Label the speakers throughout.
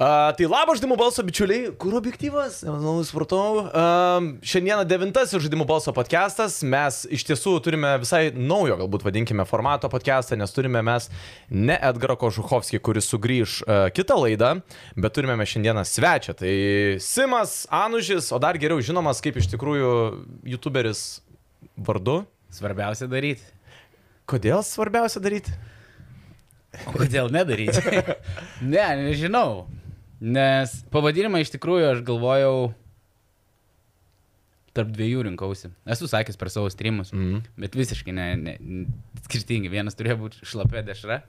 Speaker 1: A, tai labas žaidimų balso bičiuliai, kur objektyvas, nemanau, supratau. A, šiandieną devintasis žaidimų balso podcastas. Mes iš tiesų turime visai naujo, galbūt vadinkime, formato podcastą, nes turime mes ne Edgarą Kožuhovskį, kuris sugrįž a, kitą laidą, bet turime mes šiandieną svečią. Tai Simas Anužis, o dar geriau žinomas kaip iš tikrųjų YouTuberis vardu.
Speaker 2: Svarbiausia daryti.
Speaker 1: Kodėl svarbiausia daryti?
Speaker 2: O kodėl nedaryti? ne, nežinau. Nes pavadinimą iš tikrųjų aš galvojau tarp dviejų rinkausi. Esu sakęs per savo streamus, mm. bet visiškai ne, ne, n- skirtingi. Vienas turėjo būti šlapė dešra.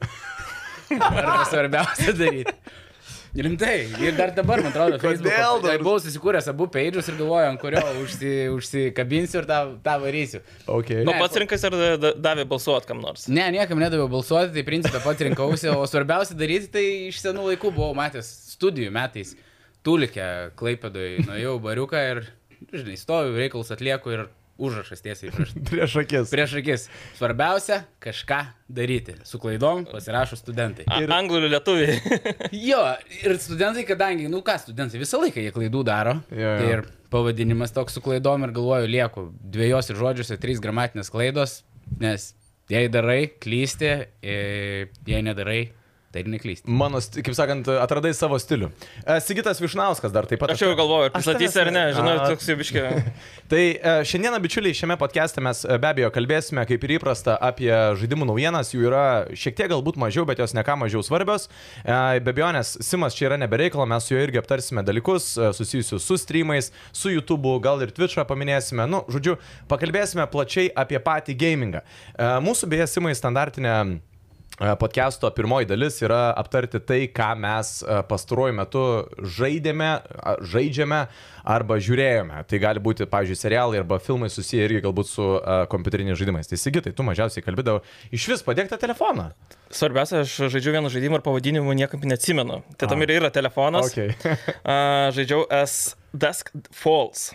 Speaker 2: Arba svarbiausia daryti. Rimtai, ir dar dabar, man atrodo,
Speaker 1: Kodėl
Speaker 2: Facebook'o-
Speaker 1: dabar?
Speaker 2: buvau susikūręs abu peidžus ir galvojau, ant kurio užsi, užsikabinsiu ir tą, tą varysiu.
Speaker 1: Okay.
Speaker 3: Nu,
Speaker 2: Ne,
Speaker 3: pats
Speaker 2: po-
Speaker 3: rinkas ar da- da- davė balsuot kam nors?
Speaker 2: Ne, niekam nedaviau balsuoti, tai principą pats rinkausi, o svarbiausia daryti, tai iš senų laikų buvau matęs studijų metais. Tulikė, Klaipėdoje, nuėjau į bariuką ir, žinai, stoviu, reikalus atlieku ir užrašas tiesiai prieš,
Speaker 1: Prieš akis.
Speaker 2: prieš akis. Svarbiausia - kažką daryti. Su klaidom pasirašo studentai.
Speaker 3: A,
Speaker 1: Ir-
Speaker 3: Anglų ir lietuviai.
Speaker 2: Jo, ir studentai, kadangi, nu ką, studentai visą laiką jie klaidų daro.
Speaker 1: Jo, jo.
Speaker 2: Tai ir pavadinimas toks su klaidom ir galvoju, lieku dviejose žodžiuose trys gramatinės klaidos, nes jei darai, klysti, e, jei nedarai, tai ir neklysti.
Speaker 1: Mano, sti- kaip sakant, atradai savo stilių. E, Sigitas Višnauskas dar taip pat.
Speaker 3: Aš jau galvoju, ar
Speaker 1: Aš tavęs-
Speaker 3: pristatysi ar ne, žinau,
Speaker 1: A.
Speaker 3: toks jau biškiai.
Speaker 1: Tai e, šiandieną, bičiuliai, šiame podcast'e mes e, be abejo kalbėsime, kaip ir įprasta, apie žaidimų naujienas. Jų yra šiek tiek galbūt mažiau, bet jos neką mažiau svarbios. E, Be abejonės, Simas čia yra nebereikalo, mes su juo irgi aptarsime dalykus e, susijusius su streamais, su YouTube'u, gal ir Twitch'ą paminėsime. Nu, žodžiu, pakalbėsime plačiai apie patį gamingą. E, Mūsų beje, Simai standartinė E, Podcast'o pirmoji dalis yra aptarti tai, ką mes e, pastaruoju metu žaidėme, a, žaidžiame arba žiūrėjome. Tai gali būti, pavyzdžiui, serialai arba filmai susiję irgi galbūt su e, kompiuteriniais žaidimais. Tai Sigitai, tu mažiausiai kalbėdavai iš vis padėktą telefoną.
Speaker 3: Svarbiausia, aš žaidžiu vieną žaidimą ir pavadinimų niekam neatsimenu. Tai tam
Speaker 1: A.
Speaker 3: ir yra telefonas.
Speaker 1: Okay.
Speaker 3: A, Žaidžiau S Dusk Falls.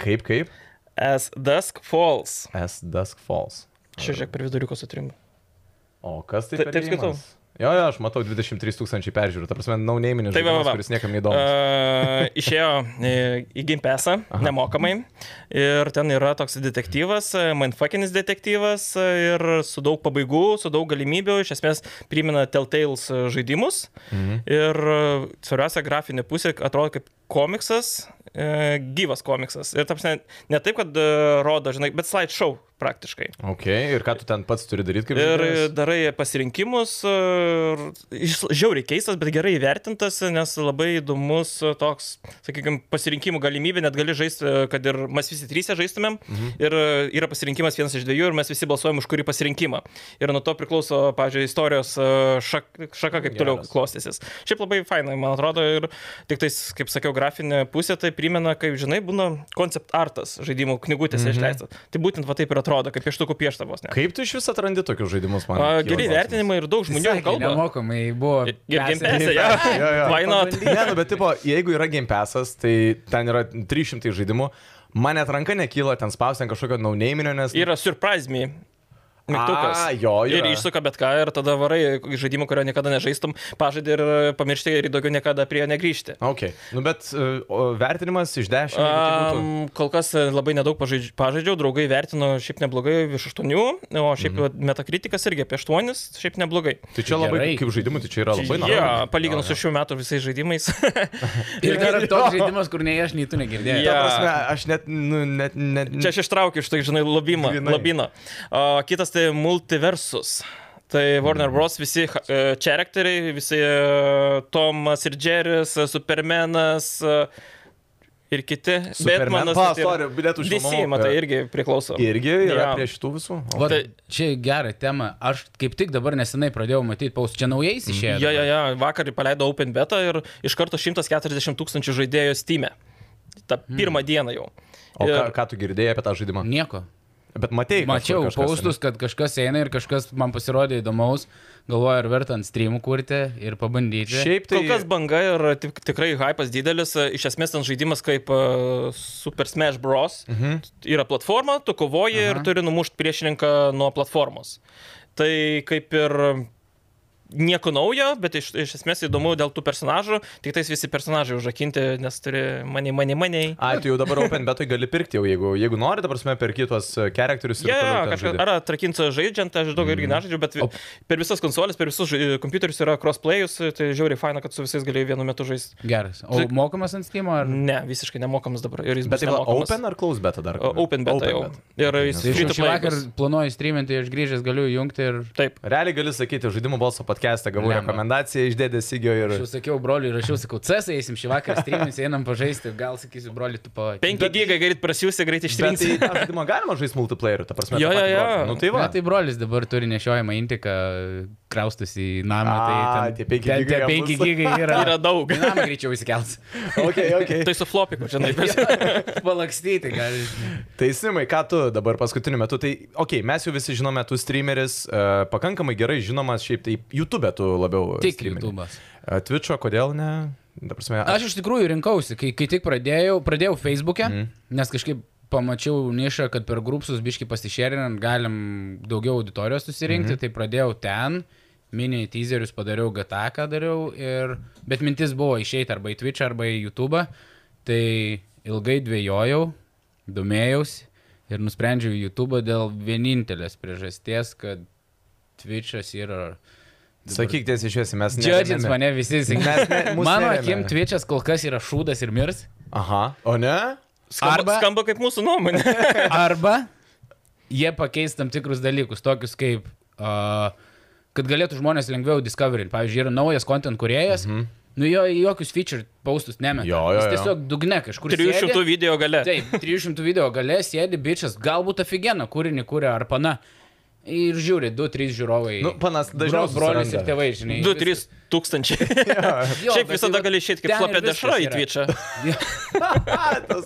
Speaker 1: kaip, kaip?
Speaker 3: S Dusk Falls.
Speaker 1: S Dusk Falls.
Speaker 3: Čia žiūrėk per viduriuką sutrimu.
Speaker 1: O kas tai?
Speaker 3: Ta- taip skaitau.
Speaker 1: perėjimas? Jo, jo, aš matau 23 tūkstančiai peržiūrų. Ta prasme, naunėminis
Speaker 3: Taip, Tai va, va,
Speaker 1: žaidimas,
Speaker 3: va.
Speaker 1: kuris niekam neįdomus.
Speaker 3: Uh, išėjo į, į Game Passą nemokamai ir ten yra toks detektyvas, e, mindfuckinis detektyvas e, ir su daug pabaigų, su daug galimybių, iš esmės primena Telltales e, žaidimus mhm. ir e, svarbiausia grafinė pusė atrodo kaip komiksas, e, gyvas komiksas. Ir taps ne, ne taip, kad e, rodo, žinai, bet slideshow praktiškai.
Speaker 1: Ok, ir ką tu ten pats turi daryti kaip
Speaker 3: Ir
Speaker 1: žaidėjas?
Speaker 3: darai pasirinkimus, e, ir jis žiauriai keistas, bet gerai įvertintas, nes labai įdomus e, toks, sakykime, pasirinkimų galimybė, net gali žaisti, kad ir mes visi trysę žaistumėm, mhm. ir yra pasirinkimas vienas iš dviejų, ir mes visi balsuojam už kurį pasirinkimą. Ir nuo to priklauso, pavyzdžiui, istorijos e, šak, šaka, kaip Geras. toliau
Speaker 1: Geras.
Speaker 3: klostysis. Šiaip labai fainai, man atrodo, ir tik tais, kaip sakiau, grafinė pusė tai primena, kaip žinai, būna koncept artas žaidimų knygutėse mhm. išleistas. Tai būtent va taip ir atrodo, kaip pieštukų pieštavos.
Speaker 1: Kaip tu iš vis atrandi tokius žaidimus, man?
Speaker 3: A,
Speaker 1: kyla
Speaker 3: Geri
Speaker 1: klausimas.
Speaker 3: vertinimai ir daug žmonių
Speaker 2: Sakė,
Speaker 3: kalba.
Speaker 2: Nemokamai buvo.
Speaker 3: Gimpesė,
Speaker 2: persi-
Speaker 3: ja.
Speaker 1: Jo, jo.
Speaker 3: Why not?
Speaker 2: Pabandyk.
Speaker 1: Ne, nu, bet tipo, jeigu yra Game Passas, tai ten yra 300 žaidimų, man net ranka nekyla ten spausti ant kažkokio naunėminio, nes...
Speaker 3: Yra surprise me. Mygtukas.
Speaker 1: A, jo,
Speaker 3: ir
Speaker 1: yra.
Speaker 3: išsuka bet ką ir tada varai į žaidimą, kurio niekada nežaistum, pažadai ir pamiršti ir daugiau niekada prie jo negrįžti.
Speaker 1: Ok, nu bet e, o vertinimas iš 10. Um,
Speaker 3: Um, kol kas e, labai nedaug pažaidž- pažaidžiau, draugai vertino šiaip neblogai iš 8, o šiaip mm
Speaker 1: Mhm.
Speaker 3: -hmm. metakritikas irgi apie 8, šiaip neblogai.
Speaker 1: tai čia labai,
Speaker 2: gerai.
Speaker 1: kaip žaidimų, tai čia yra labai
Speaker 3: Jie, yeah, palyginus su šių metų visais žaidimais.
Speaker 2: Ir tai yra toks žaidimas, kur nei aš, nei tu negirdėjai.
Speaker 3: Jo.
Speaker 1: Ta prasme, aš net, nu, net, net,
Speaker 3: Čia aš ištraukiu iš tai, žinai, lobimą.
Speaker 1: Grynai.
Speaker 3: Lobino. O, kitas tai multiversus. Tai Warner Bros. visi charakteriai, visi e, Tomas ir Jerris, e, Supermanas e, ir kiti.
Speaker 1: Superman-
Speaker 3: Batmanas.
Speaker 1: Pa,
Speaker 3: tai
Speaker 1: sorry, bilietų už
Speaker 3: DC,
Speaker 1: nuomą.
Speaker 3: matai, irgi priklauso.
Speaker 1: irgi yra
Speaker 3: Jo.
Speaker 1: prie šitų visų. O,
Speaker 2: Va,
Speaker 3: Tai-
Speaker 2: čia gera tema. Aš kaip tik dabar nesenai pradėjau matyti paus, čia naujais išėjo.
Speaker 3: Mhm. Jo, jo, jo, vakar paleido Open Beta ir iš karto 140 tūkstančių žaidėjų Steam. e. Ta pirmą dieną jau.
Speaker 1: Hmm. o ką,
Speaker 3: Ir-
Speaker 1: ką tu girdėjai apie tą žaidimą?
Speaker 2: Nieko.
Speaker 1: Bet matėjai.
Speaker 2: Mačiau
Speaker 1: kažkur kažkas,
Speaker 2: paustus, kad kažkas eina ir kažkas man pasirodė įdomaus, galvoju, ar verta ant streamų kurti ir pabandyti.
Speaker 1: ne? Šiaip tai...
Speaker 3: Kol kas banga ir tik, tikrai hypas didelis. Iš esmės ten žaidimas kaip uh, Super Smash Bros. Mhm. Yra platforma, tu
Speaker 1: Mhm.
Speaker 3: kovoji Aha. ir turi numušti priešininką nuo platformos. Tai kaip ir nieko naujo, bet iš, iš esmės įdomu dėl tų personažų, tik tais visi personažai užrakinti, nes turi mane, mane, mane.
Speaker 1: Ai, tu jau dabar Open Betui gali pirkti jau, jeigu, jeigu nori, dabar mes perki tuos charakterius ir
Speaker 3: Jo, jo,
Speaker 1: toliau ten Mhm.
Speaker 3: kažkas,
Speaker 1: žaidi.
Speaker 3: ar atrakinsiu žaidžiant, aš daug irgi nežaidžiu, bet vi-
Speaker 2: O-
Speaker 3: per visas konsolės, per visus žai- kompiuterius yra crossplayus, tai žiauriai faina, kad su visais gali vienu metu žaisti.
Speaker 2: Geras. O
Speaker 3: Zik-
Speaker 2: mokamas ant Steam
Speaker 1: Mm.
Speaker 2: ar...
Speaker 3: Ne, visiškai nemokamas dabar ir jis
Speaker 1: Bet
Speaker 3: bus
Speaker 1: tai va,
Speaker 3: nemokamas.
Speaker 1: Open ar Close Beta dar?
Speaker 3: O, Open beta jau. Ir jis
Speaker 1: nes-
Speaker 2: Tai
Speaker 3: free
Speaker 2: šį
Speaker 3: to
Speaker 2: šį
Speaker 3: play
Speaker 2: vakar
Speaker 3: bus.
Speaker 2: planuoju streaminti, tai aš grįžęs galiu jungti ir...
Speaker 3: Taip.
Speaker 1: Realiai gali sakyti, žaidimų balso podcast'ą gavau
Speaker 2: Blemba.
Speaker 1: rekomendaciją iš dėdės Sigio ir...
Speaker 2: Aš jau sakiau, broliui, rašiau, sakau, CS eisim šį vakarą streaminti, einam pažaisti, gal sakysiu, broliui, tu po...
Speaker 3: 5 gigai greit prasiūsi, greit
Speaker 1: Bet tai
Speaker 3: ištrinsi.
Speaker 1: tą žaidimą galima žaisti multiplayeriu, ta prasme.
Speaker 3: Jo,
Speaker 1: tą patį
Speaker 3: jo, jo.
Speaker 1: brolį. Nu tai va.
Speaker 2: Na, tai brolis dabar turi nešiojamą intiką, kraustusi į namą,
Speaker 1: A,
Speaker 2: tai
Speaker 1: tie penki
Speaker 2: ten
Speaker 1: gigai
Speaker 2: tie
Speaker 1: jam
Speaker 2: 5
Speaker 1: bus.
Speaker 2: gigai yra.
Speaker 3: Yra daug.
Speaker 2: Į namą greičiau įsikels.
Speaker 1: Okay, okay.
Speaker 3: Tai su flopiku, žinai, bet
Speaker 2: Palakstyti gali. žinai.
Speaker 1: Tai Simai, ką tu dabar paskutiniu metu, tai, okei, okay, mes jau visi žinome, tu streameris, uh, pakankamai gerai žinomas, šiaip tai YouTube tu labiau.
Speaker 2: Tik
Speaker 1: streamini.
Speaker 2: YouTube'as.
Speaker 1: Uh, Twitch'o, kodėl ne? Ta Prasme,
Speaker 2: Aš iš tikrųjų rinkausi, kai, kai tik pradėjau, pradėjau Facebook'e, mm. nes kažkaip pamačiau nišą, kad per grupsus biški pasišerinant galim daugiau auditorijos susirinkti, mm. tai pradėjau ten, mini teaserius padariau, GTA ką dariau, ir, bet mintis buvo išeiti arba į Twitch, arba į YouTube, tai ilgai dvėjojau, domėjausi ir nusprendžiau į YouTube dėl vienintelės priežasties, kad Twitch'as yra...
Speaker 1: Sakyk tiesiai išviesi, mes ne.
Speaker 2: Džiadžins mane visi,
Speaker 1: Mes
Speaker 2: sakykime.
Speaker 1: ne- mus
Speaker 2: Mano
Speaker 1: neremia.
Speaker 2: akim, Twitch'as kol kas yra šūdas ir mirs.
Speaker 1: Aha, o ne?
Speaker 3: skamba,
Speaker 2: Arba-
Speaker 3: Arba... skamba kaip mūsų nuomonė.
Speaker 2: Arba jie pakeis tam tikrus dalykus, tokius kaip, uh, kad galėtų žmonės lengviau discoverint. Pavyzdžiui, yra naujas content kuriejas, mm -hmm. nu jo į jokius feature paustus nemeta.
Speaker 1: Mhm. Jo, jo,
Speaker 2: Jis
Speaker 1: jo.
Speaker 2: tiesiog dugne kažkur.
Speaker 3: 300
Speaker 2: sėdi.
Speaker 3: video gale.
Speaker 2: Taip, 300 video gale sėdi bičias, galbūt aфиgeną kūrinį kūrė ar pana. Ir žiūri, 2-3 žiūrovai.
Speaker 1: Nu, panas dažniau
Speaker 2: Bro- brolis ir
Speaker 1: susiranda.
Speaker 2: tėvai, žinai.
Speaker 3: 2-3 tūkstančiai.
Speaker 2: Jo,
Speaker 3: Šiaip
Speaker 2: bet
Speaker 3: visada
Speaker 2: tai va
Speaker 3: gali išėti
Speaker 2: ten
Speaker 3: kaip
Speaker 2: ir
Speaker 3: flopė dešra
Speaker 2: viskas
Speaker 3: į
Speaker 2: yra.
Speaker 3: Twitch'ą.
Speaker 1: A, tas...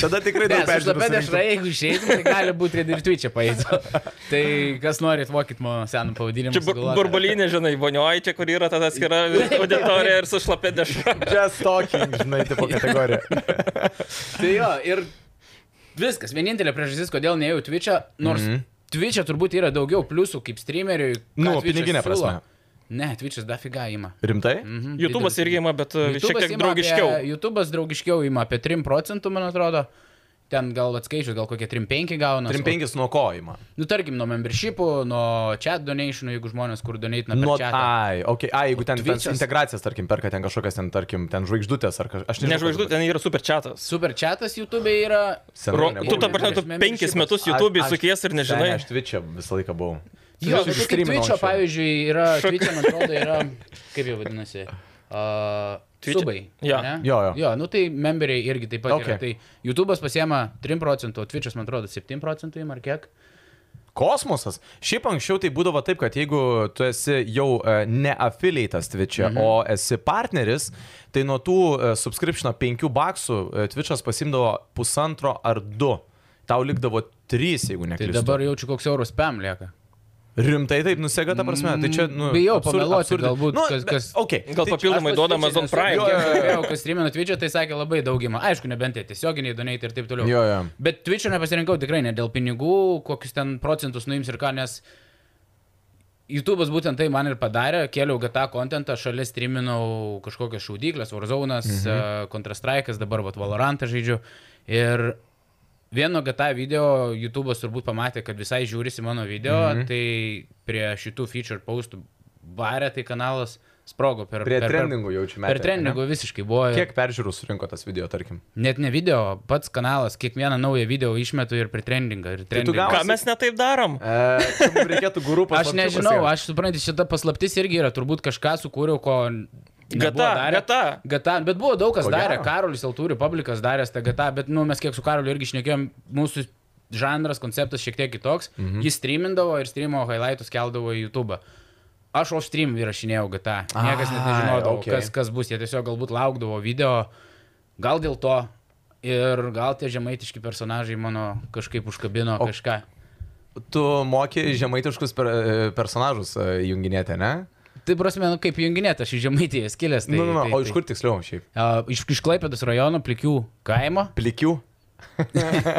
Speaker 1: Tada tikrai daug
Speaker 2: Ne, aš
Speaker 1: peržiūrų
Speaker 2: labai
Speaker 1: surinktum.
Speaker 2: dešrai, jeigu išeitum, tai gali būti ir Twitch'e paėtų. tai kas norit, mokyt mano seną pavadinimą.
Speaker 3: Čia bur- burbulinė, žinai, vonioji čia, kur yra ta atskira auditorija ir su šlapė dešra.
Speaker 1: Just talking, žinai, tipo kategorija.
Speaker 2: Tai jo, ir viskas. Vienintelė priežastis, kodėl neėjau į Twitch'ą, nors mm -hmm. Twitch'e turbūt yra daugiau pliusų kaip streameriui. ką
Speaker 1: Mhm. Nu,
Speaker 2: Twitch'as
Speaker 1: pinigine
Speaker 2: siūlo.
Speaker 1: prasme.
Speaker 2: Ne, Twitch'as dafiga ima.
Speaker 1: Rimtai?
Speaker 2: Mhm,
Speaker 3: YouTube'as
Speaker 2: didelis.
Speaker 3: irgi ima, bet uh, šiek
Speaker 2: YouTube'as
Speaker 3: tiek
Speaker 2: ima
Speaker 3: draugiškiau.
Speaker 2: Apie, YouTube'as draugiškiau ima apie 3 procentų, man atrodo. Ten gal atskaičiu, gal kokie 3-5 gauna.
Speaker 1: Trim penkis nuo kojimą.
Speaker 2: Nu, tarkim, nuo membershipų, nuo chat donationų, jeigu žmonės kur donatina per
Speaker 1: Nuo...
Speaker 2: chatą.
Speaker 1: Ai, okay. ai, jeigu ten, ten
Speaker 2: Twitch'as-
Speaker 1: integracijas, tarkim, perka ten kažkokias, ten, tarkim, ten žvaigždutės ar kažkas.
Speaker 3: Ne žvaigždų, ten yra super chatas.
Speaker 2: Super chatas YouTube yra.
Speaker 3: Ro, tu tą prasme, tu
Speaker 2: Prieš
Speaker 3: penkis
Speaker 2: membership'ą.
Speaker 3: metus
Speaker 1: Aš-
Speaker 3: YouTube'į
Speaker 1: aš-
Speaker 3: sukies ir nežinai.
Speaker 1: Ne, aš Twitch'e visą laiką buvau.
Speaker 2: Jo,
Speaker 1: Aš
Speaker 2: bet tai kaip
Speaker 1: išstryminau
Speaker 2: Twitch'o,
Speaker 1: anksčiau.
Speaker 2: pavyzdžiui, yra. Twitch'e, man atrodo, yra. Kaip jau vadinasi? Uh,
Speaker 3: Twitch'e?
Speaker 2: Twitch'ai.
Speaker 3: Jo.
Speaker 1: Jo, jo.
Speaker 2: jo, nu tai memberiai irgi taip pat. Okay.
Speaker 1: Okay.
Speaker 2: Yra. Tai YouTube'as pasiema 3 procentų, o Twitch'as, man atrodo, 7 procentų įmar kiek.
Speaker 1: Kosmosas. Šiaip anksčiau tai būdavo taip, kad jeigu tu esi jau e, ne afiliatas Twitch'e, mhm. o esi partneris, tai nuo tų e, subscription'o 5 baksų e, Twitch'as pasimdavo pusantro ar 2. Tau likdavo 3, jeigu
Speaker 2: Tai
Speaker 1: neklystu.
Speaker 2: dabar jaučiu, koks eurus pam lieka.
Speaker 1: Rimtai taip nusega, ta prasme, tai čia, nu...
Speaker 2: Bijau pameluoti galbūt, kas- kas-
Speaker 1: Okay.
Speaker 3: Gal papildomai duoda Amazon Prime.
Speaker 1: Jo, jo,
Speaker 2: Kiek
Speaker 1: jo.
Speaker 2: kalbėjau, kas streamino Twitch'ą, tai sakė labai daugimą. Aišku, nebent tie tiesioginiai donate ir taip toliau.
Speaker 1: Jo, jo.
Speaker 2: Bet Twitch'o nepasirinkau tikrai ne dėl pinigų, kokius ten procentus nuims ir ką, nes YouTube'as būtent tai man ir padarė, kėliau GTA kontentą, šalia streaminau kažkokias šaudyklės, Warzone'as, mhm. Counter-Strike'as, dabar vat, Valorantą žaidžiu. Ir vieno GTA video YouTube'as turbūt pamatė, kad visai žiūrisi mano video, mhm. tai prie šitų feature postų varė tai kanalas sprogo per...
Speaker 1: Prie
Speaker 2: per,
Speaker 1: trendingų jaučiu
Speaker 2: Per, per trendingų visiškai buvo. ir-
Speaker 1: Kiek peržiūrų surinko tas video, tarkim?
Speaker 2: Net ne video, pats kanalas, kiekvieną naują video išmetu ir pritrendingą.
Speaker 1: Tai
Speaker 2: Ir
Speaker 1: tu
Speaker 2: trendingą.
Speaker 1: gauni-
Speaker 3: Ką mes netaip darom?
Speaker 1: E, čia mum reikėtų gurų
Speaker 2: Aš
Speaker 1: paslapčių
Speaker 2: nežinau,
Speaker 1: pasigaut.
Speaker 2: aš suprantu, šita paslaptis irgi yra, turbūt kažką sukūriau, ko... nebuvo
Speaker 3: Gata,
Speaker 2: darę.
Speaker 3: gata.
Speaker 2: Gata, bet buvo daug kas
Speaker 1: Ko
Speaker 2: ko darė,
Speaker 1: gero.
Speaker 2: Karolis Altūrių, publikas darė tą gata, bet nu, mes kiek su Karoliu irgi šnekėjom, mūsų žanras, konceptas šiek tiek kitoks, mhm. jis streamindavo ir streamo highlightus keldavo į YouTube. Aš off stream įrašinėjau gata, niekas net
Speaker 1: Ai,
Speaker 2: nežinodavo,
Speaker 1: okei.
Speaker 2: okay. kas, kas bus, jie tiesiog galbūt laukdavo video, gal dėl to. Ir gal tie žemaitiški personažai mano kažkaip užkabino o, kažką.
Speaker 1: Tu moki žemaitiškus per, e, personažus e, junginėti, ne?
Speaker 2: Tai prasme, nu, kaip junginėt, aš iš žemaitės kilęs. Tai,
Speaker 1: nu, nu, nu,
Speaker 2: tai,
Speaker 1: o iš kur tiksliau šiaip?
Speaker 2: A, Iš, iš Klaipėdos rajono plikių kaimo.
Speaker 1: Plikių?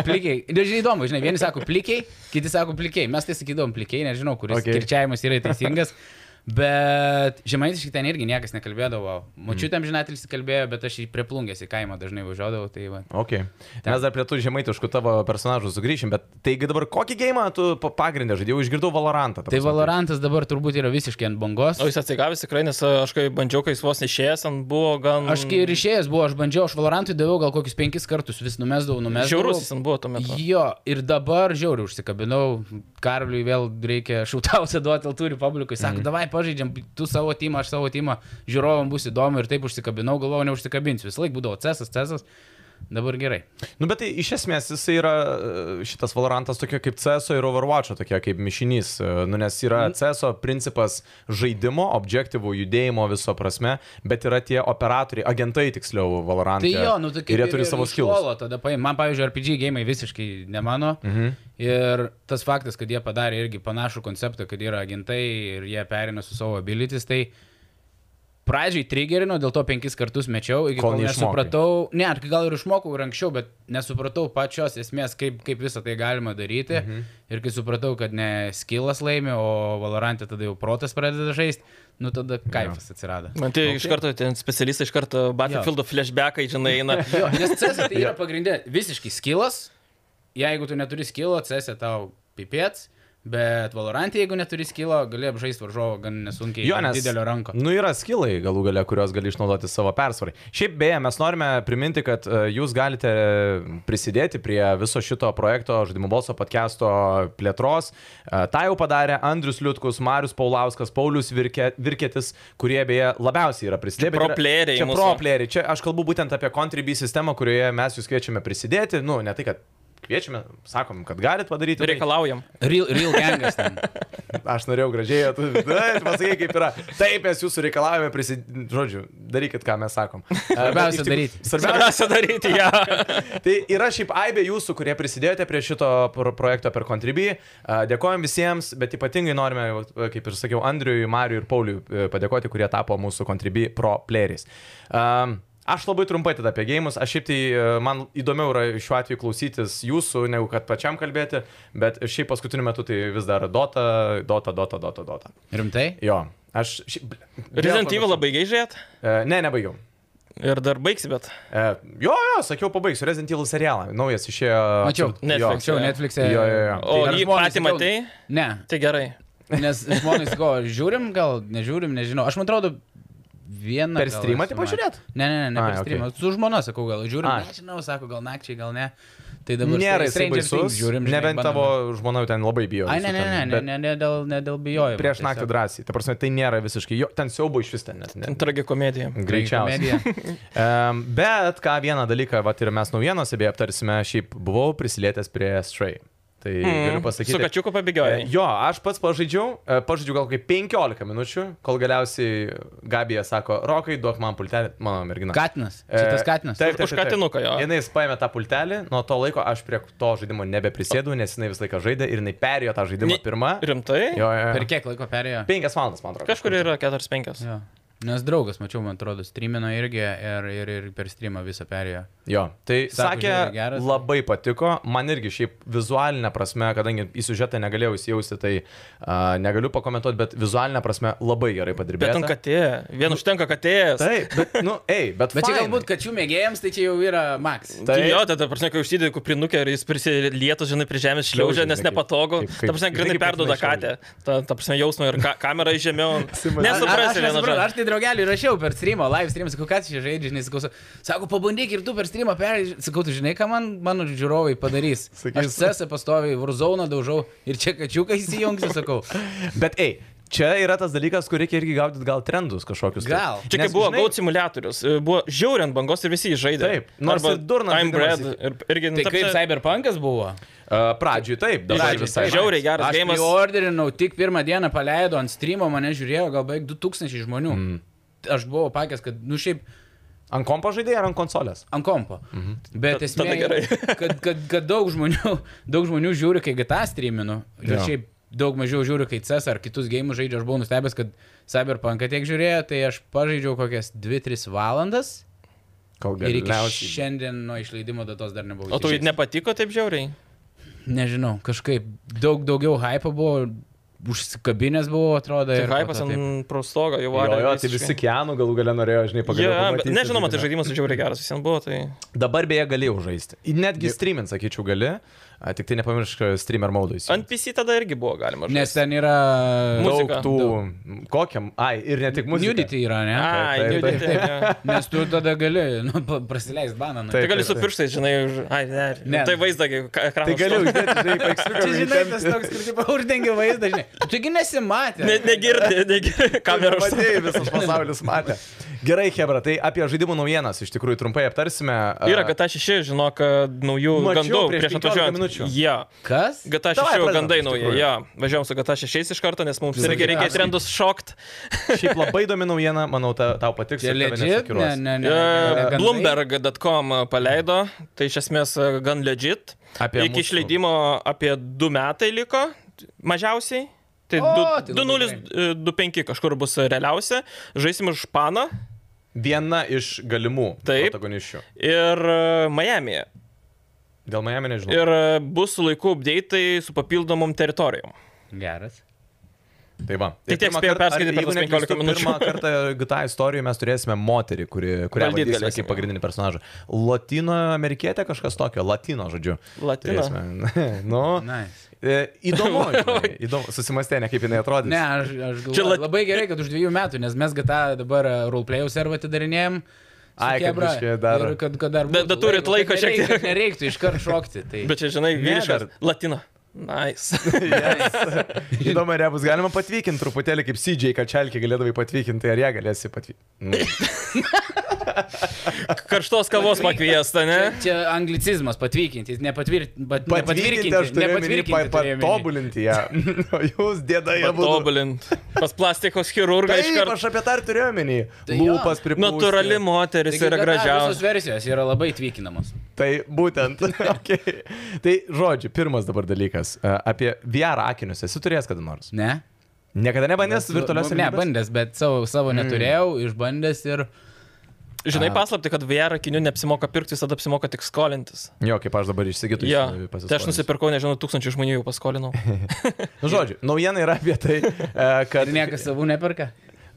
Speaker 2: Plikiai. Dažnai įdomu, žinai, vieni sako plikiai, kiti sako plikiai. Mes tai sakydavom plikiai, nežinau, kuris
Speaker 1: Okay.
Speaker 2: okay. kirčiavimas yra teisingas. Bet žemaitiškai ten irgi niekas nekalbėdavo.
Speaker 1: Mm.
Speaker 2: Močiutėm žinatelis kalbėjo, bet aš į priplungęs į kaimą dažnai važiuodavau. Tai va.
Speaker 1: Okay. Mes dar prie tų žemaitiškų tavo personažų sugrįšim, bet taigi dabar kokį gėjimą tu pa- pagrinde žaidėjai? Jau Išgirdau Valorantą. ta
Speaker 2: Tai
Speaker 1: prasme.
Speaker 2: Valorantas dabar turbūt yra visiškai ant bangos.
Speaker 3: O jis atsigavęs tikrai, nes a, aš kai bandžiau, kai jis vos neišėjęs, ant buvo gan...
Speaker 2: Aš kai ir išėjęs buvau, aš bandžiau, aš Valorantui daviau gal kokius penkis kartus, vis numesdavau, numesdavau.
Speaker 3: Žiaurus jis ant buvo tuo metu.
Speaker 2: Jo, ir dabar žiauriai užsikabinau, Karliui vėl reikia šautausią duoti, el turi publikui,
Speaker 3: Mhm.
Speaker 2: sako, mm. davai pažaidžiam, tu savo timą, aš savo timą, žiūrovam bus įdomu ir taip užsikabinau, galvojau, neužsikabinsiu, visą laiką būdavo cesas, cesas, dabar gerai.
Speaker 1: Nu, bet tai iš esmės jis yra e, šitas Valorantas tokia kaip CSO ir Overwatch'o tokia kaip mišinys, e, nu, nes yra CSO principas žaidimo, objektyvų, judėjimo viso prasme, bet yra tie operatoriai, agentai tiksliau Valorant'e.
Speaker 2: Tai jo, nu tai kaip
Speaker 1: ir jie turi savo
Speaker 2: iš
Speaker 1: skilus.
Speaker 2: Valo Tada, paim, man, pavyzdžiui, RPG gėjimai visiškai ne mano. Mhm. Ir tas faktas, kad jie padarė irgi panašų konceptą, kad yra agentai ir jie perina su savo abilitis, tai pradžiai trigerino, dėl to penkis kartus mečiau, iki
Speaker 1: Kol
Speaker 2: kol, kol
Speaker 1: neišmokai.
Speaker 2: nesupratau, ne, ar gal ir išmokau ir anksčiau, bet nesupratau pačios esmės, kaip, kaip visą tai galima daryti. Mhm. Ir kai supratau, kad ne skilas laimi, o Valorantė tada jau protas pradeda žaisti, nu tada kaifas atsirado.
Speaker 3: Man tai okay. iš karto, ten specialistai iš karto Battlefield'o flashbackai, žinai, eina.
Speaker 2: Jo, nes CS tai yra pagrindė visiškai skilas. Jeigu tu neturi skilo, CS tau pipėts. Bet Valorantė, jeigu neturi skilo, gali apžaisti varžovą gan nesunkiai.
Speaker 1: Jo,
Speaker 2: ir
Speaker 1: nes
Speaker 2: Didelio ranko.
Speaker 1: Nu, yra skilai galų gale, kuriuos gali išnaudoti savo persvarai. Šiaip beje, mes norime priminti, kad e, jūs galite prisidėti prie viso šito projekto Žaidimų balso podcast'o plėtros. E, tą jau padarė Andrius Liutkus, Marius Paulauskas, Paulius Virke, Virketis, kurie beje labiausiai yra prisidėję. bet
Speaker 3: Pro
Speaker 1: yra-
Speaker 3: playeriai
Speaker 1: Čia
Speaker 3: mūsų.
Speaker 1: pro playeriai. Čia aš kalbu būtent apie Contribui sistemą, kurioje mes jūs kviečiame prisidėti. Nu, ne tai, kad kviečiame, sakom, kad galit padaryti. tai-
Speaker 3: Reikalaujam.
Speaker 2: Real, real gangas ten.
Speaker 1: Aš norėjau gražiai, o tu na, tu pasakei, kaip yra. Taip, mes jūsų reikalavime prisidėti. Žodžiu, darykit, ką mes sakom. E, bet
Speaker 2: Svarbiausia
Speaker 1: iš tikrųjų-
Speaker 2: daryti.
Speaker 1: Svarbiausia.
Speaker 3: Svarbiausia daryti ją.
Speaker 1: Tai yra šiaip aibė jūsų, kurie prisidėjote prie šito pro- projekto per Contribui. Dėkojom visiems, bet ypatingai norime, va, kaip ir sakiau, Andriui, Mariui ir Pauliui e, padėkoti, kurie tapo mūsų Contribui pro playeriais. Um, Aš labai trumpai tada apie gėjimus, aš šiaip tai e, man įdomiau yra šiuo atveju klausytis jūsų, negu kad pačiam kalbėti, bet šiaip paskutiniu metu tai vis dar Dota, Dota, Dota, Dota, Dota.
Speaker 2: Rimtai?
Speaker 1: Jo, aš. Ši... bl-
Speaker 3: Resident
Speaker 1: vėl
Speaker 3: Evil
Speaker 1: pamiršau.
Speaker 3: labai gaižėt.
Speaker 1: E, Ne, nebaigiau.
Speaker 3: Ir dar baigs, bet.
Speaker 1: E, Jo, jo, sakiau, pabaigsiu Resident Evil serialą. Naujas išėjo.
Speaker 2: Mačiau.
Speaker 1: Jo.
Speaker 3: Netflix.
Speaker 2: Anksčiau Netflix'e.
Speaker 1: Jo, jo, jo.
Speaker 3: O
Speaker 2: Ar
Speaker 3: jį
Speaker 2: žmonės
Speaker 3: patį
Speaker 2: sakau-
Speaker 3: matai?
Speaker 2: Ne,
Speaker 3: Tai gerai.
Speaker 2: nes žmonės ko, žiūrim, gal nežiūrim, nežinau. Aš man atrodo, vieną.
Speaker 1: Per
Speaker 2: gal
Speaker 1: streamą
Speaker 2: esu
Speaker 1: tai pažiūrėt?
Speaker 2: matęs. Ne, ne, ne, ne
Speaker 1: Ai,
Speaker 2: per
Speaker 1: okei.
Speaker 2: streamą. Su žmona sakau, gal žiūrim.
Speaker 1: Ai.
Speaker 2: Nežinau, sako, gal nakčiai, gal ne. Tai dabar
Speaker 1: Nėra
Speaker 2: štai
Speaker 1: jisai
Speaker 2: Stranger
Speaker 1: baisus.
Speaker 2: Things žiūrim. žinai,
Speaker 1: Nebent
Speaker 2: bandom.
Speaker 1: tavo žmona jau ten labai bijo.
Speaker 2: Ai,
Speaker 1: visų
Speaker 2: ne, ne,
Speaker 1: ten,
Speaker 2: ne, ne,
Speaker 1: bet
Speaker 2: ne, ne, dėl, ne dėl bijojimo.
Speaker 1: Prieš naktį
Speaker 2: tiesiog.
Speaker 1: drąsiai. Ta prasme, tai nėra visiškai. Jo, ten siaubo iš vis ten net. net.
Speaker 3: Tragikomedija.
Speaker 1: Greičiausiai. Um, bet ką vieną dalyką, va ir mes naujienose beje aptarsime, šiaip buvau prisilietęs prie Stray. Tai mm. galiu pasakyti.
Speaker 3: Mhm. Su kačiuku
Speaker 1: E,
Speaker 3: pabėgioja.
Speaker 1: Jo, aš pats pažaidžiau, e, pažaidžiau gal kaip 15 minučių, kol galiausiai Gabija sako, Rokai, duok man pultelį, mano mergina.
Speaker 2: Katinas.
Speaker 1: E,
Speaker 2: Šitas katinas.
Speaker 1: Taip,
Speaker 3: Už katinuką jo.
Speaker 1: Jis paėmė tą pultelį, nuo to laiko aš prie to žaidimo nebeprisėdau, nes jinai visą laiką žaidė ir jinai perėjo tą žaidimą
Speaker 3: Ni-
Speaker 1: pirmą.
Speaker 3: Rimtai?
Speaker 1: Jo, jo, jo.
Speaker 2: Per kiek laiko perėjo?
Speaker 1: 5 valandas, man atrodo.
Speaker 3: Kažkur yra 4-5.
Speaker 2: Jo. Nes draugas, mačiau, man atrodo, streamino irgi ir, ir, ir per streamą visą perėjo.
Speaker 1: Jo, tai
Speaker 2: Sako,
Speaker 1: sakė,
Speaker 2: žiauriai geras.
Speaker 1: labai patiko, man irgi šiaip vizualinė prasme, kadangi į siužetą negalėjau įsijausti, tai uh, negaliu pakomentuoti, bet vizualinė prasme labai gerai
Speaker 3: Bet
Speaker 1: padirbėta.
Speaker 3: ant katė. Vien užtenka katės.
Speaker 1: Taip, bet, nu, ei, bet,
Speaker 2: Bet čia
Speaker 1: fainai.
Speaker 2: galbūt, kad jų mėgėjams tai čia jau yra maks.
Speaker 1: Taip.
Speaker 3: Jo, tada, prasme, kai užsidedi kuprinukę ir jis prisilietų, žinai, prie žemės šliaužia,
Speaker 1: Šliaužia,
Speaker 3: nes
Speaker 1: žinai, kaip-
Speaker 3: nepatogu.
Speaker 1: kaip- kaip-
Speaker 3: Ta prasme,
Speaker 1: žinai,
Speaker 3: grinai
Speaker 1: kaip
Speaker 3: perduoda katę.
Speaker 1: patinai
Speaker 3: Ta, ta prasme, jausmą ir ka kamerą iš žemiau.
Speaker 1: Simulia-
Speaker 2: Aš, aš,
Speaker 3: Nesuprasi, vienu
Speaker 2: nesuprantu,
Speaker 3: žodžiu.
Speaker 2: aš tai draugelį rašiau per streamą, live streamą, sakau, ką tu čia žaidži, žinai, sakau, sa- sako, pabandyk ir tu per streamą perėjai, sakau, tu žinai, ką man mano žiūrovai padarys.
Speaker 1: Sakys.
Speaker 2: Aš sesę pastoviai, Warzone daužau ir čia kačiukai įsijungsi, sakau.
Speaker 1: Bet ei, čia yra tas dalykas, kur reikia irgi gaudyti gal trendus kažkokius. tai.
Speaker 2: Gal.
Speaker 3: Čia
Speaker 1: Nes,
Speaker 3: kaip buvo
Speaker 1: žinai,
Speaker 3: Gaut simulatorius, e, buvo žiauriant bangos ir visi jį žaidė.
Speaker 1: Taip, nors
Speaker 3: Arba
Speaker 1: ir durnas
Speaker 3: Time
Speaker 1: žaidimas
Speaker 3: Bread
Speaker 1: jis-
Speaker 3: ir
Speaker 1: Nu,
Speaker 3: irgi nu,
Speaker 2: Tai kaip Cyberpunkas buvo?
Speaker 1: Uh, pradžiui taip, dabar
Speaker 3: Pradžioj
Speaker 1: visai.
Speaker 3: taip. Žiauriai geras
Speaker 2: Aš
Speaker 3: geimas.
Speaker 2: jau orderinau, tik pirmą dieną paleido ant streamo, mane žiūrėjo gal beveik 2000 žmonių. Mm. Aš buvau pakęs, kad, nu šiaip,
Speaker 1: Ant kompo žaidėjai ar ant konsolės?
Speaker 2: ant kompo. Mhm. Bet
Speaker 3: Ta-
Speaker 2: esmė,
Speaker 3: tada gerai.
Speaker 2: yra, kad, kad, kad daug, žmonių, daug žmonių žiūri, kai GTA streaminu. Ir
Speaker 1: Jo.
Speaker 2: šiaip daug mažiau žiūriu, kai CS ar kitus gėjimus žaidžiu. Aš buvau nustebęs, kad Cyberpunk tiek žiūrėjo, tai aš pažaidžiau kokias 2-3 valandas.
Speaker 1: Kol
Speaker 2: Ir iki
Speaker 1: galiausiai.
Speaker 2: šiandien nuo išleidimo datos dar nebuvau.
Speaker 3: O tau jį
Speaker 2: išėjęs.
Speaker 3: nepatiko taip žiauriai?
Speaker 2: Nežinau, kažkaip daug daugiau hypo buvo, užsikabinęs buvo, atrodo.
Speaker 3: Tai
Speaker 2: ir po to
Speaker 3: hypas
Speaker 2: taip.
Speaker 3: ant prostogo jau
Speaker 1: Jo,
Speaker 3: varė.
Speaker 1: jo, tai visi Kianų galų galę norėjo, žinai, pagaliau.
Speaker 3: Yeah,
Speaker 1: pamatyti,
Speaker 3: nežinoma, tai
Speaker 1: žinai.
Speaker 3: žaidimas žiauriai geras visiems buvo, tai
Speaker 1: Dabar beje gali jau žaisti. Netgi streamint, sakyčiau, gali. A, Tik tai nepamiršk e, streamer modais.
Speaker 3: ant PC tada irgi buvo galima. žaisti.
Speaker 2: Nes ten yra...
Speaker 1: Daug
Speaker 3: muzika.
Speaker 1: tų... Kokiam? Ai, ir ne tik muzika.
Speaker 2: Nudity yra, ne?
Speaker 3: Ai,
Speaker 1: taip,
Speaker 3: tai,
Speaker 1: taip.
Speaker 3: tai, tai,
Speaker 2: Nes tu tada gali nu, pa- prasileist baną. Nu.
Speaker 1: Taip.
Speaker 3: tai gali su pirštais, žinai, už... Ai, ne,
Speaker 2: Ne.
Speaker 3: ne. Tai vaizdą, kai ekranas.
Speaker 1: Tai galiu,
Speaker 3: stovi.
Speaker 1: žinai, paiksliuką.
Speaker 2: Čia žinai, tas toks, kur tipo uždengia vaizdą, žinai. Taigi nesimatė.
Speaker 3: Ne, negirdi, negirdi, kamera užsidėjo.
Speaker 1: Matėjai, visas pasaulis matė. Gerai, Hebra, tai apie žaidimų naujienas iš tikrųjų trumpai aptarsime. A,
Speaker 3: Yra GTA 6, žinok, naujų
Speaker 1: Mačiau
Speaker 3: gandų
Speaker 1: prieš 15 minučių.
Speaker 3: Jie. Yeah.
Speaker 2: Kas?
Speaker 3: GTA
Speaker 1: Davai
Speaker 3: 6 jau
Speaker 1: pradedam,
Speaker 3: gandai
Speaker 1: iš
Speaker 3: nauji,
Speaker 1: tikrųjų.
Speaker 3: ja. Važiuojam su GTA 6 iš karto, nes mums
Speaker 1: Visą
Speaker 3: irgi reikia
Speaker 1: gyvenimą.
Speaker 3: trendus šokt.
Speaker 1: Šiaip labai įdomi naujiena, manau, ta, tau patiks.
Speaker 2: Čia
Speaker 1: ir tave
Speaker 2: legit? Ne,
Speaker 1: nesukiruos.
Speaker 2: ne, ne. ne,
Speaker 3: E,
Speaker 2: gandai?
Speaker 3: Bloomberg.com paleido, tai iš esmės e, gan legit.
Speaker 1: Apie
Speaker 3: Iki
Speaker 1: mūsų-
Speaker 3: išleidimo apie 2 metai liko, mažiausiai. Tai
Speaker 2: O, tai
Speaker 3: du-
Speaker 2: labai
Speaker 3: 2025 kažkur bus realiausia. Žaisim už Paną
Speaker 1: Viena iš galimų
Speaker 3: Taip.
Speaker 1: protagoniščių.
Speaker 3: ir e, Miami.
Speaker 1: Dėl Miami nežinau.
Speaker 3: Ir e, bus su laiku update su papildomom teritorijom.
Speaker 2: Geras.
Speaker 1: Tai va.
Speaker 3: Tai
Speaker 1: Ir
Speaker 3: tiek
Speaker 1: pirmą
Speaker 3: spėjau
Speaker 1: kartą-
Speaker 3: perskaityti
Speaker 1: ar-
Speaker 3: per
Speaker 1: jeigu
Speaker 3: tas 15
Speaker 1: neklystu, Pirmą
Speaker 3: minučių.
Speaker 1: kartą GTA istorijoje mes turėsime moterį, kuri, kurią
Speaker 3: Valdyt
Speaker 1: valdysime
Speaker 3: galėsim,
Speaker 1: kaip
Speaker 3: jo.
Speaker 1: pagrindinį personažą. Latino amerikietė kažkas tokio, latino žodžiu.
Speaker 3: Latino.
Speaker 1: Turėsime. nu,
Speaker 2: Nice.
Speaker 1: e, įdomu, žinai, įdomu. Susimastė, ne kaip jinai atrodys.
Speaker 2: Ne, aš, aš
Speaker 3: Čia
Speaker 2: galvoju.
Speaker 3: lat-
Speaker 2: Lat... Labai gerai, kad už dviejų metų, nes mes GTA dabar e, roleplayaus servą atidarinėjom. su
Speaker 1: Ai, kad
Speaker 2: chebra.
Speaker 1: biškį dar-
Speaker 2: Ir kad, kad dar
Speaker 3: Da-
Speaker 2: būtų
Speaker 3: da turit
Speaker 2: laiko, kad
Speaker 3: laiko šiek
Speaker 2: nereik-
Speaker 3: tiek.
Speaker 2: kad Nereiktų iš karto šokti. Tai...
Speaker 3: Bet čia, žinai,
Speaker 1: Ne,
Speaker 3: vyriškas.
Speaker 1: dar-
Speaker 3: Latino. Nice.
Speaker 1: Įdomu, ar ją bus galima patvykinti truputėlį, kaip CJ Kačelkį galėdavai patvykinti, ar ją galėsi patvykinti.
Speaker 3: Karštos kavos pakviesta, ne?
Speaker 2: Čia, čia anglicizmas patvirtinti, nepatvirtinti.
Speaker 1: Patvykinti, aš turiu omeny, pa- patobulinti ją. O jūs dėda ją būtų.
Speaker 3: Patobulint. Pas plastikos chirurgą iš
Speaker 1: Taip,
Speaker 3: karto.
Speaker 1: aš apie tą ir turiu omeny.
Speaker 2: Tai jo.
Speaker 1: Lūpas pripūsti.
Speaker 3: Naturali moteris yra
Speaker 2: Visos
Speaker 3: gražiausia.
Speaker 2: versijos yra labai tvirtinamos.
Speaker 1: Tai būtent. okay. Tai žodžiu, pirmas dabar dalykas. e, Apie VR akinius esi turėjęs kada nors.
Speaker 2: Ne? Nu,
Speaker 1: Niekada nebandęs virtualios
Speaker 2: Ne, bandęs, bet savo, savo neturėjau, išbandęs ir...
Speaker 3: Žinai paslapti, kad VR akinių neapsimoka pirkti, visada apsimoka tik skolintis.
Speaker 1: Jo, kaip aš dabar išsigytų.
Speaker 3: Ja. Tai aš nusipirkau, nežinau, tūkstančių žmonių jau paskolinau.
Speaker 1: Nu, Žodžiu, naujiena yra apie tai, e, kad...
Speaker 2: Ir niekas savų neperka.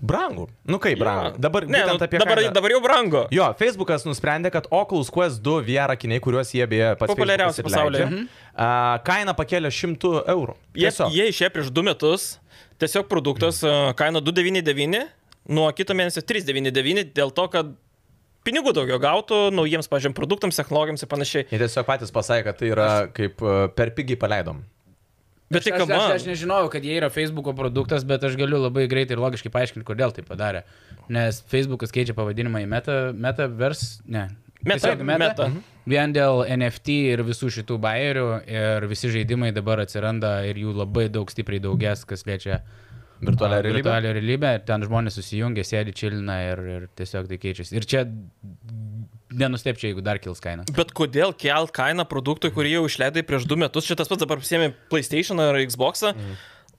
Speaker 1: Brangu. Nu kaip brangu. Dabar,
Speaker 3: ne, nu,
Speaker 1: būtent apie
Speaker 3: dabar,
Speaker 1: kainą.
Speaker 3: dabar jau brango.
Speaker 1: Jo, Facebookas nusprendė, kad Oculus Quest 2 VR akiniai, kuriuos jie beje pats
Speaker 3: Populiariausi
Speaker 1: Facebookas ir leidžia,
Speaker 3: pasaulyje.
Speaker 1: a, Kaina pakėlė 100 eurų.
Speaker 3: Jie,
Speaker 1: Tiesiog.
Speaker 3: jie išėjo prieš du metus, tiesiog produktas e, kaina 299, nuo kito mėnesio 399, dėl to, kad pinigų daugiau gautų naujiems, pažiūrėjom, produktams, technologijams ir panašiai.
Speaker 1: Jie tiesiog patys pasakė, kad tai yra kaip a, per pigiai paleidom.
Speaker 3: Bet tai
Speaker 2: Aš,
Speaker 3: kam?
Speaker 2: aš, aš nežinojau, kad jie yra Facebook'o produktas, bet aš galiu labai greitai ir logiškai paaiškinti, kodėl tai padarė. Nes Facebook'as keičia pavadinimą į meta, metaverse, ne.
Speaker 3: Meta,
Speaker 2: Tiesiog meta.
Speaker 3: meta.
Speaker 2: Mhm. Vien dėl NFT ir visų šitų bairių ir visi žaidimai dabar atsiranda ir jų labai daug stipriai daugės, kas liečia
Speaker 1: Virtualią
Speaker 2: a,
Speaker 1: realybę.
Speaker 2: virtualią realybę. Ten žmonės susijungia, sėdi čilina ir, ir tiesiog tai keičiasi. Ir čia nenustepčiau, jeigu dar kils kaina.
Speaker 3: Bet kodėl kelt kainą produktui, kurį jau išleidai prieš du metus, šitas pats dabar pasiemi PlayStation ar Xbox? Mm.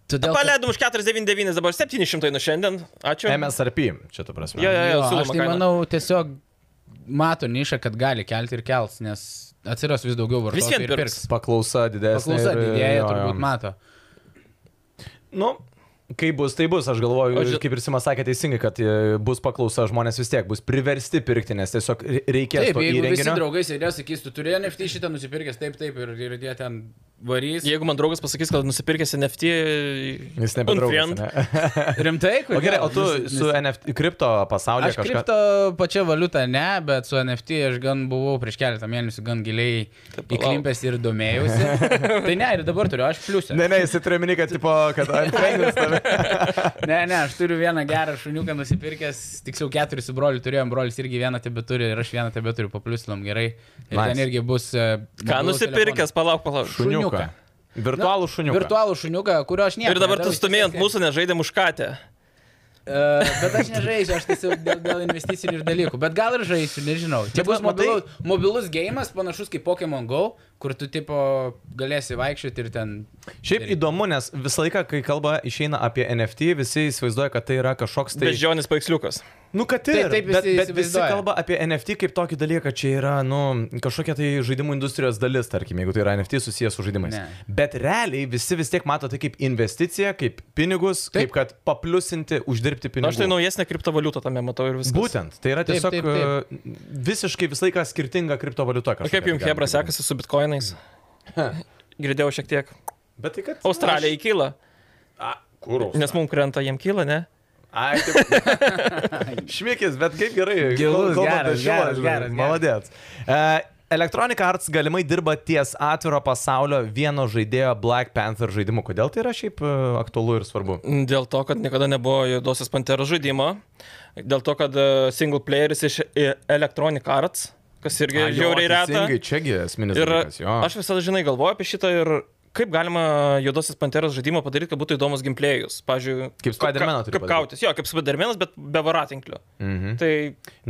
Speaker 2: Todėl, kad-
Speaker 3: Paleidom už 499, dabar 700 nuo šiandien. Ačiū.
Speaker 1: MSRP, čia tu prasme.
Speaker 3: Jo, jo, jo,
Speaker 2: Jo, aš
Speaker 3: siūloma
Speaker 2: tai
Speaker 3: kaina.
Speaker 2: manau, tiesiog mato nišą, kad gali kelti ir kels, nes atsiras vis daugiau vartotojų.
Speaker 3: Vis vien
Speaker 2: ir
Speaker 3: pirks.
Speaker 1: Paklausa didesnė.
Speaker 2: Paklausa
Speaker 1: ir-
Speaker 2: didėja,
Speaker 1: jo, jo.
Speaker 2: turbūt mato.
Speaker 1: Nu, kai bus, tai bus, aš galvoju,
Speaker 3: Aš
Speaker 1: ži...
Speaker 3: žin-
Speaker 1: kaip ir Simas sakė teisingai, kad e, bus paklausa, žmonės vis tiek bus priversti pirkti, nes tiesiog re- reikės
Speaker 2: Taip,
Speaker 1: to
Speaker 2: jeigu visi
Speaker 1: įrenginio.
Speaker 2: draugai sėdės, sakys, tu turėjai NFT šitą nusipirkęs, taip, taip, ir, ir jie ten varys.
Speaker 3: Jeigu man draugas pasakys, kad nusipirkęs NFT,
Speaker 1: Jis
Speaker 3: Unfriend.
Speaker 1: nebedraugas. Ne?
Speaker 2: Rimtai,
Speaker 1: O
Speaker 2: kodėl?
Speaker 1: gerai, o tu
Speaker 2: Nes-
Speaker 1: su NFT kripto pasaulyje
Speaker 2: Aš
Speaker 1: kažką...
Speaker 2: kripto pačią valiutą ne, bet su NFT aš gan buvau prieš keletą mėnesių gan giliai
Speaker 3: Tai palauk.
Speaker 2: įklimpęs ir domėjausi. tai ne, ir dabar turiu, aš pliusę.
Speaker 1: Ne, ne, jis turi minį, kad, tipo, kad antreningis tave.
Speaker 2: Ne, ne, aš turiu vieną gerą šuniuką nusipirkęs, tiksliau keturis su broliu turėjom, brolis irgi vieną tebe turi ir aš vieną tebe turiu, papliusinom gerai. Ir
Speaker 1: Nice.
Speaker 2: nice. ten irgi bus...
Speaker 3: ką nusipirkęs, palauk, palauk.
Speaker 1: Šuniuką.
Speaker 2: Šuniuką.
Speaker 1: Virtualų šuniuką.
Speaker 2: Virtualų šuniuką, kurio aš nieko.
Speaker 3: Ir dabar tu
Speaker 2: nedariau, iš
Speaker 3: stumėjai ant
Speaker 2: esmės.
Speaker 3: mūsų, nežaidėm už katę.
Speaker 2: E, bet aš nežaisiu, aš tiesiog dėl, dėl investicinių ir dalykų. Bet gal ir žaisiu, nežinau. Čia
Speaker 1: Bet
Speaker 2: bus
Speaker 1: va, matai-
Speaker 2: mobilus, mobilus gėjimas, panašus kaip Pokemon Go, kur tu tipo galėsi vaikščioti ir ten...
Speaker 1: Šiaip
Speaker 2: daryt.
Speaker 1: įdomu, nes visą laiką, kai kalba išeina apie NFT, visi įsivaizduoja, kad tai yra kažkoks tai...
Speaker 3: Bežionis paveiksliukas.
Speaker 1: Nu, kad ir,
Speaker 2: Taip, Tai taip visi
Speaker 1: bet, bet visi
Speaker 2: įsivaizduoja.
Speaker 1: kalba apie NFT kaip tokį dalyką, kad čia yra, nu, kažkokia tai žaidimų industrijos dalis, tarkim, jeigu tai yra NFT susijęs su žaidimais.
Speaker 2: Ne.
Speaker 1: Bet realiai visi vis tiek mato tai kaip investiciją, kaip pinigus, taip. kaip
Speaker 2: Taip.
Speaker 1: kad papliusinti, uždirbti
Speaker 3: Na,
Speaker 1: pinigų.
Speaker 3: aš tai naujesnė kriptovaliuta tame matau ir viskas.
Speaker 1: Būtent, tai yra
Speaker 2: Taip,
Speaker 1: tiesiog
Speaker 2: taip,
Speaker 1: taip, taip, taip. visiškai visą laiką skirtinga kriptovaliuta.
Speaker 3: O
Speaker 1: kažkokia,
Speaker 3: Nu, kaip jums
Speaker 1: tai galima
Speaker 3: Hebra
Speaker 1: taip
Speaker 3: sekasi su bitkoinais? Girdėjau šiek tiek.
Speaker 1: vadint. Bet tai kad...
Speaker 3: Australija įkyla,
Speaker 1: A, Kur?
Speaker 3: nes mums krenta, jiem kyla, ne?
Speaker 1: Ai, taip. Šmikis, bet kaip gerai.
Speaker 2: Gilus,
Speaker 1: Kol- kalbant
Speaker 2: geras,
Speaker 1: apie
Speaker 2: geras,
Speaker 1: žodį,
Speaker 2: geras, geras.
Speaker 1: Maladėt. E, Electronic Arts galimai dirba ties atviro pasaulio vieno žaidėjo Black Panther žaidimu. Kodėl tai yra šiaip e, aktualu ir svarbu?
Speaker 3: Dėl to, kad niekada nebuvo juodosios panteros žaidimo, dėl to, kad e, single playeris iš e, Electronic Arts, kas irgi
Speaker 1: A, jo,
Speaker 3: žiauriai reta.
Speaker 1: teisingai, Čiagi esminis
Speaker 3: Ir
Speaker 1: dalykas. Jo.
Speaker 3: aš visada, žinai, galvoju apie šitą ir kaip galima juodosios panteros žaidimą padaryti, kad būtų įdomus gimplėjus. Pavyzdžiui,
Speaker 1: Kaip Spider-Maną turi
Speaker 3: kaip, kaip
Speaker 1: padaryt.
Speaker 3: kautis. Jo, kaip Spidermanas, bet be varatinklio.
Speaker 1: Mhm.
Speaker 3: Tai...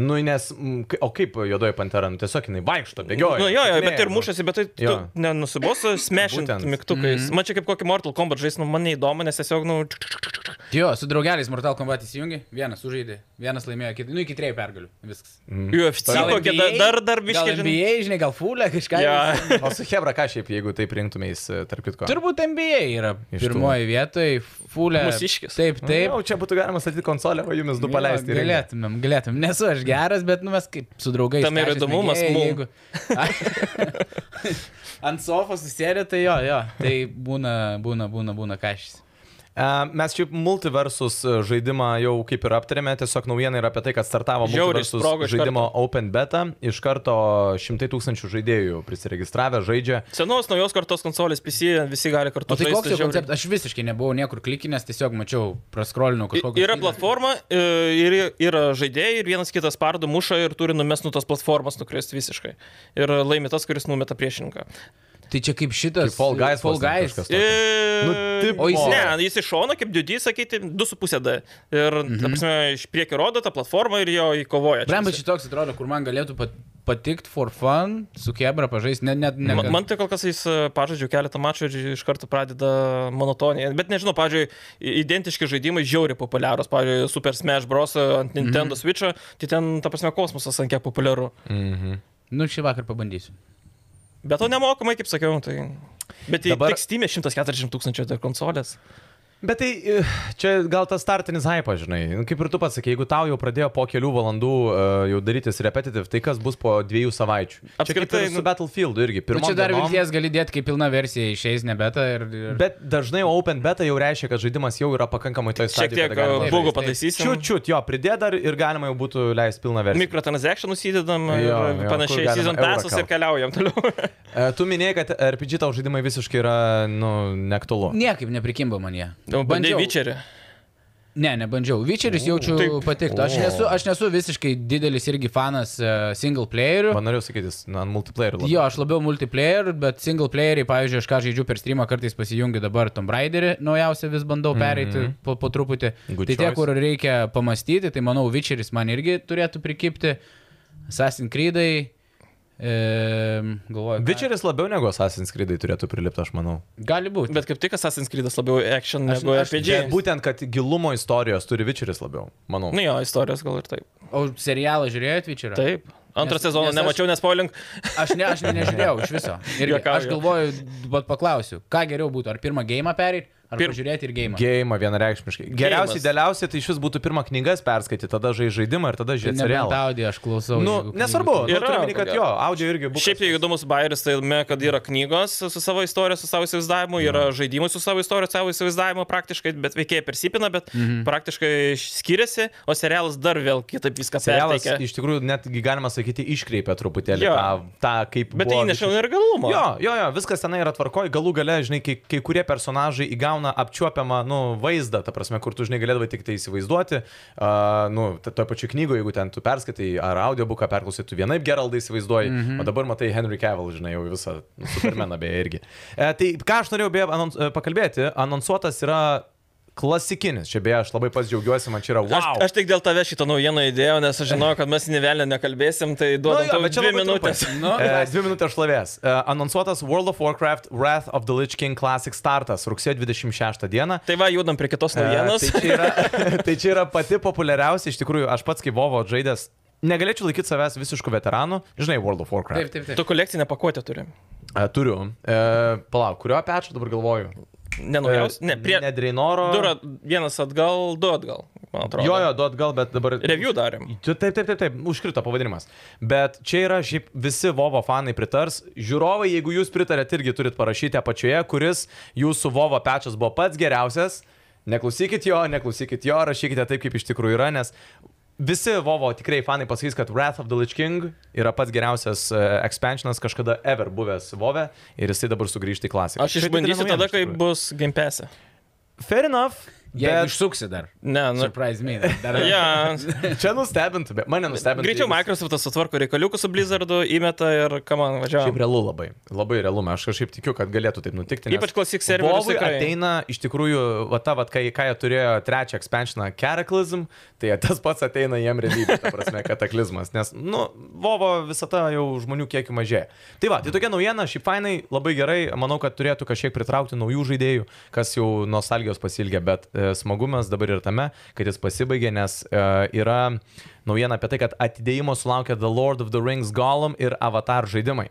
Speaker 1: Nu, nes, mm, kai- o kaip juodoji pantera, nu, tiesiog jinai vaikšto, bėgioja.
Speaker 3: nu, jo, jo, bet ir
Speaker 1: šokinėja, nu.
Speaker 3: mušasi, bet tai tu
Speaker 1: Jo.
Speaker 3: nenusibos smešint
Speaker 1: Būtent.
Speaker 3: mygtukais. Mm -hmm. Man čia kaip kokį Mortal Kombat žais, nu, man neįdomu, nes tiesiog, nu,
Speaker 2: Jo, su draugeliais Mortal Kombat įsijungi, vienas sužaidė, vienas laimėjo, kit... nu iki trejų pergalių. Viskas.
Speaker 1: Mhm.
Speaker 3: UFC kokie da, dar, dar biškai,
Speaker 2: Gal NBA, žinai, gal fulė kažką.
Speaker 3: Ja.
Speaker 1: O su Hebra, ką šiaip, jeigu taip rinktumės, e, tarp kitko.
Speaker 2: Turbūt NBA yra
Speaker 1: Iš tų-
Speaker 2: pirmoji vietoje, fulė.
Speaker 3: Mūsiškis. Nu,
Speaker 2: Taip, taip.
Speaker 1: Nu, Jau čia būtų galima statyti konsolę, o jumis du
Speaker 2: Jo,
Speaker 1: paleisti. į rinką.
Speaker 2: Galėtumėm, galėtumėm. Nesu aš geras, bet nu mes kaip su draugais.
Speaker 3: Tam ir
Speaker 2: pešės
Speaker 3: įdomumas
Speaker 2: mėgėjai,
Speaker 3: mum.
Speaker 2: jeigu- Ant sofos susėdė, tai jo, jo. Tai būna, būna, būna, būna kažkas.
Speaker 1: E, Mes šiaip multiversus e, žaidimą jau kaip ir aptarėme, tiesiog naujiena yra apie tai, kad startavo
Speaker 3: Žiauriai
Speaker 1: multiversus
Speaker 3: sprogo iš
Speaker 1: žaidimo Open Beta, iš karto šimtai tūkstančių žaidėjų prisiregistravę žaidžia.
Speaker 3: Senos naujos kartos konsolės PC visi gali kartu
Speaker 2: O tai
Speaker 3: žaisti,
Speaker 2: koks jau
Speaker 3: žiauriai.
Speaker 2: konceptas? Aš visiškai nebuvau niekur klikinęs, tiesiog mačiau, praskrolinau
Speaker 3: I-
Speaker 2: kažkokį.
Speaker 3: Yra platforma, i- ir yra žaidėjai, ir vienas kitas pardu muša ir turi numest nu, nuo tos platformos nukristi visiškai. Ir laimi tas, kuris numeta priešininką.
Speaker 2: Tai čia kaip šitas.
Speaker 1: Kaip Fall Guys
Speaker 2: Fall
Speaker 1: vos ten
Speaker 2: Guys.
Speaker 1: kažkas.
Speaker 3: Ir...
Speaker 1: Nu, tipo.
Speaker 2: O jis-
Speaker 3: Ne, E, jis iš šono, kaip didys, sakyti, 2,5D. Ir, mhm. ta prasme, iš priekio rodo tą platformą ir jo įkovoja. čia
Speaker 2: Blemba
Speaker 3: visi.
Speaker 2: šitoks atrodo, kur man galėtų pat, patikt for fun, su kebra pažaisti, net net ne.
Speaker 3: Man, man tai kol kas jis e, pažaidžiu keletą mačų ir iš karto pradeda monotoniją. Bet nežinau, pavyzdžiui, i- identiški žaidimai žiauriai populiarūs. Pavyzdžiui, Super Smash Bros. ant Nintendo mm -hmm. Switch'o, tai ten, ta prasme, kosmosas ant kiek populiaru.
Speaker 1: Mhm.
Speaker 2: Nu, šį vakar pabandysiu.
Speaker 3: Bet to nemokamai, kaip sakiau, tai... Bet
Speaker 1: Dabar-
Speaker 3: Dabar... tik Steam'e 140 tūkstančių dar konsolės.
Speaker 1: Bet tai e, čia gal tas startinis hype, žinai, Nu, kaip ir tu pats sakai, jeigu tau jau pradėjo po kelių valandų e, jau darytis repetitive, tai kas bus po dviejų savaičių? Čia kaip ir
Speaker 3: Apskritai,
Speaker 1: su
Speaker 3: nu-
Speaker 1: Battlefield irgi.
Speaker 2: Ir
Speaker 1: Pirmą
Speaker 2: čia dar vilties gali dėti, kai pilna versija išeis, ne beta. Ir, ir...
Speaker 1: Bet dažnai Open Beta jau reiškia, kad žaidimas jau yra pakankamai toj
Speaker 3: Šiek
Speaker 1: stadijoje.
Speaker 3: tiek
Speaker 1: kada galima
Speaker 2: žaisti.
Speaker 3: e,
Speaker 1: žaist.
Speaker 3: bugų pataisysim.
Speaker 1: Čiut, čiut, jo, pridėt dar ir galima jau būtų leisti pilną versiją.
Speaker 3: Mikrotransactionus įdedam
Speaker 1: Jo,
Speaker 3: jo,
Speaker 1: jo,
Speaker 3: ir
Speaker 1: kur
Speaker 3: panašiai.
Speaker 1: galima
Speaker 3: Season
Speaker 1: eurą
Speaker 3: passus ir
Speaker 1: kalt.
Speaker 3: keliaujam toliau.
Speaker 1: E, Tu minėjai, kad RPG tau žaidimai visiškai yra, nu, neaktualu.
Speaker 2: Niekaip neprikimba man jie.
Speaker 3: Bandžiau Vyčerį.
Speaker 2: Ne, nebandžiau. Vyčeris jaučiu
Speaker 3: taip.
Speaker 2: patiktų. Aš
Speaker 1: O.
Speaker 2: nesu, aš nesu visiškai didelis irgi fanas uh, single playerių.
Speaker 1: Man norėjau sakyti, jis, nu, ant multiplayer.
Speaker 2: Jo, aš labiau multiplayer, bet single playeriai, pavyzdžiui, aš ką žaidžiu per streamą, kartais pasijungiu dabar Tomb Raiderį, naujausią vis bandau pereiti mm -hmm. po, po truputį.
Speaker 1: Mhm. Good
Speaker 2: tai tie,
Speaker 1: choice.
Speaker 2: kur reikia pamastyti, tai manau, Witcheris man irgi turėtų prikipti. Assassin's Creedai. E, galvoju. ką-
Speaker 1: Vičeris labiau negu Assassin's Creed turėtų prilipti, aš manau.
Speaker 2: Gali būti.
Speaker 3: Bet kaip tik Assassin's Creed'as labiau action
Speaker 2: Aš-
Speaker 3: negu
Speaker 1: Bet
Speaker 2: aš-
Speaker 3: RPG.
Speaker 1: būtent, kad gilumo istorijos turi Vičeris labiau, manau.
Speaker 3: Nu jo, istorijos gal ir taip.
Speaker 2: O serialą žiūrėjot Witcherą?
Speaker 3: Taip. Antrą
Speaker 2: Nes-
Speaker 3: sezoną
Speaker 2: nes aš-
Speaker 3: nemačiau, nes spoiling.
Speaker 2: Aš, ne, aš ne, nežiūrėjau iš viso. Ir
Speaker 3: Juokauju.
Speaker 2: aš galvoju, bet paklausiu, ką geriau būtų, ar pirmą gėjimą perėti, ar
Speaker 3: Pir-
Speaker 2: Pir... žiūrėti ir gėjimą. Ge...
Speaker 1: Gėjimą vienareikšmiškai. Geriausiai, idealiausiai, tai iš vis būtų pirmą knygas perskaityti, tada žaisti žaidimą ir tada žiūrėti serialą.
Speaker 2: Audio aš klausau.
Speaker 1: Nu,
Speaker 2: jeigu-
Speaker 1: nesvarbu, nu,
Speaker 3: Yra,
Speaker 1: turiu omeny, kad
Speaker 3: ko gero.
Speaker 1: jo, audio irgi bus.
Speaker 3: Šiaip jau įdomus bairis tai, me, kad yra knygos su savo istorija, su savo įsivaizdavimu, yra žaidimai su savo istorija, savo įsivaizdavimu praktiškai, bet veikėjai persipina, bet
Speaker 1: Mhm.
Speaker 3: praktiškai skiriasi, o serialas dar vėl kitaip viską
Speaker 1: Serialas
Speaker 3: perteikia.
Speaker 1: iš tikrųjų netgi galima sakyti iškreipia truputėlį
Speaker 3: Jo.
Speaker 1: tą, tą, kaip...
Speaker 3: Bet tai
Speaker 1: buvo
Speaker 3: įneša
Speaker 1: Witcheris.
Speaker 3: nergalumo.
Speaker 1: Jo, jo, jo, viskas tenai yra tvarkoj, galų gale, žinai, kai, kai kurie personažai įgauna apčiuopiamą, nu, vaizdą, ta prasme, kur tu, žinai, galėdavai tik tai įsivaizduoti, uh, nu, t- toj pačioj knygoje, jeigu ten tu perskaitai ar audiobooką perklausai, tu vienaip geraldai įsivaizduoji, mm -hmm. o dabar matai Henry Cavill, žinai, jau visą nu, Supermaną beje irgi. E, tai ką aš norėjau beje anons, e, pakalbėti, anonsuotas yra klasikinis. Čia beje, aš labai pats džiaugiuosi, man čia yra wow.
Speaker 3: Aš, aš tik dėl tave šitą naujieną įdėjau, nes aš žinojau, kad mes nevelnio nekalbėsim, tai duodam
Speaker 1: Nu jo,
Speaker 3: tau
Speaker 1: bet čia
Speaker 3: dvi
Speaker 1: labai
Speaker 3: minutės.
Speaker 1: trumpai.
Speaker 2: Nu,
Speaker 1: E,
Speaker 2: mes-
Speaker 1: Dvi minutės šlovės. E, Anonsuotas World of Warcraft Wrath of the Lich King Classic startas rugsėjo 26 dieną.
Speaker 3: Tai va, judam prie kitos naujienos.
Speaker 1: E, Tai čia, yra, tai čia yra pati populiariausia, iš tikrųjų, aš pats kaip Vovo žaidęs, negalėčiau laikyti savęs visiškų veteranų. Žinai, World of
Speaker 2: Taip,
Speaker 1: Warcraft.
Speaker 2: taip, taip.
Speaker 3: Tu kolekcinę pakuotę turi.
Speaker 1: E, Turiu. E, Palauk, kurio pečio dabar galvoju?
Speaker 3: Nenaujaus?
Speaker 1: E,
Speaker 3: Ne, prie...
Speaker 1: Nedreinoro.
Speaker 3: Du, ra- vienas atgal, du atgal, man atrodo.
Speaker 1: Jo, jo, du atgal, bet dabar.
Speaker 3: Review darėm.
Speaker 1: Tu- Taip, taip, taip, taip, užkrito pavadinimas. Bet čia yra šiaip visi Vovo fanai pritars. Žiūrovai, jeigu jūs pritarėt, irgi turit parašyti apačioje, kuris jūsų Vovo pečias buvo pats geriausias. Neklausykit jo, neklausykit jo, rašykite taip, kaip iš tikrųjų yra, nes visi Vovo tikrai fanai pasakys, kad Wrath of the Lich King yra pats geriausias uh, expansionas kažkada ever buvęs Vove ir jisai dabar sugrįžta į klasiką.
Speaker 3: Aš
Speaker 1: Čia didelė
Speaker 3: išbandysiu
Speaker 1: naujiena,
Speaker 3: tada,
Speaker 1: iš
Speaker 3: kai
Speaker 1: tikrųjų.
Speaker 3: bus gimpesė.
Speaker 1: Fair enough.
Speaker 2: Jei
Speaker 1: Bet
Speaker 2: išsuksi dar.
Speaker 3: Ne, nu.
Speaker 2: Surprise me. Dar
Speaker 3: Ja.
Speaker 1: čia nustebintų, bet mane nustebintų.
Speaker 3: Greičiau
Speaker 1: jeigu-
Speaker 3: Microsoftas sutvarko reikaliukus su Blizzardu, įmeta ir kam man
Speaker 1: Šiaip
Speaker 3: važiavo.
Speaker 1: realu labai, labai realu, aš kažkaip tikiu, kad galėtų taip nutikti. nes
Speaker 3: Ypač Classic serverius
Speaker 1: Vovui
Speaker 3: tikrai.
Speaker 1: ateina iš tikrųjų, va ta, va, kai, kai jie turėjo trečią expansioną Cataclysm, tai tas pats ateina jiem realybė, ta prasme, kataklizmas, nes, nu, Vovo visata jau žmonių kiekiu mažėja. Tai va, tai tokia naujiena, šiaip fainai, labai gerai, manau, kad turėtų kažkiek pritraukti naujų žaidėjų, kas jau nostalgijos pasilgia, bet e, smagumas dabar ir tame, kad jis pasibaigė, nes e, yra naujiena apie tai, kad atidėjimo sulaukia The Lord of the Rings Gollum ir Avatar žaidimai.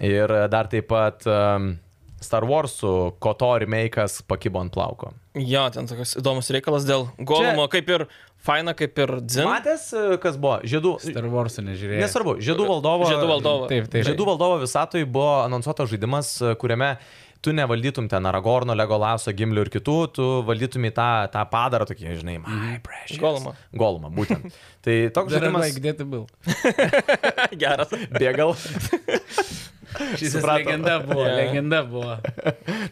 Speaker 1: Ir e, dar taip pat um, Star Warsų Koto remake'as pakibo ant plauko.
Speaker 3: Jo, ten toks įdomus reikalas dėl Golumo, kaip ir Faina, kaip ir Dzin.
Speaker 1: Matęs, e, kas buvo? Žiedų.
Speaker 2: Star Wars'o nežiūrėjau.
Speaker 1: Nesvarbu, Žiedų valdovo.
Speaker 3: Žiedų valdovo.
Speaker 2: Taip, taip.
Speaker 1: Žiedų valdovo visatoje buvo anonsuotas žaidimas, e, kuriame tu nevaldytum ten Aragorno, Legolaso, Gimlių ir kitų, tu valdytum į tą, tą padarą, tokį, žinai, my precious.
Speaker 3: Gollumą.
Speaker 1: Golumą, būtent. Tai toks žaidimas.
Speaker 2: Žaidimas, like, dėta buvo.
Speaker 3: Geras.
Speaker 1: Bėgal.
Speaker 2: Šis
Speaker 1: Supratau.
Speaker 2: legenda buvo,
Speaker 3: Jo.
Speaker 2: legenda buvo.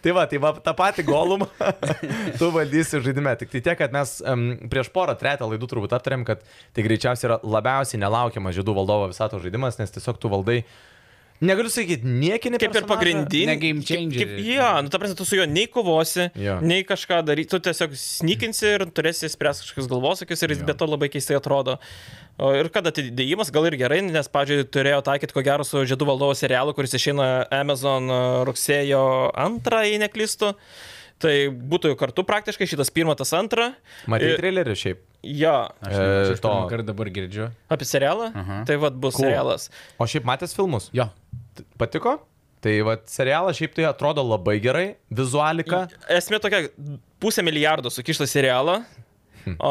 Speaker 1: Tai va, tai va, tą patį golumą tu valdysi žaidime. Tik tai tiek, kad mes um, prieš porą tretą laidų turbūt aptarėm, kad tai greičiausiai yra labiausiai nelaukiamas žiedų valdovo visato žaidimas, nes tiesiog tu valdai, negaliu sakyti, niekinį
Speaker 3: Kaip ir
Speaker 2: Ne
Speaker 3: pagrindinį.
Speaker 2: game changer.
Speaker 3: Jo, nu ta prasme, tu su juo nei kovosi,
Speaker 1: Jo.
Speaker 3: nei kažką darysi, tu tiesiog snikinsi ir turėsi spręs kažkokius galvosakis ir jis be to labai keistai atrodo. O ir kad atidėjimas gal ir gerai, nes, pavyzdžiui, turėjo taikyti ko gero su Žiedų valdovo serialu, kuris išeina Amazon e, rugsėjo antrą, jei neklystu. Tai būtų jau kartu praktiškai šitas pirmą, tas antrą.
Speaker 1: Matai
Speaker 3: Ir-
Speaker 1: trailerį šiaip.
Speaker 3: Jo,
Speaker 2: Aš, e,
Speaker 1: E, to.
Speaker 2: aš to kartą dabar girdžiu.
Speaker 3: apie serialą.
Speaker 2: Aha.
Speaker 3: Tai vad bus
Speaker 1: Cool.
Speaker 3: serialas.
Speaker 1: O šiaip matęs filmus?
Speaker 2: Jo.
Speaker 1: T- Patiko? Tai va, serialas šiaip tai atrodo labai gerai, vizualika.
Speaker 3: Esmė tokia, pusę milijardo sukišta serialą, o,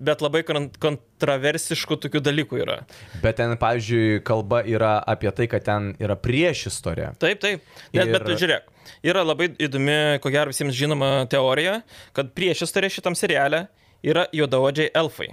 Speaker 3: bet labai kon- kontraversiškų tokių dalykų yra.
Speaker 1: Bet ten, pavyzdžiui, kalba yra apie tai, kad ten yra priešistorė.
Speaker 3: Taip, taip. Net, ir...
Speaker 1: Ir-
Speaker 3: Bet tu žiūrėk, yra labai įdomi, ko gero visiems žinoma teorija, kad priešistorė šitam seriale yra juodaodžiai elfai.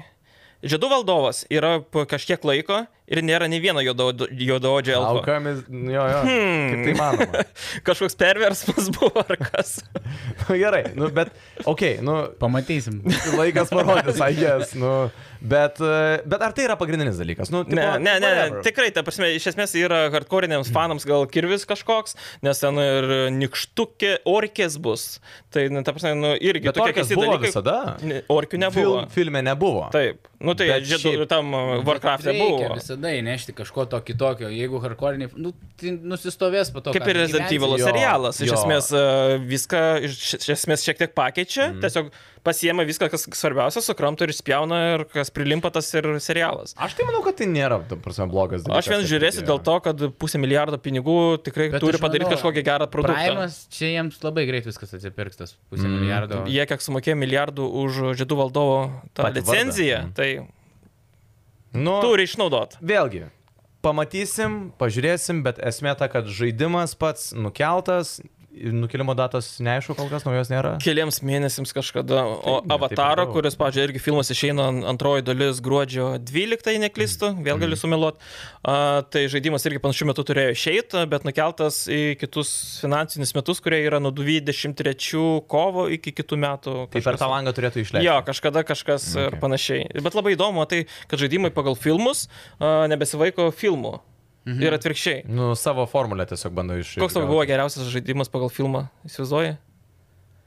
Speaker 3: Žiedų valdovas yra po kažkiek laiko ir nėra nei vieno juodaod- juodaodžio elfo. Okay.
Speaker 1: Aukomis, jo, jo. Hmm. Kaip tai manoma?
Speaker 3: Kažkoks perversmas buvo ar kas.
Speaker 1: Nu, Gerai, nu, bet, okei, okay, nu,
Speaker 2: Pamatysim.
Speaker 1: Laikas parodys, aigės, nu. Bet, e, bet ar tai yra pagrindinis dalykas? Nu, tipo,
Speaker 3: Ne, ne, ne, ne,
Speaker 1: whatever. Hmm.
Speaker 3: tikrai, ta prasme, iš esmės yra hardcore'iniams fanams gal kirvis kažkoks, nes ten ir nikštukė orkės bus. Tai, na, ta prasme, nu, irgi
Speaker 1: Bet orkas buvo dalykai... visada.
Speaker 3: Ne, Orkių nebuvo.
Speaker 1: Fil, filme nebuvo.
Speaker 3: Taip, nu tai
Speaker 1: Bet
Speaker 3: žiedų,
Speaker 1: šiaip-
Speaker 3: tam uh, Warcraft'e
Speaker 2: Reikia
Speaker 3: buvo.
Speaker 2: visada įnešti kažko to kitokio, jeigu hardcore'iniai, nu, tai nusistovės po to.
Speaker 3: Kaip
Speaker 2: ką
Speaker 3: ir Resident
Speaker 2: gyvensi.
Speaker 3: Evil
Speaker 1: jo,
Speaker 3: serialas, iš
Speaker 1: jo.
Speaker 3: esmės uh, viską, iš, iš esmės šiek tiek pakeičia,
Speaker 1: Hmm.
Speaker 3: tiesiog pasiema viską, kas svarbiausia, sukramto ir spjauna ir kas prilimpa tas ir serialas.
Speaker 1: Aš tai manau, kad tai nėra, tam prasme, blogas dalykas.
Speaker 3: Aš vien
Speaker 1: kad tai
Speaker 3: žiūrėsiu
Speaker 1: jie-
Speaker 3: dėl to, kad pusę milijardo pinigų tikrai
Speaker 2: Bet
Speaker 3: turi
Speaker 2: aš
Speaker 3: padaryti
Speaker 2: manau,
Speaker 3: kažkokį gerą produktą.
Speaker 2: Prime'as, čia jiems labai greit viskas atsipirks tas pusę mm. milijardo.
Speaker 3: Jie kiek sumokėjo milijardų už žiedų valdovo
Speaker 1: Patį
Speaker 3: tą
Speaker 1: vardą. Mhm.
Speaker 3: licenciją, tai
Speaker 1: Nu, turi.
Speaker 3: turi išnaudot.
Speaker 1: Vėlgi. Pamatysim, pažiūrėsim, bet esmė ta, kad žaidimas pats nukeltas, nukelimo datos neaišku, kol kas naujos nėra.
Speaker 3: Keliems mėnesiams kažkada. O
Speaker 1: Taip, ne, taip
Speaker 3: Avataro,
Speaker 1: nedaug.
Speaker 3: kuris, pažiūrėjau, irgi filmas išeina an- antroji dalis gruodžio 12, jei neklystu,
Speaker 1: Mhm.
Speaker 3: vėl galiu sumiluot. A, tai žaidimas irgi panašiu metu turėjo išeiti, bet nukeltas į kitus finansinius metus, kurie yra nuo 23 kovo iki kitų metų.
Speaker 1: Tai per tą Mhm, langą turėtų išleisti.
Speaker 3: Jo, kažkada kažkas okay. ir
Speaker 1: Okay.
Speaker 3: panašiai. Bet labai įdomu tai, kad žaidimai pagal filmus a, nebesivaiko filmų. Mhm. Ir atvirkščiai.
Speaker 1: Nu, savo formulę tiesiog bandau iš.
Speaker 3: Koks tau buvo geriausias žaidimas pagal filmą? Įsivaizduoji?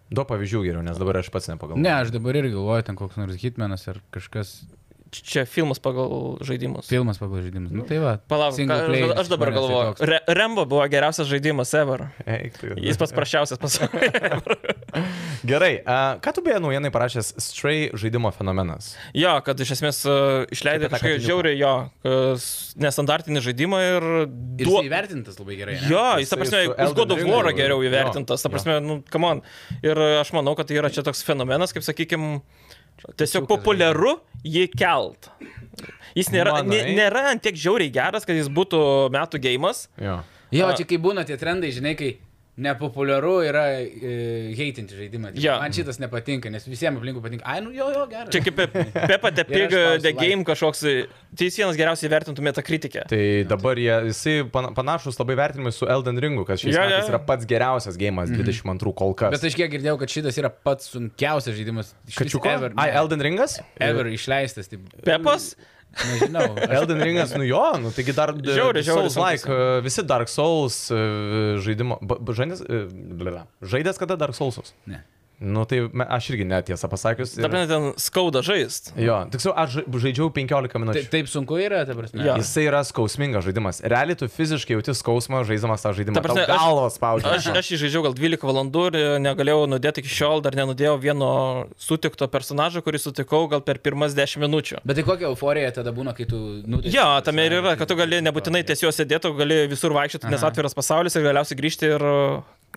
Speaker 1: Du pavyzdžių geriau, nes dabar aš pats nepagalvoju.
Speaker 2: Ne, aš dabar irgi galvoju, ten koks nors hitmenas ar kažkas
Speaker 3: Čia filmas pagal žaidimus.
Speaker 2: filmas pagal žaidimus. Nu tai va.
Speaker 3: Palauk, ką-
Speaker 2: single playeris
Speaker 3: aš dabar
Speaker 2: manęs tai
Speaker 3: galvoju.
Speaker 2: toks.
Speaker 3: Re Rembo buvo geriausias žaidimas ever.
Speaker 1: Eik tu.
Speaker 3: Jis pats prasčiausias pasaulyje.
Speaker 1: Gerai, a, ką tu beje naujienai parašęs Stray žaidimo fenomenas?
Speaker 3: Jo, kad iš esmės uh, išleidai
Speaker 1: Apie tą
Speaker 3: kažkokį
Speaker 1: katiniuką.
Speaker 3: žiaurį jo kas- nestandartinį žaidimą ir...
Speaker 2: Ir
Speaker 3: duo-
Speaker 2: jis įvertintas labai gerai. ne?
Speaker 3: Jo, jis, ta
Speaker 1: Jisai
Speaker 3: prasme,
Speaker 1: su
Speaker 3: už God of
Speaker 1: Elden
Speaker 3: War
Speaker 1: Ringu-
Speaker 3: geriau
Speaker 1: jo,
Speaker 3: įvertintas, ta
Speaker 1: jo.
Speaker 3: prasme, nu, come on. Ir aš manau, kad tai yra čia toks fenomenas, kaip sakykim, tiesiog
Speaker 2: Kačiukas
Speaker 3: populiaru jį kelt. Jis nėra, nė,
Speaker 1: Manai?
Speaker 3: nėra ant tiek žiauriai geras, kad jis būtų metų gėjimas.
Speaker 1: Jo.
Speaker 2: Jo,
Speaker 3: A.
Speaker 2: čia kai būna tie trendai, žinai, kai nepopuliaru yra e, heitinti žaidimą. Tipo,
Speaker 3: Jo.
Speaker 2: Man šitas nepatinka, nes visiems aplinkui patinka. Ai, nu jo, jo, gerai.
Speaker 3: Čia kaip Pe- Pepa de Pig,
Speaker 2: spausiu
Speaker 3: The
Speaker 2: like.
Speaker 3: Game kažkoks, tai jis vienas geriausiai vertintų metakritikę.
Speaker 1: Tai dabar jie, jisai pana- panašus labai vertinimai su Elden Ringu, kad šis
Speaker 3: Jo, Mhm. jo.
Speaker 1: metais yra pats geriausias gėjimas 22 kol kas.
Speaker 2: Bet aš kiek girdėjau, kad šitas yra pats sunkiausias žaidimas. iš
Speaker 3: tai
Speaker 2: vis
Speaker 1: Kačiuko?
Speaker 2: Ever,
Speaker 1: Ai,
Speaker 2: ne,
Speaker 1: Elden Ringas?
Speaker 2: ever išleistas. Taip,
Speaker 3: Pepas,
Speaker 2: Nežinau. Aš,
Speaker 1: Elden Ringas, nu jo, nu taigi dar...
Speaker 3: Žiauriai, žiauriai
Speaker 1: Souls like,
Speaker 3: sunkus.
Speaker 1: visi Dark Souls e, žaidimo... ba- ba- Žaidęs, e, blela. žaidęs kada Dark Soulsus?
Speaker 2: ne.
Speaker 1: Nu tai me- aš irgi netiesą pasakius. ir-
Speaker 3: ta prasme, ten skauda žaist.
Speaker 1: Jo, tiksliau, aš ža- žaidžiau 15 minučių.
Speaker 2: Taip, Tai taip sunku yra, ta prasme.
Speaker 3: Jo.
Speaker 1: Jisai yra skausmingas žaidimas. Realiai tu fiziškai jauti skausmą žaidžiamas tą žaidimą.
Speaker 3: Ta prasme,
Speaker 1: Tau
Speaker 3: aš-
Speaker 1: galvos
Speaker 3: Aš,
Speaker 1: spaudžia.
Speaker 3: aš jį žaidžiau gal 12 valandų ir negalėjau nudėti iki šiol, dar nenudėjau vieno sutikto personažo, kurį sutikau gal per pirmas 10 minučių.
Speaker 2: Bet tai kokia euforija tada būna, kai tu... Nu,
Speaker 3: Jo, tame ir yra, kad tu
Speaker 2: tai
Speaker 3: gali nebūtinai ties juos sėdėti, o gali visur vaikščioti, nes atviras pasaulis ir galiausiai grįžti ir...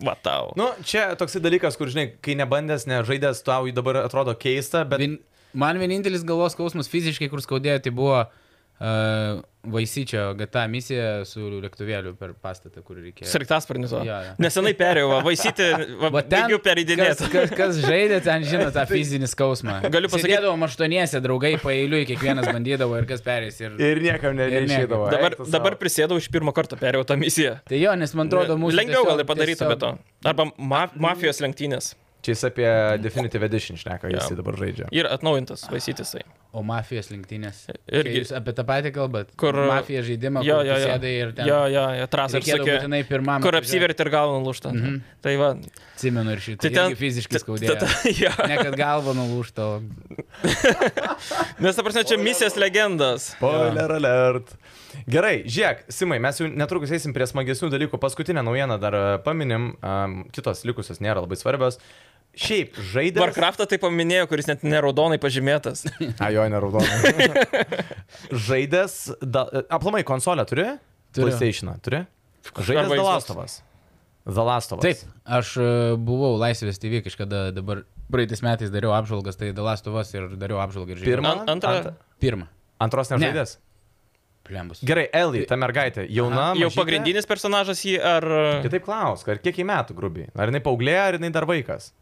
Speaker 3: Va tau.
Speaker 1: Nu, čia toksai dalykas, kur, žinai, kai nebandęs, nežaidęs, tau jį dabar atrodo keista, bet...
Speaker 2: Vien, man vienintelis galvos skausmas fiziškai, kur skaudėjo, tai buvo uh, Vaisyčio GTA misija su lėktuvėliu per pastatą, kur reikėjo.
Speaker 3: Sraigtasparnis. va.
Speaker 2: Jo, jo.
Speaker 3: Nesenai perėjau, va, vaisyti, va,
Speaker 2: Va ten,
Speaker 3: baigiau
Speaker 2: kas,
Speaker 3: pereidinėti.
Speaker 2: kas, kas žaidė, ten žino tą fizinį skausmą.
Speaker 3: Tai- Galiu pasakyt-
Speaker 2: Sėdėdavom aštuoniese draugai pailiui, kiekvienas bandydavo ir kas perės. Ir...
Speaker 1: Ir niekam ne-
Speaker 2: Ir
Speaker 1: neišeidavo.
Speaker 3: Dabar,
Speaker 1: Eik tu
Speaker 3: dabar
Speaker 1: sau.
Speaker 3: prisėdau iš pirmo karto, perėjau tą misiją.
Speaker 2: Tai jo, nes man atrodo mūsų...
Speaker 3: Lengviau
Speaker 2: tiesiog-
Speaker 3: gal ir padaryta be to. Arba ma mafijos lenktynės.
Speaker 1: Čia jis apie Definitive Edition šneka, jis jį dabar žaidžia.
Speaker 3: Ir atnaujintas tai. vaisytisai.
Speaker 2: O mafijos lenktynės.
Speaker 3: Irgi.
Speaker 2: Kai Jūs apie tą patį kalbat.
Speaker 3: Kur-
Speaker 2: Mafija žaidimą,
Speaker 3: Jo,
Speaker 2: kur
Speaker 3: jo,
Speaker 2: tu
Speaker 3: jo.
Speaker 2: sėdai ir ten...
Speaker 3: Jo, jo, jo, trasą
Speaker 2: Reikėdavo būtinai
Speaker 3: apsakė.
Speaker 2: pirmam.
Speaker 3: Kur
Speaker 2: atvažiuot.
Speaker 3: apsiverti ir galvą nulūžta. Mhm. Tai va.
Speaker 2: Atsimenu ir šitą. Tai ten fiziškai skaudėjo.
Speaker 3: Ta, ta, jo.
Speaker 2: Ne kad galva nulūžta. o-
Speaker 3: Nes, ta prasme, čia misijos legendas.
Speaker 1: Spoiler alert. Gerai, žiūrėk, Simai, mes jau netrukus eisim prie smagesnių dalykų. Paskutinę naujieną dar e, paminim, um, kitos likusios nėra labai svarbios. Šiaip, žaidė.
Speaker 3: Warcraftą tai paminėjo, kuris net neraudonai pažymėtas.
Speaker 1: A, jo, neraudona. Žaidęs. Da... Aplamai, konsolę turi?
Speaker 2: Turiu.
Speaker 1: PlayStationą turi?
Speaker 3: Arba
Speaker 1: Žaidęs The
Speaker 3: Xbox.
Speaker 1: Last of Us. The Last of Us.
Speaker 2: Taip, aš e, buvau Laisvės TV kažkada, dabar praeitais metais dariau apžvalgas, tai Dalastuvas ir dariau apžvalgą ir žiūrėjau.
Speaker 1: Pirmą.
Speaker 3: An, antrą.
Speaker 1: Antrą.
Speaker 2: Pirmą.
Speaker 1: Antros
Speaker 2: Ne.
Speaker 1: nežaidės?
Speaker 2: Plembus.
Speaker 1: Gerai, Ellie, ta mergaitė, jauna.
Speaker 3: Jau
Speaker 1: mažytė.
Speaker 3: pagrindinis personažas jį ar...
Speaker 1: Kitaip klausk, ar kiek į metų grubiai? Ar jinai paauglė, ar jinai dar vaikas?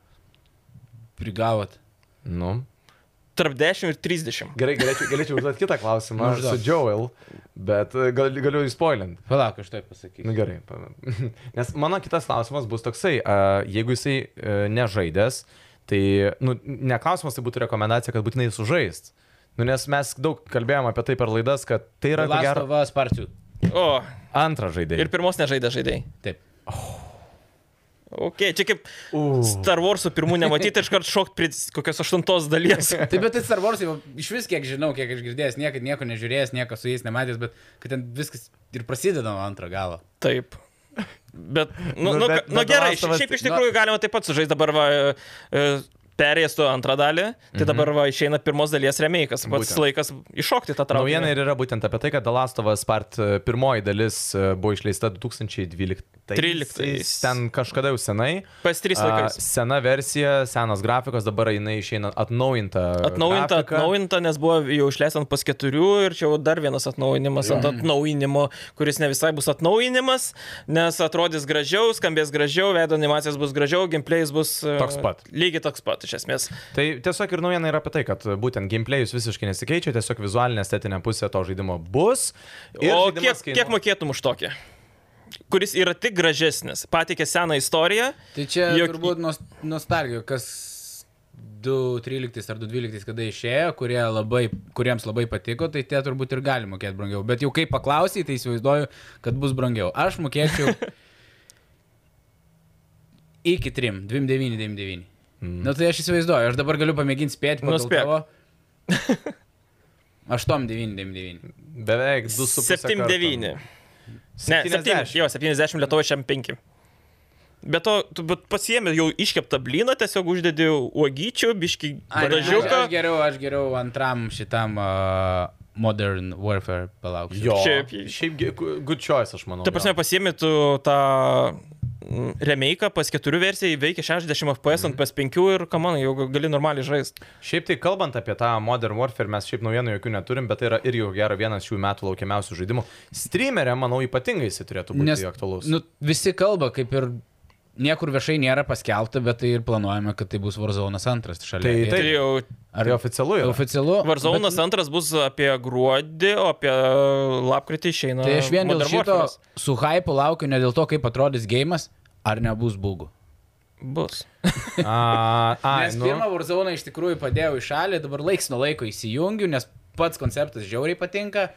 Speaker 2: Prigavot.
Speaker 1: Nu.
Speaker 3: Tarp 10 ir 30.
Speaker 1: Gerai, galėčiau, galėčiau užduoti kitą klausimą
Speaker 2: Nu,
Speaker 1: su
Speaker 2: užduok.
Speaker 1: Joel, bet e, gal, galiu įspoilint.
Speaker 2: Palauk, aš tai pasakysiu.
Speaker 1: Na Nu, gerai. pa- Nes mano kitas klausimas bus toksai, a, jeigu jisai e, nežaidęs, tai, nu, ne klausimas, tai būtų rekomendacija, kad būtinai sužaist. Nu, nes mes daug kalbėjom apie tai per laidas, kad tai yra ko gero
Speaker 2: Dalastuvas parčių.
Speaker 3: O,
Speaker 1: antras žaidėjas.
Speaker 3: ir pirmos nežaidė žaidėjai.
Speaker 2: Taip.
Speaker 3: Ok, čia kaip Star Warsų pirmų nematyti, tai iškart šokt prie kokios aštuntos dalies.
Speaker 2: Taip, bet tai Star Wars, iš vis kiek žinau, kiek aš girdėjęs, niekad nieko nežiūrėjęs, nieko su jais nematęs, bet kad ten viskas ir prasideda nuo antro galo.
Speaker 3: Taip. Bet,
Speaker 1: Nu,
Speaker 3: nu, nu, nu,
Speaker 1: bet-
Speaker 3: bet, nu
Speaker 1: bet
Speaker 3: gerai,
Speaker 1: Last of Us-
Speaker 3: šiaip iš tikrųjų galima taip pat sužaisti dabar, va, e, perėjęs tu antrą dalį, tai mhm. dabar va, išeina pirmos dalies remake'as, pats
Speaker 1: Būtent.
Speaker 3: laikas iššokti tą trauką.
Speaker 1: Naujiena ir yra būtent apie tai, kad The Last of Us Part e, pirmoji dalis e, buvo išleista 2012.
Speaker 3: 13.
Speaker 1: Ten kažkada jau senai.
Speaker 3: PS3
Speaker 1: A,
Speaker 3: laikas.
Speaker 1: Sena versija, senas grafikas, dabar jinai išeina atnaujinta.
Speaker 3: Atnaujinta,
Speaker 1: grafika.
Speaker 3: atnaujinta, nes buvo jau išleista ant pas keturių ir čia jau dar vienas atnaujinimas ant atnaujinimo, kuris ne visai bus atnaujinimas, nes atrodys gražiau, skambės gražiau, veido animacijos bus gražiau, gameplay'is bus... e,
Speaker 1: Toks pat.
Speaker 3: Lygiai toks pat, iš esmės.
Speaker 1: Tai tiesiog ir naujiena yra apie tai, kad būtent gameplayus visiškai nesikeičia, tiesiog vizualinė estetinė pusė to žaidimo bus. Ir
Speaker 3: O kiek,
Speaker 1: žaidimas kainuos-
Speaker 3: kiek mokėtum už tokį? Kuris yra tik gražesnis. Pateikė seną istoriją.
Speaker 2: Tai čia
Speaker 3: Jok-
Speaker 2: Jok... turbūt nos- nostalgija, kas 2.13 ar 2.12, kada išėjo, kurie labai, kuriems labai patiko, tai tie turbūt ir gali mokėti brangiau. Bet jau kai paklausai, tai įsivaizduoju, kad bus brangiau. Aš mokėčiau iki 3, 2.999. Na tai aš įsivaizduoju, aš dabar galiu pamėginti spėti, pagal
Speaker 3: Nuspėk.
Speaker 2: tavo. 8,999.
Speaker 1: Beveik 2,5.
Speaker 3: 79. Ne, 70,
Speaker 1: 70.
Speaker 3: jo, 70 Lietuvoje 65. Bet to, tu bet pasiemi jau iškeptą blyną, tiesiog uždedi uogyčių, biški
Speaker 2: Ai, ne, Aš,
Speaker 3: padažiuką.
Speaker 2: aš geriau, aš geriau antram šitam uh, Modern Warfare palauksiu.
Speaker 1: Jo. Šiaip,
Speaker 3: Šiaip-
Speaker 1: šiaip gi- gu- good choice, aš manau.
Speaker 3: Ta prasme,
Speaker 1: jo.
Speaker 3: pasiemi tu tą mm, remake'ą pas keturių versiją, veikia 60 FPS
Speaker 2: Mhm.
Speaker 3: ant PS5 ir, kam man, jau gali normaliai žaisti.
Speaker 1: šiaip tai kalbant apie tą Modern Warfare, mes šiaip naujienų jokių neturim, bet tai yra ir jau gero vienas šių metų laukiamiausių žaidimų. Streamerė, manau, ypatingai jis turėtų būti Nes, aktualus.
Speaker 2: nu, visi kalba, kaip ir niekur viešai nėra paskelbta, bet tai ir planuojama, kad tai bus Warzone'as antras šalia.
Speaker 1: Tai-
Speaker 2: Ir
Speaker 3: Tai
Speaker 1: Taip.
Speaker 3: jau
Speaker 1: Ar tai oficialu yra?
Speaker 2: Oficialu. nu,
Speaker 3: Varzonas antras bus apie gruodį, o apie lapkritį išeina.
Speaker 2: bet- Tai aš vien dėl
Speaker 3: Modern
Speaker 2: šito
Speaker 3: Warfare'as.
Speaker 2: su hype laukiu, ne dėl to, kaip atrodys gėjimas, ar nebus būgų.
Speaker 3: Bus.
Speaker 1: A, a,
Speaker 2: Nes
Speaker 1: nu,
Speaker 2: pirmą Warzone iš tikrųjų padėjau į šalį, dabar laiks nuo laiko įsijungiu, nes pats konceptas žiauriai patinka,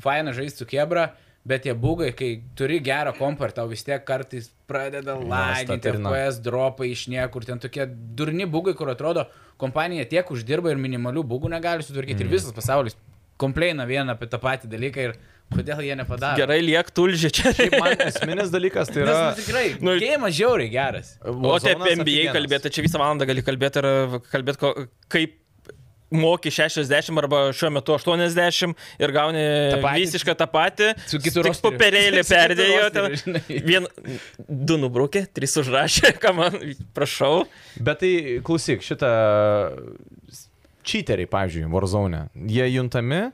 Speaker 2: faina žaisti su kebra, bet tie bugai, kai turi gerą kompą ir tau vis tiek kartais pradeda laginti,
Speaker 1: statirina.
Speaker 2: FPS dropai iš niekur, ten tokie durni bugai, kur atrodo kompanija tiek uždirba ir minimalių bugų negali sutvarkyti
Speaker 1: Mm.
Speaker 2: ir visas pasaulis kompleina vieną apie tą patį dalyką ir kodėl jie nepadaro.
Speaker 3: Gerai, liek tulžė čia.
Speaker 1: šiaip man esminis dalykas tai
Speaker 2: Nes,
Speaker 1: yra...
Speaker 2: nu, tikrai, nu,
Speaker 3: nu,
Speaker 2: gėjimas žiauriai geras.
Speaker 3: O tai apie
Speaker 1: Warzone'as
Speaker 3: NBA
Speaker 1: afigenas.
Speaker 3: kalbėti, čia visą valandą gali kalbėti ir kalbėti, ko- kaip moki 60 arba šiuo metu 80 ir gauni
Speaker 2: Ta patį.
Speaker 3: visišką tą patį.
Speaker 2: Su kitu
Speaker 3: Tik
Speaker 2: rosteriu.
Speaker 3: popierėlį
Speaker 2: Su kitu
Speaker 3: perdėjo.
Speaker 2: rosteriu,
Speaker 3: ten.
Speaker 2: žinai.
Speaker 3: Vien du nubraukė, trys užrašė, ką man prašau.
Speaker 1: Bet tai klausyk, šitą čyteriai, pavyzdžiui, Warzone, jie juntami,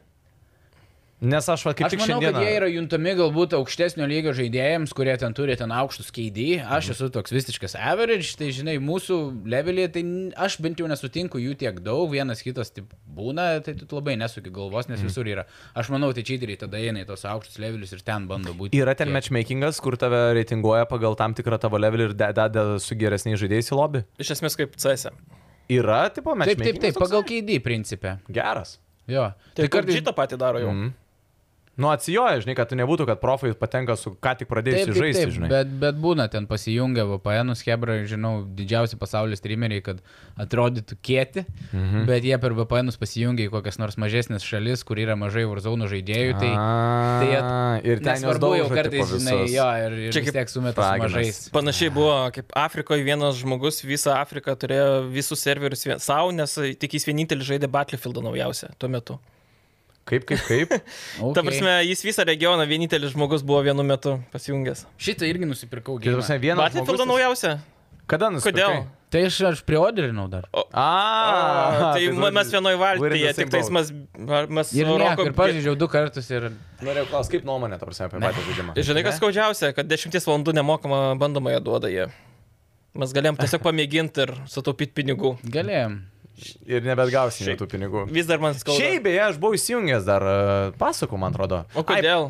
Speaker 1: nes aš va, kaip
Speaker 2: Aš
Speaker 1: tik
Speaker 2: manau,
Speaker 1: šiandieną...
Speaker 2: kad jie yra juntami galbūt aukštesnio lygio žaidėjams, kurie ten turi ten aukštus keidį.
Speaker 1: Mhm.
Speaker 2: Aš esu toks visiškas average, tai žinai, mūsų levelį, tai n- aš bent jau nesutinku jų tiek daug, vienas kitas taip būna, tai tu labai nesuki galvos,
Speaker 1: Mhm.
Speaker 2: nes visur yra. Aš manau, tai čyteriai tada eina į tos aukštus levelius ir ten bando būti.
Speaker 1: Yra ten
Speaker 2: tie.
Speaker 1: matchmakingas, kur tave reitinguoja pagal tam tikrą tavo levelį ir de- deda su geresniais žaidėjais į lobį.
Speaker 3: Iš esmės kaip CS.
Speaker 2: Tai
Speaker 1: Yra tipo
Speaker 2: Taip, taip,
Speaker 1: matchmakingas.
Speaker 2: taip,
Speaker 1: toksai?
Speaker 2: pagal keidį principę.
Speaker 1: Geras.
Speaker 2: Jo.
Speaker 3: Tai kartais šitą patį daro jau.
Speaker 2: Mhm.
Speaker 1: Mm. Nu, atsijoja, žinai, kad tai nebūtų, kad profai patenka su ką tik
Speaker 2: Taip,
Speaker 1: pradėjusi
Speaker 2: taip,
Speaker 1: žaisti,
Speaker 2: taip,
Speaker 1: žinai.
Speaker 2: bet, bet būna ten pasijungia VPN, Hebra, žinau, didžiausi pasaulio streameriai, kad atrodytų kieti, mhm. bet jie per VPN pasijungia į kokias nors mažesnės šalis, kur yra mažai Warzone žaidėjų, tai, tai jie...
Speaker 1: A, ir ten jos
Speaker 2: nesvarbu
Speaker 1: daug
Speaker 2: jau kartais, žinai, jo, ir, ir
Speaker 3: Čia
Speaker 2: vis
Speaker 3: kaip
Speaker 2: tiek sumeta su
Speaker 1: fraginas.
Speaker 2: mažais.
Speaker 3: Panašiai buvo, kaip Afrikoje vienas žmogus visą Afriką turėjo visus serverius vien- savo, nes tik jis vienintelis žaidė Battlefieldą naujausią tuo metu.
Speaker 1: Kaip, kaip, kaip?
Speaker 2: Okay.
Speaker 3: Ta prasme, jis visą regioną vienintelis žmogus buvo vienu metu pasijungęs.
Speaker 2: Šitą irgi nusipirkau
Speaker 1: Kitas
Speaker 2: gėrimą.
Speaker 1: prasme, vienas.
Speaker 3: Battlefieldą
Speaker 1: žmogus-
Speaker 3: naujausią?
Speaker 1: Kada nusipirkai?
Speaker 3: Kodėl?
Speaker 2: Tai aš, aš prioderinau dar.
Speaker 1: A,
Speaker 3: tai
Speaker 1: žodžiu,
Speaker 3: mes vienoje
Speaker 1: we're in the
Speaker 3: valtyje,
Speaker 1: same
Speaker 3: tik tais
Speaker 1: boat.
Speaker 3: mes... mes
Speaker 2: Ir, ne,
Speaker 3: Roko-
Speaker 2: ir pažiūrėjau du kartus ir...
Speaker 1: Norėjau klausti, kaip nuomonė, ta prasme, apie patį žaidimą.
Speaker 3: Žinai, kas skaudžiausia, kad dešimties valandų nemokamą bandomąją duoda jie. Mes galėjom tiesiog pamėginti ir sutaupyti pinigų.
Speaker 2: Galėjom.
Speaker 1: Ir nebetgausi
Speaker 3: Šiaip.
Speaker 1: tų pinigų.
Speaker 3: Vis dar man skauda.
Speaker 1: Šiaip beje, aš buvau įsijungęs dar e, pasakų, man atrodo.
Speaker 3: O kodėl?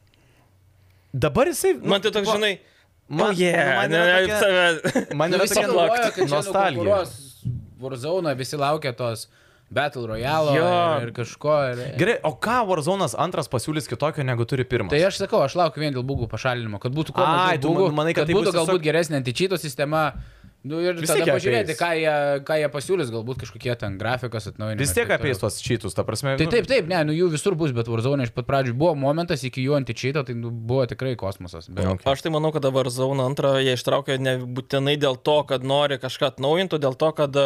Speaker 1: Ai, dabar jisai... nu,
Speaker 3: Man tai toks,
Speaker 1: tipo,
Speaker 3: žinai,
Speaker 1: man-
Speaker 3: man jie.
Speaker 1: man
Speaker 3: Ne,
Speaker 1: yra
Speaker 3: ne,
Speaker 1: tokia-
Speaker 3: save.
Speaker 1: Man
Speaker 2: Nu,
Speaker 1: yra
Speaker 2: visi
Speaker 1: tokia
Speaker 2: galvoja, kad
Speaker 1: nostalgija.
Speaker 2: nostalgija. Warzone, visi laukia tos Battle Royale
Speaker 3: Jo.
Speaker 2: ir, ir kažko. Ir...
Speaker 1: Gerai, o ką Warzone'as antras pasiūlys kitokio, negu turi pirmas?
Speaker 2: Tai aš sakau, aš laukiu vien dėl būgų pašalinimo, kad būtų kuo
Speaker 1: Ai,
Speaker 2: mažiau
Speaker 1: tu
Speaker 2: būgų,
Speaker 1: manai, kad tai
Speaker 2: būtų
Speaker 1: bus tiesiog-
Speaker 2: galbūt geresnė antičyto sistema. Nu, ir
Speaker 1: Vis
Speaker 2: tada
Speaker 1: tiek jie
Speaker 2: pažiūrėti,
Speaker 1: apeis.
Speaker 2: ką jie, ką jie pasiūlys, galbūt kažkokie ten grafikos atnaujinimai.
Speaker 1: Vis
Speaker 2: ir
Speaker 1: tiek
Speaker 2: taip
Speaker 1: apie
Speaker 2: toliau.
Speaker 1: tuos čytus, ta prasme.
Speaker 2: Tai
Speaker 1: nu,
Speaker 2: taip, taip, ne, nu jų visur bus, bet Warzone iš pat pradžių buvo momentas iki jų antičyto, tai nu, buvo tikrai kosmosas. Bet...
Speaker 1: Jo.
Speaker 3: Aš tai manau, kad dabar Zauna antrą jie ištraukė nebūtinai dėl to, kad nori kažką atnaujinti, o dėl to, kad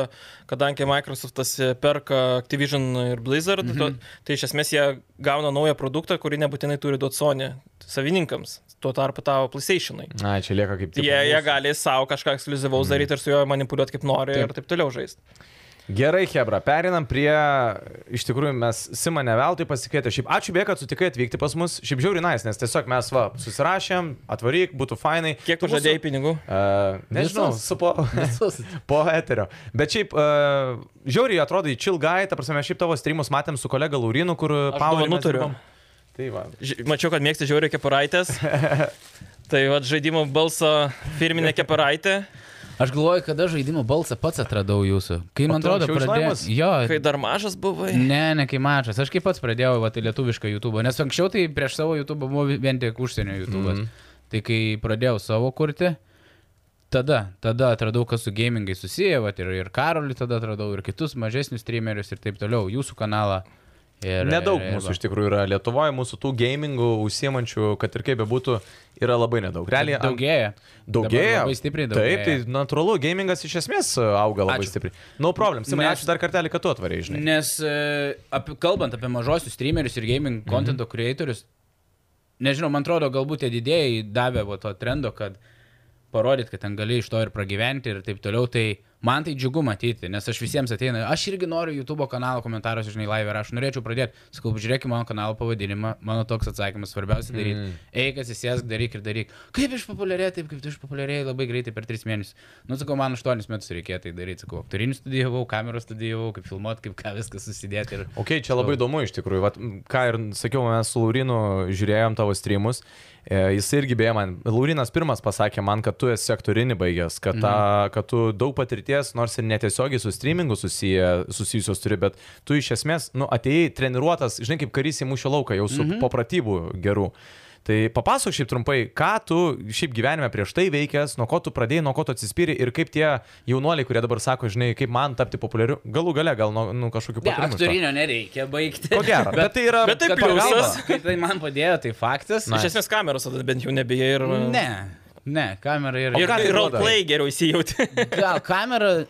Speaker 3: kadangi Microsoftas perka Activision ir Blizzard, mm -hmm. tai iš esmės jie gauna naują produktą, kurį nebūtinai turi duoti Sony savininkams, tuo tarpu tavo PlayStation'ai.
Speaker 1: Na, čia lieka kaip tik.
Speaker 3: Jie, jie gali savo kažką ekskluzivaus mm. daryti ir su juo manipuliuoti kaip nori taip. ir taip toliau žaisti.
Speaker 1: Gerai, Hebra, perinam prie, iš tikrųjų, mes Simą neveltui pasikvietė. Šiaip ačiū bėga, kad sutikai atvykti pas mus. Šiaip žiauri nais, nes tiesiog mes va, susirašėm, atvaryk, būtų fainai.
Speaker 3: Kiek tu žadėjai pinigų?
Speaker 1: Uh, nežinau,
Speaker 2: Visus.
Speaker 1: su po, po eterio. Bet šiaip, uh, žiauriai atrodo, chill guy, ta prasme, šiaip tavo streamus matėm su kolega Laurinu, kur Power'į
Speaker 3: dovanų
Speaker 1: mes
Speaker 3: turiu.
Speaker 1: dirbom. Tai va.
Speaker 3: Ži- Mačiau, kad mėgsti žiauriai kepuraitės. tai vad žaidimo balso firminė kepuraitė,
Speaker 2: Aš galvoju, kada žaidimo balsą pats atradau jūsų. Kai man
Speaker 1: tu
Speaker 2: atrodo,
Speaker 1: anksčiau iš
Speaker 2: pradėjau.
Speaker 1: laimos?
Speaker 2: Jo,
Speaker 3: kai dar mažas buvai.
Speaker 2: Ne, ne kai mačas. Aš kaip pats pradėjau va, tai lietuvišką YouTube, nes anksčiau tai prieš
Speaker 1: Mhm.
Speaker 2: savo YouTube buvo vien tik užsienio YouTube. Mm -hmm. Tai kai pradėjau savo kurti, Tada, tada atradau, kas su gamingai susiję, vat, ir, ir Karolį tada atradau, ir kitus mažesnius streamerius ir taip toliau, jūsų kanalą. Ir,
Speaker 1: Nedaug
Speaker 2: ir- ir
Speaker 1: mūsų
Speaker 2: va.
Speaker 1: iš tikrųjų yra Lietuvoje, mūsų tų gamingų užsiemančių, kad ir kaip bebūtų, yra labai nedaug. Realiai ant-
Speaker 2: Daugėja.
Speaker 1: Daugėja.
Speaker 2: Dabar Labai stipriai
Speaker 1: Taip,
Speaker 2: daugėja.
Speaker 1: tai natūralu, gamingas iš esmės e, auga labai
Speaker 2: Ačiū.
Speaker 1: stipriai. No problem. Simai,
Speaker 2: Nes-
Speaker 1: ačiū dar kartelį, kad tu atvarei, žinai.
Speaker 2: Nes e, apie, kalbant apie mažosius streamerius ir gaming kontento mhm. creatorius, nežinau, man atrodo, galbūt tie didėjai davė va to trendo, kad parodyt, kad ten gali iš to ir pragyventi ir taip toliau, tai man tai džiugu matyti, nes aš visiems ateina, aš irgi noriu YouTube kanalo komentaruose, žinai, live ir aš norėčiau pradėti, sakau, žiūrėk į mano kanalo pavadinimą, mano toks atsakymas, svarbiausia daryti, mm. eik, atsisėsk, daryk ir daryk. Kaip išpopuliarėjai, taip kaip tu išpopuliarėjai labai greitai per 3 mėnesius. Nu, sakau, man 8 metus reikėjo tai daryti, sakau, aktorinį studijavau, kamerą studijavau, kaip filmuot, kaip ką viską susidėti ir...
Speaker 1: Ok, čia labai įdomu iš tikrųjų. Vat, m, ką ir sakiau, mes su Laurinu žiūrėjom tavo streamus. E, jis irgi beje man, Laurinas pirmas pasakė man, kad tu esi sektorinį baigęs, kad, mm. ta, kad tu daug patirties, nors ir netiesiogiai su streamingu susiję, susijusios turi, bet tu iš esmės, nu, atėjai treniruotas, žinai, kaip karys į mūšio lauką, jau su mm -hmm. popratybų gerų. Tai papasakok šiaip trumpai, ką tu šiaip gyvenime prieš tai veikęs, nuo ko tu pradėjai, nuo ko tu atsispyri ir kaip tie jaunuoliai, kurie dabar sako, žinai, kaip man tapti populiariu, galų gale gal nuo nu, kažkokių
Speaker 2: Ne,
Speaker 1: patarimų iš to.
Speaker 2: aktorinio nereikia baigti.
Speaker 1: Ko gero, bet, bet tai yra.
Speaker 3: bet tai
Speaker 2: Kad
Speaker 3: pliusas.
Speaker 2: pagalba, Kad tai man padėjo, tai faktas.
Speaker 1: Na.
Speaker 3: Iš esmės kameros tada bent jau nebijai ir... e,
Speaker 2: Ne, ne, kamera yra.
Speaker 3: Ir
Speaker 1: ką tai
Speaker 3: roleplay geriau įsijauti.
Speaker 2: Gal kamera.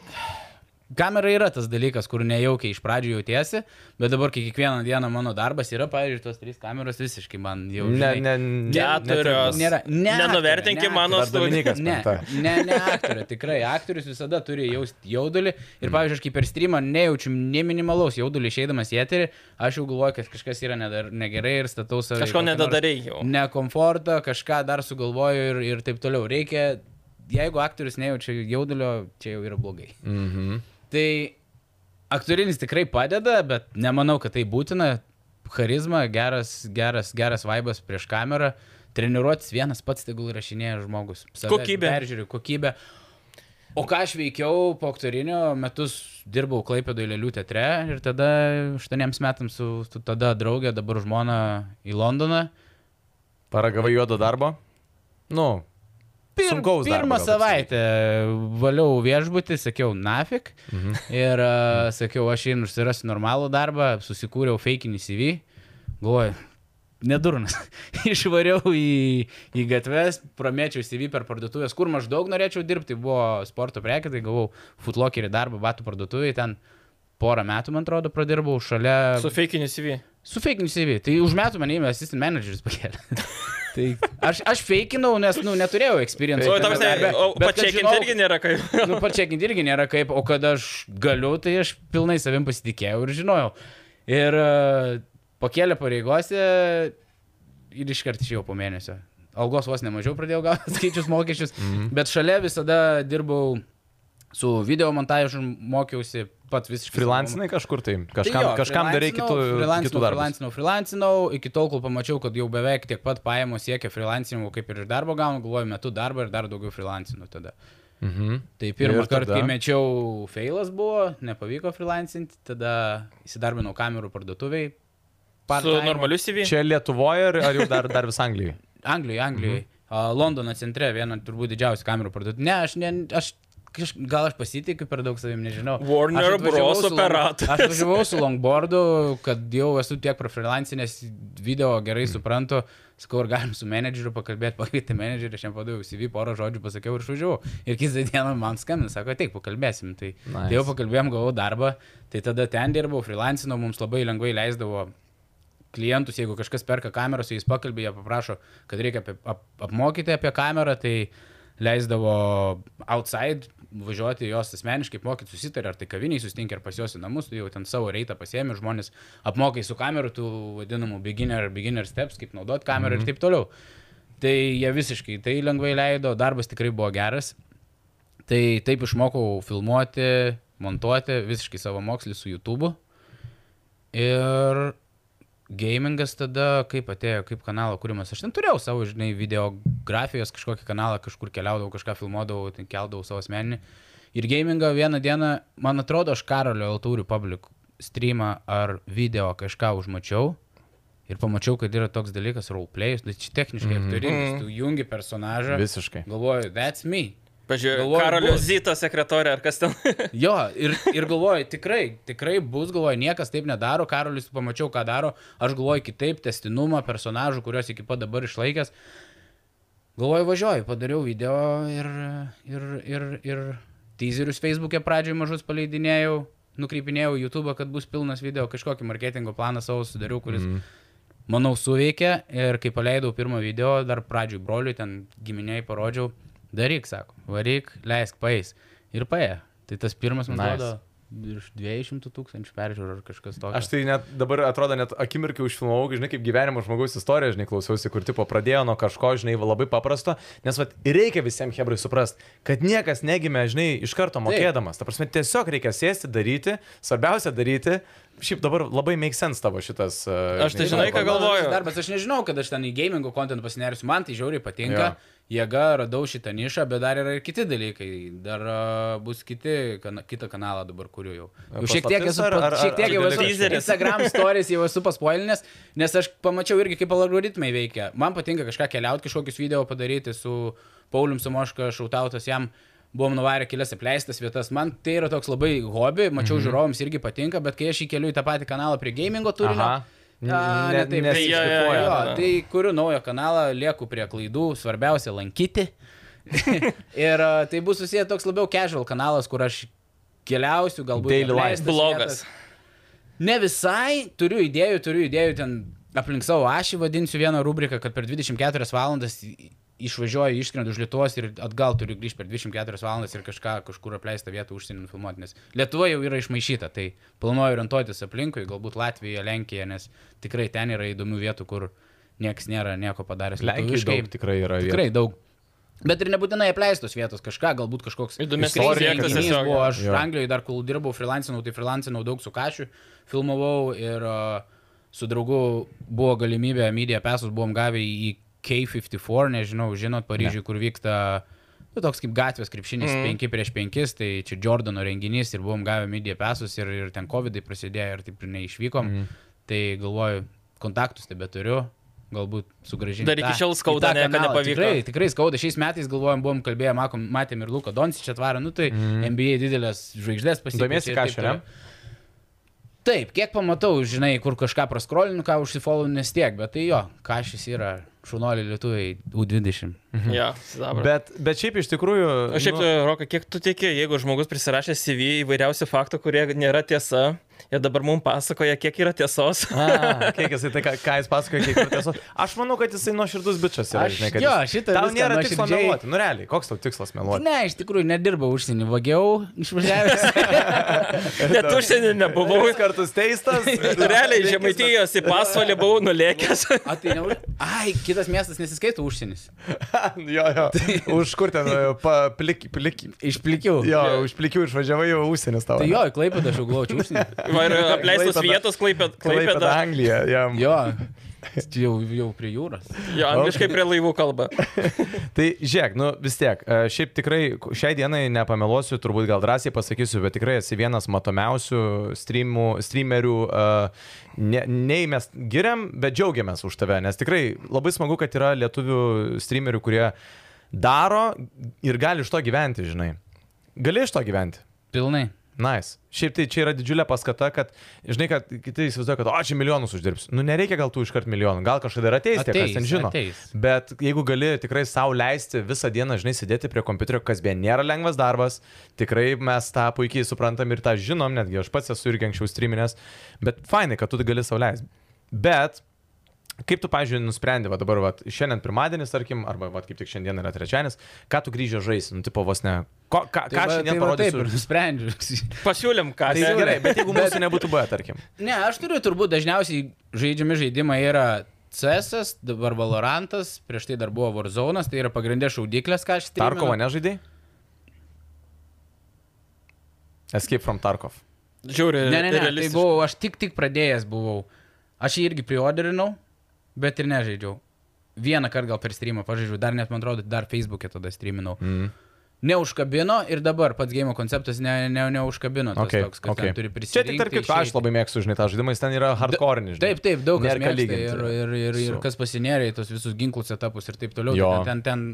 Speaker 2: Kamera yra tas dalykas, kur nejaukiai iš pradžių jautiesi, bet dabar, kai kiekvieną dieną mano darbas yra, pavyzdžiui, tos trys kameros visiškai man jau...
Speaker 1: Ne,
Speaker 2: žinai,
Speaker 1: ne, ne.
Speaker 3: Keturios.
Speaker 2: Nėra. Ne, aktorė,
Speaker 3: Nenuvertinkim
Speaker 2: ne
Speaker 3: mano
Speaker 1: Dar Dominikas
Speaker 2: Ne,
Speaker 1: penkta.
Speaker 2: ne, ne aktorė, tikrai aktorius visada turi jausti jaudulį
Speaker 3: Mm.
Speaker 2: ir, pavyzdžiui, aš kaip per streamą nejaučiu nei minimalaus jaudulį išeidamas į eterį, aš jau galvoju, kad kažkas yra nedar, negerai ir statau save. į
Speaker 3: Kažko
Speaker 2: kokį nors
Speaker 3: nedadarei jau.
Speaker 2: Nekomfortą, kažką dar sugalvoju ir, ir taip toliau. Reikia, jeigu aktorius nejaučia jaudulio, čia jau yra blogai.
Speaker 1: Mhm.
Speaker 2: Tai aktorinis tikrai padeda, bet nemanau, kad tai būtina. Charizma, geras, geras, geras vaibas prieš kamerą. Treniruotis vienas pats, tegul rašinėja žmogus. Save
Speaker 3: Kokybė.
Speaker 2: Peržiūriu kokybę. O ką aš veikiau po aktorinio, metus dirbau Klaipėdo Lėlių teatre ir tada aštuoniems metams su, su tada draugė, dabar žmona į Londoną.
Speaker 1: Paragavai juodo darbo? Nu. Sunkaus darbo.
Speaker 2: Pirmą
Speaker 1: gal taip
Speaker 2: savaitę valiau viešbutį, sakiau, nafik. Mhm. Ir uh, sakiau, aš einu užsirasiu normalų darbą, susikūriau fakinį CV. Galvoju, nedurnas. Išvariau į, į gatves, pramėčiau CV per parduotuvės, kur maždaug norėčiau dirbti. Buvo sporto prekė, tai gavau futlokerį darbą batų parduotuvėje. Ten porą metų, man atrodo, pradirbau šalia.
Speaker 3: Su feikiniu CV.
Speaker 2: Su fake CV. Tai už metų mane įmė assistant manageris pakelė. tai aš, aš fakinau, nes, nu, neturėjau experience.
Speaker 3: O,
Speaker 2: tame
Speaker 3: tam
Speaker 2: darbe,
Speaker 3: ne, o
Speaker 2: bet kad
Speaker 3: pačiakinti
Speaker 2: žinau-
Speaker 3: irgi nėra kaip.
Speaker 2: Nu, pačiakinti irgi nėra kaip, o kad aš galiu, tai aš pilnai savim pasitikėjau ir žinojau. Ir e, pakėlė pareigose ir iškart išėjau po mėnesio. Algos vos nemažiau pradėjau gauti skaičius mokesčius,
Speaker 3: Mhm.
Speaker 2: bet šalia visada dirbau su video montažu, mokiausi pats visiškai. savo-
Speaker 1: Freelancinai kažkur tai. Kažkam,
Speaker 2: Tai
Speaker 1: tai kažkam darai
Speaker 3: nu,
Speaker 1: kitų,
Speaker 2: freelancinau,
Speaker 1: kitų darbų.
Speaker 2: Freelancinau, freelancinau, iki tol, kol pamačiau, kad jau beveik tiek pat pajamų siekia freelancinimų, kaip ir iš darbo gaunu, galvoju, metu darbą ir dar daugiau freelancinų tada.
Speaker 1: Mhm.
Speaker 2: Tai pirmą
Speaker 1: Ir
Speaker 2: kartą,
Speaker 1: tada?
Speaker 2: kai mečiau, feilas buvo, nepavyko freelancinti, tada įsidarbinau kamerų parduotuviai.
Speaker 3: Su normaliu CV.
Speaker 1: Čia Lietuvoje ar, ar jau dar, dar vis Anglijoje?
Speaker 2: Anglijoje, Anglijoje. Mhm. Londono centre viena turbūt didžiausia kamerų parduotuvė. Ne, aš, ne, aš kaž, gal aš pasitikiu per daug savim, nežinau.
Speaker 3: Warner
Speaker 2: Aš atvažiavau
Speaker 3: Bros.
Speaker 2: su long-
Speaker 3: operatorius.
Speaker 2: Aš važiavau su longboardu, kad jau esu tiek profreelancinės video gerai
Speaker 3: Mhm.
Speaker 2: suprantu. Sakau, ar galim su menedžeriu pakalbėti, pakvietė menedžerį, aš jam padaviau CV, porą žodžių pasakiau ir išvažiavau. Ir kitą dieną man skambina, sako, ateik, pakalbėsim. Tai, nice. tai jau pakalbėjom, gavau darbą, tai tada ten dirbau, freelancinau, mums labai lengvai leisdavo klientus, jeigu kažkas perka kamerą, su jais pakalbė, jie paprašo, kad reikia apie, ap, apmokyti apie kamerą, tai leisdavo outside važiuoti jos asmeniškai, mokyti susitarę, ar tai kaviniai susitinkė, ar pas juos į namus, tu jau ten savo reitą pasiemi, žmonės apmokai su kameru, tų vadinamų beginner, beginner steps, kaip naudot kamerą mm -hmm. ir taip toliau. Tai jie visiškai tai lengvai leido, darbas tikrai buvo geras. Tai taip išmokau filmuoti, montuoti visiškai savo mokslį su YouTube'u. Ir gamingas tada, kaip atėjo, kaip kanalo kūrimas. Aš ten turėjau savo, žinai, videografijos kažkokį kanalą, kažkur keliaudavau, kažką filmuodavau, ten keldavau savo asmeninį. Ir gamingą vieną dieną, man atrodo, aš Karolio Altūrių public streamą ar video kažką užmačiau. Ir pamačiau, kad yra toks nu, dalykas roleplay, tai čia techniškai mm -hmm. aktorinis, tu jungi personažą.
Speaker 1: Visiškai.
Speaker 2: Galvoju, that's me.
Speaker 3: Pažiūrėjau,
Speaker 2: Galvoju,
Speaker 3: Karolio
Speaker 2: bus.
Speaker 3: Zito sekretorė ar kas ten.
Speaker 2: Jo, ir, ir galvoju, tikrai, tikrai bus, galvoju, niekas taip nedaro, Karolis pamačiau, ką daro, aš galvoju kitaip, testinumą, personažų, kuriuos iki pat dabar išlaikęs. Galvoju, važiuoju, padariau video ir, ir, ir, ir teaserius Facebook'e pradžioje mažus paleidinėjau, nukreipinėjau YouTube, kad bus pilnas video, kažkokį marketingo planą savo sudariau, kuris,
Speaker 1: Mhm.
Speaker 2: mm. manau, suveikė ir kai paleidau pirmą video, dar pradžioj broliui, ten giminiai parodžiau, daryk, sako, varyk, leisk paės. Ir paė. Tai tas pirmas, man
Speaker 1: Nice.
Speaker 2: atrodo, virš 200 tūkstančių peržiūrų ar kažkas toks.
Speaker 1: Aš tai net dabar atrodo, net akimirkai užfilmavau, žinai, kaip gyvenimo žmogaus istorija, žinai, klausiausi, kur tipo pradėjo nuo kažko, žinai, va, labai paprasto, nes vat, ir reikia visiems hebrai suprasti, kad niekas negimė, žinai, iš karto mokėdamas. Ta prasme, tiesiog reikia sėsti, daryti, svarbiausia daryti. Šiaip dabar labai make sense tavo šitas. e,
Speaker 3: Aš tai
Speaker 1: žinai,
Speaker 3: žinai, ką
Speaker 1: kalba.
Speaker 3: galvoju.
Speaker 2: Darbas, aš nežinau, kad aš ten į gamingo kontentą pasinersiu, man tai žiauriai patinka.
Speaker 1: Jo.
Speaker 2: Ja. Jėga, radau šitą nišą, bet dar yra ir kiti dalykai. Dar uh, bus kiti, kana, kitą kanalą dabar kuriu jau. jau šiek tiek
Speaker 1: paslaptis
Speaker 2: esu,
Speaker 1: E, ar-
Speaker 2: pa-
Speaker 1: ar- ar-
Speaker 2: šiek tiek
Speaker 1: ar
Speaker 2: jau esu
Speaker 3: dalykas?
Speaker 2: Instagram stories jau esu paspoilinęs, nes aš pamačiau irgi, kaip algoritmai veikia. Man patinka kažką keliauti, kažkokius video padaryti su Paulium Samoška, šautautas jam. Buvom nuvarę kelias apleistas vietas. Man tai yra toks labai hobi, mačiau
Speaker 1: Mhm.
Speaker 2: mm -hmm. žiūrovams irgi patinka, bet kai aš įkeliu į tą patį kanalą prie gamingo turinio,
Speaker 1: Aha.
Speaker 2: Aha.
Speaker 1: N-
Speaker 2: A,
Speaker 1: ne-
Speaker 2: ne taip,
Speaker 1: nesišlifuoja.
Speaker 2: Jo, jo, jo,
Speaker 3: Tada.
Speaker 2: Tai kuriu naują kanalą, lieku prie klaidų, svarbiausia lankyti. ir a, tai bus susiję toks labiau casual kanalas, kur aš keliausiu, galbūt
Speaker 1: Daily life.
Speaker 2: apleistas
Speaker 3: Blogas.
Speaker 2: vietas. Ne visai, turiu idėjų, turiu idėjų ten aplink savo ašį vadinsiu vieną rubriką, kad per 24 valandas į- išvažiuoju, išskrendu už Lietuvos ir atgal turiu grįžti per 24 valandas ir kažką kažkur apleistą vietą užsienį nufilmuoti, nes Lietuva jau yra išmaišyta, tai planuoju orientuotis aplinkui, galbūt Latvija, Lenkija, nes tikrai ten yra įdomių vietų, kur niekas nėra nieko padaręs.
Speaker 1: Lenkijai
Speaker 2: lietuviškai.
Speaker 1: daug tikrai yra. vietų.
Speaker 2: Tikrai daug. Bet ir nebūtinai apleistos vietos, kažką, galbūt kažkoks
Speaker 3: Įdomesnis
Speaker 2: crazy
Speaker 1: objektas
Speaker 2: renginys
Speaker 3: tiesiog,
Speaker 2: Buvo, aš
Speaker 1: jo.
Speaker 2: Anglijai dar kol dirbau, freelancinau, tai freelancinau daug su kašiu, filmavau ir a, su draugu buvo galimybė, Media Passus buvom gavę į K54, nežinau, žinot, Paryžiui, kur vyksta, nu, toks kaip gatvės krepšinis, 5 mm. prieš 5, tai čia Jordano renginys ir buvom gavę Media Passus ir, ir ten COVID prasidėjo ir taip ir neišvykom.
Speaker 1: Mhm.
Speaker 2: Mm. Tai galvoju, kontaktus tebeturiu, galbūt sugražinti.
Speaker 3: Dar iki
Speaker 2: tą-
Speaker 3: šiol
Speaker 2: į tą
Speaker 3: skauda, ne, kad
Speaker 2: kanalą.
Speaker 3: nepavyko.
Speaker 2: Tikrai, tikrai skauda. Šiais metais galvojom, buvom kalbėję, makom, matėm ir Luką Doncį čia tvarą, nu tai mm. NBA didelės žvaigždės pasikeitė.
Speaker 1: Domiesi
Speaker 2: ir taip
Speaker 1: Kašiu, ne?
Speaker 2: toliau. Taip, kiek pamatau, žinai, kur kažką praskrolinu, ką užsifollow, nes tiek, bet tai jo, kažkas yra šunolį lietuviai U20.
Speaker 3: Ja, sidabras.
Speaker 1: Bet, bet šiaip iš tikrųjų.
Speaker 3: O šiaip,
Speaker 1: nu,
Speaker 3: nu, Roka, kiek tu tiki, jeigu žmogus prisirašė CV įvairiausių faktų, kurie nėra tiesa, ir dabar mums pasakoja, kiek yra tiesos.
Speaker 1: A, kiek jisai tai, ką, ką jis pasakoja, kiek yra tiesa. Aš manau, kad jisai nuoširdus bičias yra,
Speaker 2: Aš-
Speaker 1: žinai, kad.
Speaker 2: jo,
Speaker 1: jis-
Speaker 2: šitą
Speaker 1: Tau
Speaker 2: viską
Speaker 1: nėra tikslo
Speaker 2: nuoširdžiai-
Speaker 1: meluoti, nu realiai, koks tau tikslas meluoti?
Speaker 2: Ne, iš tikrųjų nedirbau užsienį, vagiau, išvažiavęs.
Speaker 3: Net užsienį nebuvau.
Speaker 1: Buvau kartus teistas.
Speaker 3: Realiai žemaitijos į pasvalį buvau nulėkęs.
Speaker 2: A, tai ne, už- ai, kitas miestas nesiskaito užsienis.
Speaker 1: jo, jo.
Speaker 2: Tai-
Speaker 1: Už kur ten, e, plikį, plikį.
Speaker 2: Išplikiau.
Speaker 1: Jo, už plikių išvažiavai jau užsienis tavo.
Speaker 2: Tai jo, į Klaipėdą aš jau glaučiu užsienį.
Speaker 3: Va, Ir apleistos
Speaker 1: Klaipėda.
Speaker 3: vietos klaipėda.
Speaker 1: Klaipėda,
Speaker 3: klaipėda.
Speaker 1: Anglija. Jam.
Speaker 2: Jo, jau, jau prie jūros.
Speaker 3: Jo, angliškai prie laivų kalba.
Speaker 1: Tai žiūrėk, nu vis tiek, e, šiaip tikrai ku- šiai dienai nepameluosiu, turbūt gal drąsiai pasakysiu, bet tikrai esi vienas matomiausių streamų, streamerių, e, ne, nei mes giriam, bet džiaugiamės už tave, nes tikrai labai smagu, kad yra lietuvių streamerių, kurie daro ir gali iš to gyventi, žinai. Gali iš to gyventi.
Speaker 2: Pilnai.
Speaker 1: Nice. Šiaip tai čia yra didžiulė paskata, kad, žinai, kad kiti įsivaizduoja, kad, o, čia milijonus uždirbsiu. Nu, nereikia gal tų iškart milijonų, gal kažkada ir ateis, tie, kas
Speaker 2: Ateis,
Speaker 1: ten žino.
Speaker 2: ateis.
Speaker 1: Bet jeigu gali tikrai savo leisti visą dieną, žinai, sėdėti prie kompiuterio, kas beje nėra lengvas darbas, tikrai mes tą puikiai suprantam ir tą žinom, netgi aš pats esu irgi anksčiau streaminės, bet fainai, kad tu tai gali savo leisti. Bet Kaip tu, pavyzdžiui, nusprendė, va dabar, va, šiandien pirmadienis, tarkim, arba, va, kaip tik šiandien yra trečiadienis, ką tu grįžę žaisi, nu, tipo, vos ne, ko, ką, ką
Speaker 2: Tai va-
Speaker 1: šiandien
Speaker 2: va
Speaker 1: parodysiu.
Speaker 2: Taip, ir nusprendžiu.
Speaker 3: Pasiūlym, ką.
Speaker 1: Tai
Speaker 3: ne?
Speaker 1: gerai, bet jeigu mūsų nebūtų buvę, tarkim.
Speaker 2: Ne, aš turiu turbūt dažniausiai žaidžiami žaidimai yra CS, dabar Valorantas, prieš tai dar buvo Warzone, tai yra pagrindė šaudyklės, ką aš streaminu.
Speaker 1: Tarkovo nežaidai? Escape from Tarkov.
Speaker 3: Žiūri,
Speaker 2: Ne, ne, ne, tai
Speaker 3: realistiškai.
Speaker 2: buvau, aš tik, tik pradėjęs buvau. Aš jį irgi priorderinau, bet ir nežaidžiau. Vieną kartą gal per streamą pažaidžiau, dar net, man atrodo, dar Facebook'e tada streaminau. Mm. Neužkabino ir dabar pats game konceptas ne, ne, neužkabino. tas
Speaker 1: Okay,
Speaker 2: Toks, kad okay.
Speaker 1: okay.
Speaker 2: turi
Speaker 1: Čia tik tarp
Speaker 2: prisirinkti.
Speaker 1: kitko, aš
Speaker 2: išeiti.
Speaker 1: labai mėgstu, žinai, tą žaidimą, jis ten yra hardcore, žinai.
Speaker 2: Taip, taip, daug kas
Speaker 1: Nėr ką
Speaker 2: mėgsta
Speaker 1: lyginti
Speaker 2: ir, ir, ir, ir
Speaker 1: su-
Speaker 2: kas pasinėrė į tos visus ginklus etapus ir taip toliau.
Speaker 1: Jo.
Speaker 2: Tai ten, ten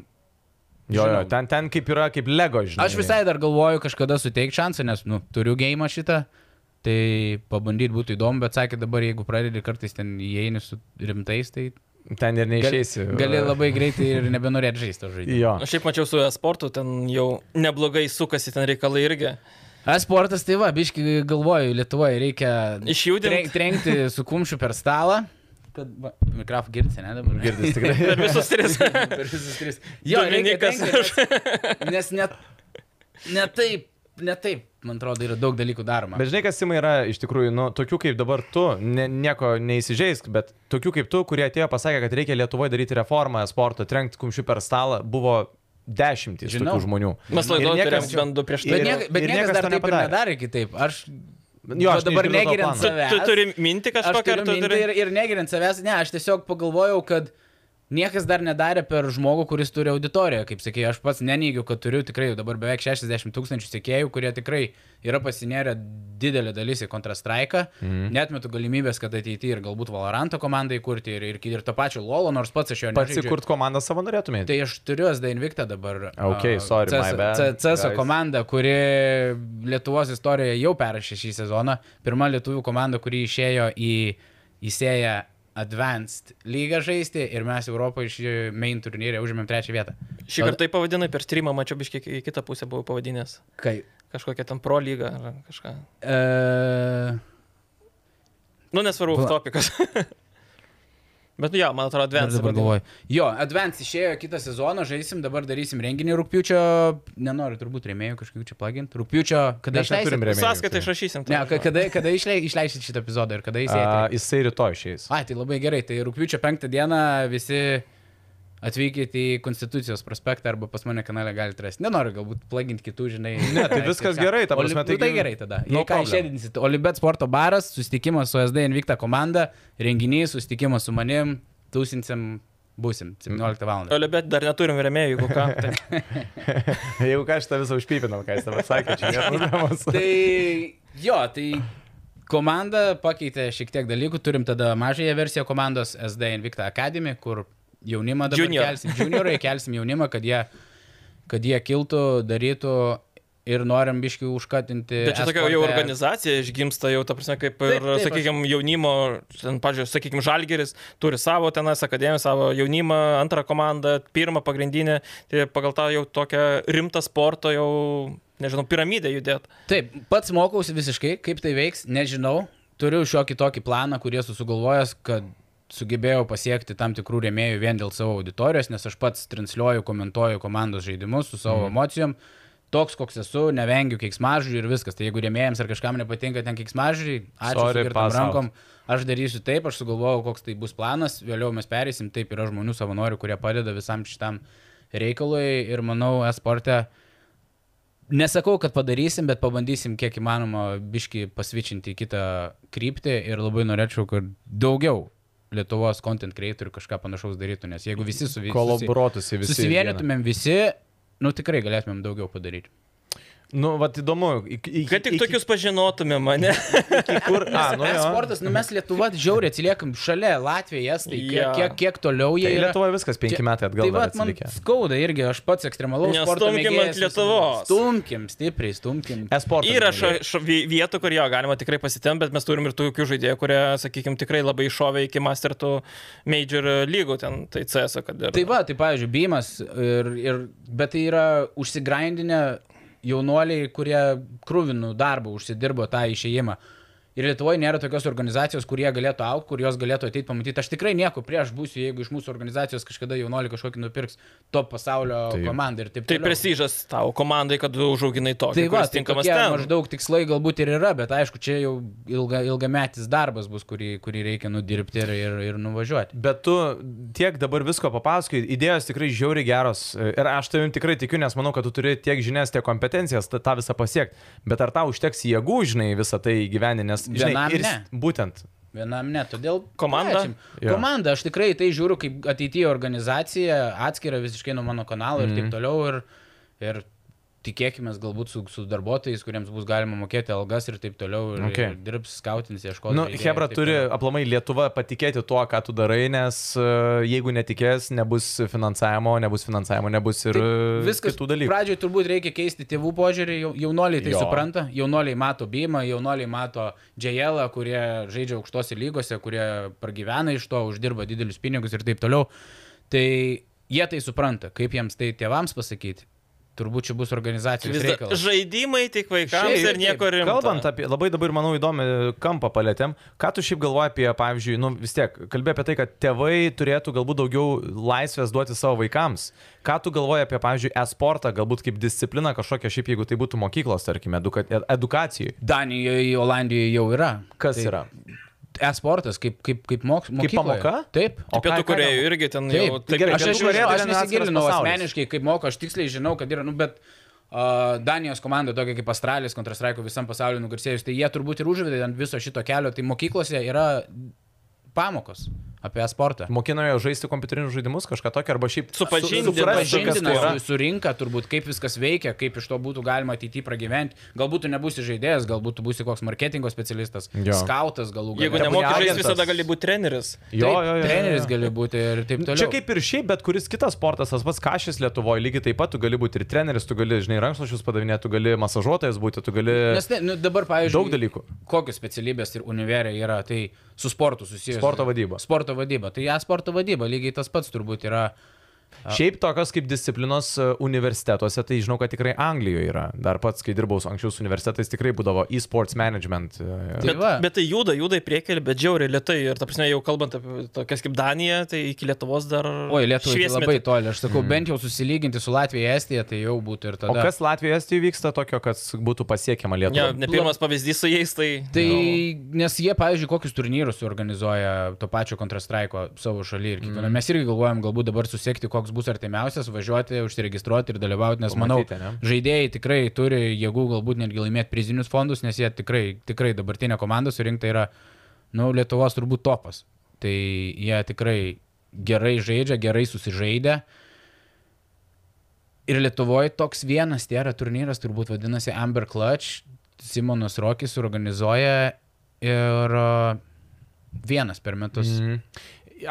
Speaker 1: Jo, jo,
Speaker 2: Žinau.
Speaker 1: ten, ten kaip yra, kaip Lego, žinai.
Speaker 2: Aš visai dar galvoju kažkada suteikti šansą, nes, nu, turiu gėjimą šitą, tai pabandyti būtų įdomu, bet sakė dabar, jeigu pradedi kartais ten įeini su rimtais, tai
Speaker 1: Ten ir neišeisi. uh,
Speaker 2: gali labai greitai ir nebenorėt žaisti to žaidimo.
Speaker 1: Jo.
Speaker 3: Aš šiaip mačiau su e-sportu, ten jau neblogai sukasi ten reikalai irgi.
Speaker 2: Esportas, tai va, biški galvoju, Lietuvoje reikia
Speaker 3: Išjudint.
Speaker 2: trenk- trenkti su kumščiu per stalą. Kad, va, mikrofą girdite, ne dabar?
Speaker 1: Girdis tikrai.
Speaker 3: Per visus tris.
Speaker 2: per visus tris. Jo, reikia
Speaker 3: Dominikas.
Speaker 2: trenkti, nes, nes net, net taip, net taip, man atrodo, yra daug dalykų daroma.
Speaker 1: Bet žinai, kas Simai yra iš tikrųjų, nu, tokių kaip dabar tu, ne, nieko neįsižeisk, bet tokių kaip tu, kurie atėjo pasakė, kad reikia Lietuvoje daryti reformą sporto, trenkti kumščių per stalą, buvo dešimtys
Speaker 2: Žinau.
Speaker 1: tokių žmonių.
Speaker 3: Mes
Speaker 1: Ir
Speaker 3: laidoje
Speaker 1: niekas-
Speaker 3: turėjom bent du prieš tai.
Speaker 2: Bet,
Speaker 1: ir-
Speaker 2: niek, bet
Speaker 1: ir
Speaker 2: niekas,
Speaker 1: niekas to
Speaker 2: niekas dar taip ir
Speaker 1: nepadarė.
Speaker 2: nedarė kitaip. Aš
Speaker 1: Jo, aš
Speaker 2: va dabar
Speaker 1: neišgirdau to
Speaker 2: negirint
Speaker 1: plano.
Speaker 3: Tu,
Speaker 2: savęs.
Speaker 3: tu turi minti
Speaker 2: aš
Speaker 3: kažkokią, ar
Speaker 2: turiu
Speaker 3: tu
Speaker 2: mintį
Speaker 3: turi...
Speaker 2: ir, ir negirint savęs. Ne, aš tiesiog pagalvojau, kad niekas dar nedarė per žmogų, kuris turi auditoriją. Kaip sakėjai, aš pats neneigiu, kad turiu tikrai dabar beveik 60 tūkstančių sekėjų, kurie tikrai yra pasinėrę didelę dalis į Counter-Strike. Mm. Netmetu galimybės, kad ateityje ir galbūt Valoranto komandai kurti ir, ir, ir to pačio Lolo, nors pats aš jo
Speaker 1: Pats
Speaker 2: nežaidžiu.
Speaker 1: įkurt komandą savo norėtumėte.
Speaker 2: Tai aš turiu SD Invictą dabar.
Speaker 1: Ok,
Speaker 2: a,
Speaker 1: sorry, my
Speaker 2: CS
Speaker 1: bad,
Speaker 2: C- CSO
Speaker 1: guys.
Speaker 2: komanda, kuri Lietuvos istorijoje jau perrašė šį sezoną. Pirma lietuvių komanda, kuri išėjo į įsėję Advanced lygą žaisti ir mes Europoje iš main turnyrė užėmėm trečią vietą.
Speaker 3: Šį kartą tai pavadinai per streamą, mačiau biškiai į kitą pusę buvau pavadinęs.
Speaker 2: Kai. e,
Speaker 3: Kažkokią ten pro lygą ar kažką.
Speaker 2: Uh,
Speaker 3: Nu, nesvarbu,
Speaker 2: Pala-
Speaker 3: topikas. Bet jo, man atrodo, Advance.
Speaker 2: dabar galvoju. Jo, Advanced išėjo kitą sezoną, žaisim, dabar darysim renginį rūpiučio, nenoriu turbūt rėmėjų kažkokių čia plaginti, rūpiučio, kada
Speaker 1: Mes neturim
Speaker 2: išleisim.
Speaker 1: rėmėjų.
Speaker 3: Sąskaitą išrašysim.
Speaker 2: tai- Ne,
Speaker 3: tau.
Speaker 2: ka- kada, kada išlei- išleisit šitą epizodą ir kada jis įeis?
Speaker 1: A, jisai rytoj išeis.
Speaker 2: Ai, tai labai gerai. Tai rūpiučio penktą dieną visi atvykite į Konstitucijos prospektą arba pas mane kanale galite rasti. Nenoriu galbūt plaginti kitų, žinai. Ne,
Speaker 1: tai viskas gerai, ta prasme,
Speaker 2: tai...
Speaker 1: taigi-
Speaker 2: Tai gerai tada.
Speaker 1: No
Speaker 2: Nu, ką
Speaker 1: problem.
Speaker 2: išėdinsit? Olibet sporto baras, susitikimas su SD Invicta komanda, renginys, susitikimas su manim, tūsinsim, būsim
Speaker 1: Mm.
Speaker 2: 17 val.
Speaker 3: Ole, bet dar neturim remėjų, jeigu ką. Tai
Speaker 1: Jeigu ką, aš tą visą užpypinau, ką jis dabar sakė, čia nėra problemos.
Speaker 2: tai jo, tai komanda pakeitė šiek tiek dalykų. Turim tada mažąją versiją komandos SD Invicta Academy, kur jaunimą dabar
Speaker 3: Junior.
Speaker 2: Junior. kelsim. Juniorai kelsim jaunimą, kad jie, kad jie kiltų, darytų ir norim biškių užkatinti.
Speaker 3: Bet Tai čia tokia jau
Speaker 2: e-sporte.
Speaker 3: organizacija išgimsta, jau, ta prasme, kaip ir,
Speaker 2: Taip, taip, aš-
Speaker 3: sakykime, jaunimo, ten, pažiūrėjau, sakykime, Žalgeris turi savo tenas akademiją, savo jaunimą, antrą komandą, pirmą pagrindinę, tai pagal tą jau tokią rimtą sporto, jau, nežinau, piramidę judėt.
Speaker 2: Taip, pats mokausi visiškai, kaip tai veiks, nežinau. Turiu šiokį tokį planą, kurį esu sugalvojęs, kad sugebėjau pasiekti tam tikrų rėmėjų vien dėl savo auditorijos, nes aš pats transliuoju, komentuoju komandos žaidimus su
Speaker 1: Mhm.
Speaker 2: savo mm. emocijom. Toks, koks esu, nevengiu keiksmažodžių ir viskas. Tai jeigu rėmėjams ar kažkam nepatinka ten keiksmažodžiai, ačiū
Speaker 1: Sorry,
Speaker 2: ir
Speaker 1: pass out.
Speaker 2: rankom. Aš darysiu taip, aš sugalvojau, koks tai bus planas, vėliau mes perėsim, taip yra žmonių savanorių, kurie padeda visam šitam reikalui ir manau, esporte Nesakau, kad padarysim, bet pabandysim kiek įmanoma biški pasvičinti į kitą kryptį ir labai norėčiau, kad daugiau Lietuvos content creatorių kažką panašaus darytų, nes jeigu visi suvi... susi...
Speaker 1: Kolaborotųsi visi. į vieną.
Speaker 2: susivienytumėm visi, nu tikrai galėtumėm daugiau padaryti.
Speaker 1: Nu, vad įdomu. Iki, iki,
Speaker 3: Kad tik
Speaker 1: iki-
Speaker 3: tokius pažinotume mane.
Speaker 1: iki kur. A, nu, jo.
Speaker 2: Sportas, nu mes Lietuva žiauriai atsiliekam šalia Latvijos, tai kiek,
Speaker 3: Jo.
Speaker 2: kiek, kiek toliau jie
Speaker 1: Tai
Speaker 2: yra.
Speaker 1: Lietuvoje viskas penki metai atgal.
Speaker 2: Tai
Speaker 1: dar
Speaker 2: va, man
Speaker 1: atsilikę.
Speaker 2: skauda irgi, aš pats ekstremalaus. sporto
Speaker 3: Nestumkim ant
Speaker 2: mėgėjas esu.
Speaker 3: Lietuvos.
Speaker 2: Stumkim, stipriai, stumkim.
Speaker 1: Esportas.
Speaker 3: Įrašo šo- vi- vietų, kur jo galima tikrai pasitemti, bet mes turim ir tokių žaidėjų, kurie, sakykime, tikrai labai šovė iki mastertų major lygų, ten tai CS, kad ir...
Speaker 2: Tai va, tai pavyzdžiui, Bimas, ir, ir, bet tai yra užsigrindinę jaunuoliai, kurie krūvinų darbą užsidirbo tą išėjimą. Ir Lietuvoje nėra tokios organizacijos, kurie galėtų aukti, kur jos galėtų ateiti pamatyti. Aš tikrai nieko prieš būsiu, jeigu iš mūsų organizacijos kažkada jaunuolį kažkokį nupirks top pasaulio
Speaker 1: Taip.
Speaker 2: tai, komandą ir taip
Speaker 3: Tai prestižas tau komandai, kad užauginai tokį.
Speaker 2: Tai va,
Speaker 3: kuris
Speaker 2: tai
Speaker 3: tinkamas
Speaker 2: tokie
Speaker 3: ten.
Speaker 2: maždaug tikslai galbūt ir yra, bet aišku, čia jau ilga, ilgametis darbas bus, kurį, kurį reikia nudirbti ir, ir, ir nuvažiuoti.
Speaker 1: Bet tu tiek dabar visko papasakai, idėjos tikrai žiauriai geros ir aš tavim tikrai tikiu, nes manau, kad tu turi tiek žinias, tiek kompetencijas tą, tą visą pasiekti. Bet ar tau užteks jėgų, žinai, visą tai gyveninti, nes žinai,
Speaker 2: Vienam
Speaker 1: ir
Speaker 2: ne.
Speaker 1: būtent.
Speaker 2: Vienam ne, todėl.
Speaker 3: Komanda?
Speaker 2: plečiam.
Speaker 1: Jo.
Speaker 2: Komanda, aš tikrai į tai žiūriu kaip
Speaker 1: Mhm.
Speaker 2: ateityje organizacija, atskira visiškai nuo mano kanalo mm. ir taip toliau. Ir, ir tikėkime, galbūt su, su darbuotojais, kuriems bus galima mokėti algas ir taip toliau, ir,
Speaker 1: Okay.
Speaker 2: okay. ir dirbs, skautins, ieškos.
Speaker 1: Nu,
Speaker 2: žaidėjų ir
Speaker 1: Hebra
Speaker 2: taip
Speaker 1: turi
Speaker 2: toliau.
Speaker 1: aplamai Lietuva patikėti tuo, ką tu darai, nes e, jeigu netikės, nebus finansavimo, nebus finansavimo, nebus ir e,
Speaker 2: Viskas
Speaker 1: kitų dalykų.
Speaker 2: Pradžioje turbūt reikia keisti tėvų požiūrį, jau- jaunoliai tai
Speaker 1: Jo.
Speaker 2: jo. supranta, jaunoliai mato Bimą, jaunoliai mato JL, kurie žaidžia aukštose lygose, kurie pragyvena iš to, uždirba didelius pinigus ir taip toliau. Tai jie tai supranta, kaip jiems tai tėvams pasakyti. Turbūt čia bus organizacijos
Speaker 3: Vis da,
Speaker 2: reikalas.
Speaker 3: žaidimai tik vaikams
Speaker 2: Šiaip
Speaker 3: ir nieko rimto.
Speaker 1: Kalbant apie labai dabar, manau, įdomią kampą palėtėm, ką tu šiaip galvoji apie, pavyzdžiui, nu vis tiek, kalbė apie tai, kad tėvai turėtų galbūt daugiau laisvės duoti savo vaikams. Ką tu galvoji apie, pavyzdžiui, e-sportą, galbūt kaip discipliną kažkokią, šiaip jeigu tai būtų mokyklos, tarkime, eduka, e, edukacijai.
Speaker 2: Danijoje, Olandijoje jau yra.
Speaker 1: Kas
Speaker 2: tai
Speaker 1: tai. yra?
Speaker 2: E-sportas, kaip, kaip, kaip moks, mokykloje.
Speaker 1: pamoka?
Speaker 2: Taip.
Speaker 1: O ką-
Speaker 3: Pietų
Speaker 1: ką
Speaker 3: Korėjų
Speaker 1: gal-
Speaker 3: irgi ten
Speaker 2: Taip,
Speaker 3: jau
Speaker 2: taip, gerai, aš, aš,
Speaker 1: Pietų
Speaker 2: aš,
Speaker 1: Korėja
Speaker 2: aš
Speaker 1: ten atskiras
Speaker 2: nesigilinau
Speaker 1: pasaulis.
Speaker 2: asmeniškai, kaip moka, aš tiksliai žinau, kad yra, nu, bet uh, Danijos komanda, tokia kaip Australijos, kontrastraiko visam pasauliu nugarsėjus, tai jie turbūt ir užvedė ant viso šito kelio, tai mokyklose yra pamokos apie sportą.
Speaker 1: Mokinojo žaisti kompiuterinius žaidimus, kažką tokio, arba šiaip
Speaker 3: Supažindina,
Speaker 1: suprasti, kas tai
Speaker 2: Pažindina
Speaker 1: yra.
Speaker 2: su, su rinka, turbūt kaip viskas veikia, kaip iš to būtų galima ateityje pragyventi. Galbūt tu nebūsi žaidėjas, galbūt tu būsi koks marketingo specialistas,
Speaker 1: Jo.
Speaker 2: skautas galų
Speaker 3: Jeigu
Speaker 1: Nebūni
Speaker 3: nemoki žaisti,
Speaker 1: agentas.
Speaker 3: visada gali būti treneris.
Speaker 1: Jo, jo, jo, jo,
Speaker 2: treneris
Speaker 1: jo.
Speaker 2: gali būti ir taip toliau.
Speaker 1: Čia kaip ir šiaip, bet kuris kitas sportas, tas pats kažkas Lietuvoje, lygiai taip pat, tu gali būti ir treneris, tu gali, žinai, rankšluošius padavinėti, tu gali masažuotojas būti, tu gali...
Speaker 2: Nes ne, nu, dabar, pavyzdžiui,
Speaker 1: Daug dalykų.
Speaker 2: Kokios specialybės ir univerė yra, tai su sportu susijęs.
Speaker 1: Sporto vadyba.
Speaker 2: Sporto vadyba. Tai ja, sporto vadyba lygiai tas pats turbūt yra.
Speaker 1: Šiaip tokios kaip disciplinos e, universitetuose, tai žinau, kad tikrai Anglijoje yra. Dar pats, kai dirbau su anksčiau su universitetais, tikrai būdavo e-sports management. e,
Speaker 2: Tai
Speaker 3: Bet,
Speaker 2: va.
Speaker 3: bet tai juda, juda į priekį, bet džiauriai lietai. Ir, ta prasme, jau kalbant apie tokias kaip Danija, tai iki Lietuvos dar...
Speaker 2: Oi, Lietuva tai
Speaker 3: šviesmetį.
Speaker 2: labai toli. Aš sakau, bent jau susilyginti su Latvija, Estija, tai jau būtų ir
Speaker 1: Mhm. O
Speaker 2: tada.
Speaker 1: kas Latvijoje Estijoje vyksta tokio, kad būtų pasiekiama
Speaker 3: Ne,
Speaker 1: Lietuva?
Speaker 3: ne pirmas pavyzdys su jais, tai...
Speaker 2: Tai
Speaker 3: nu,
Speaker 2: nes jie, pavyzdžiui, kokius turnyrus organizuoja to pačio kontrastraiko savo šalyje ir
Speaker 1: Mhm.
Speaker 2: kiekvieną. Mm. Mes irgi galvojam, galbūt dabar susiekti, koks bus artimiausias, važiuoti, užsiregistruoti ir dalyvauti, nes
Speaker 1: Pamatyti,
Speaker 2: manau,
Speaker 1: ne?
Speaker 2: žaidėjai tikrai turi jėgų galbūt netgi laimėti prizinius fondus, nes jie tikrai, tikrai dabartinė komanda surinkta yra, nu, Lietuvos turbūt topas. Tai jie tikrai gerai žaidžia, gerai susižaidė. Ir Lietuvoje toks vienas tėra turnyras, turbūt vadinasi Amber Clutch, Simonas Rokis organizuoja ir a, vienas per metus. Mm.
Speaker 1: Mhm.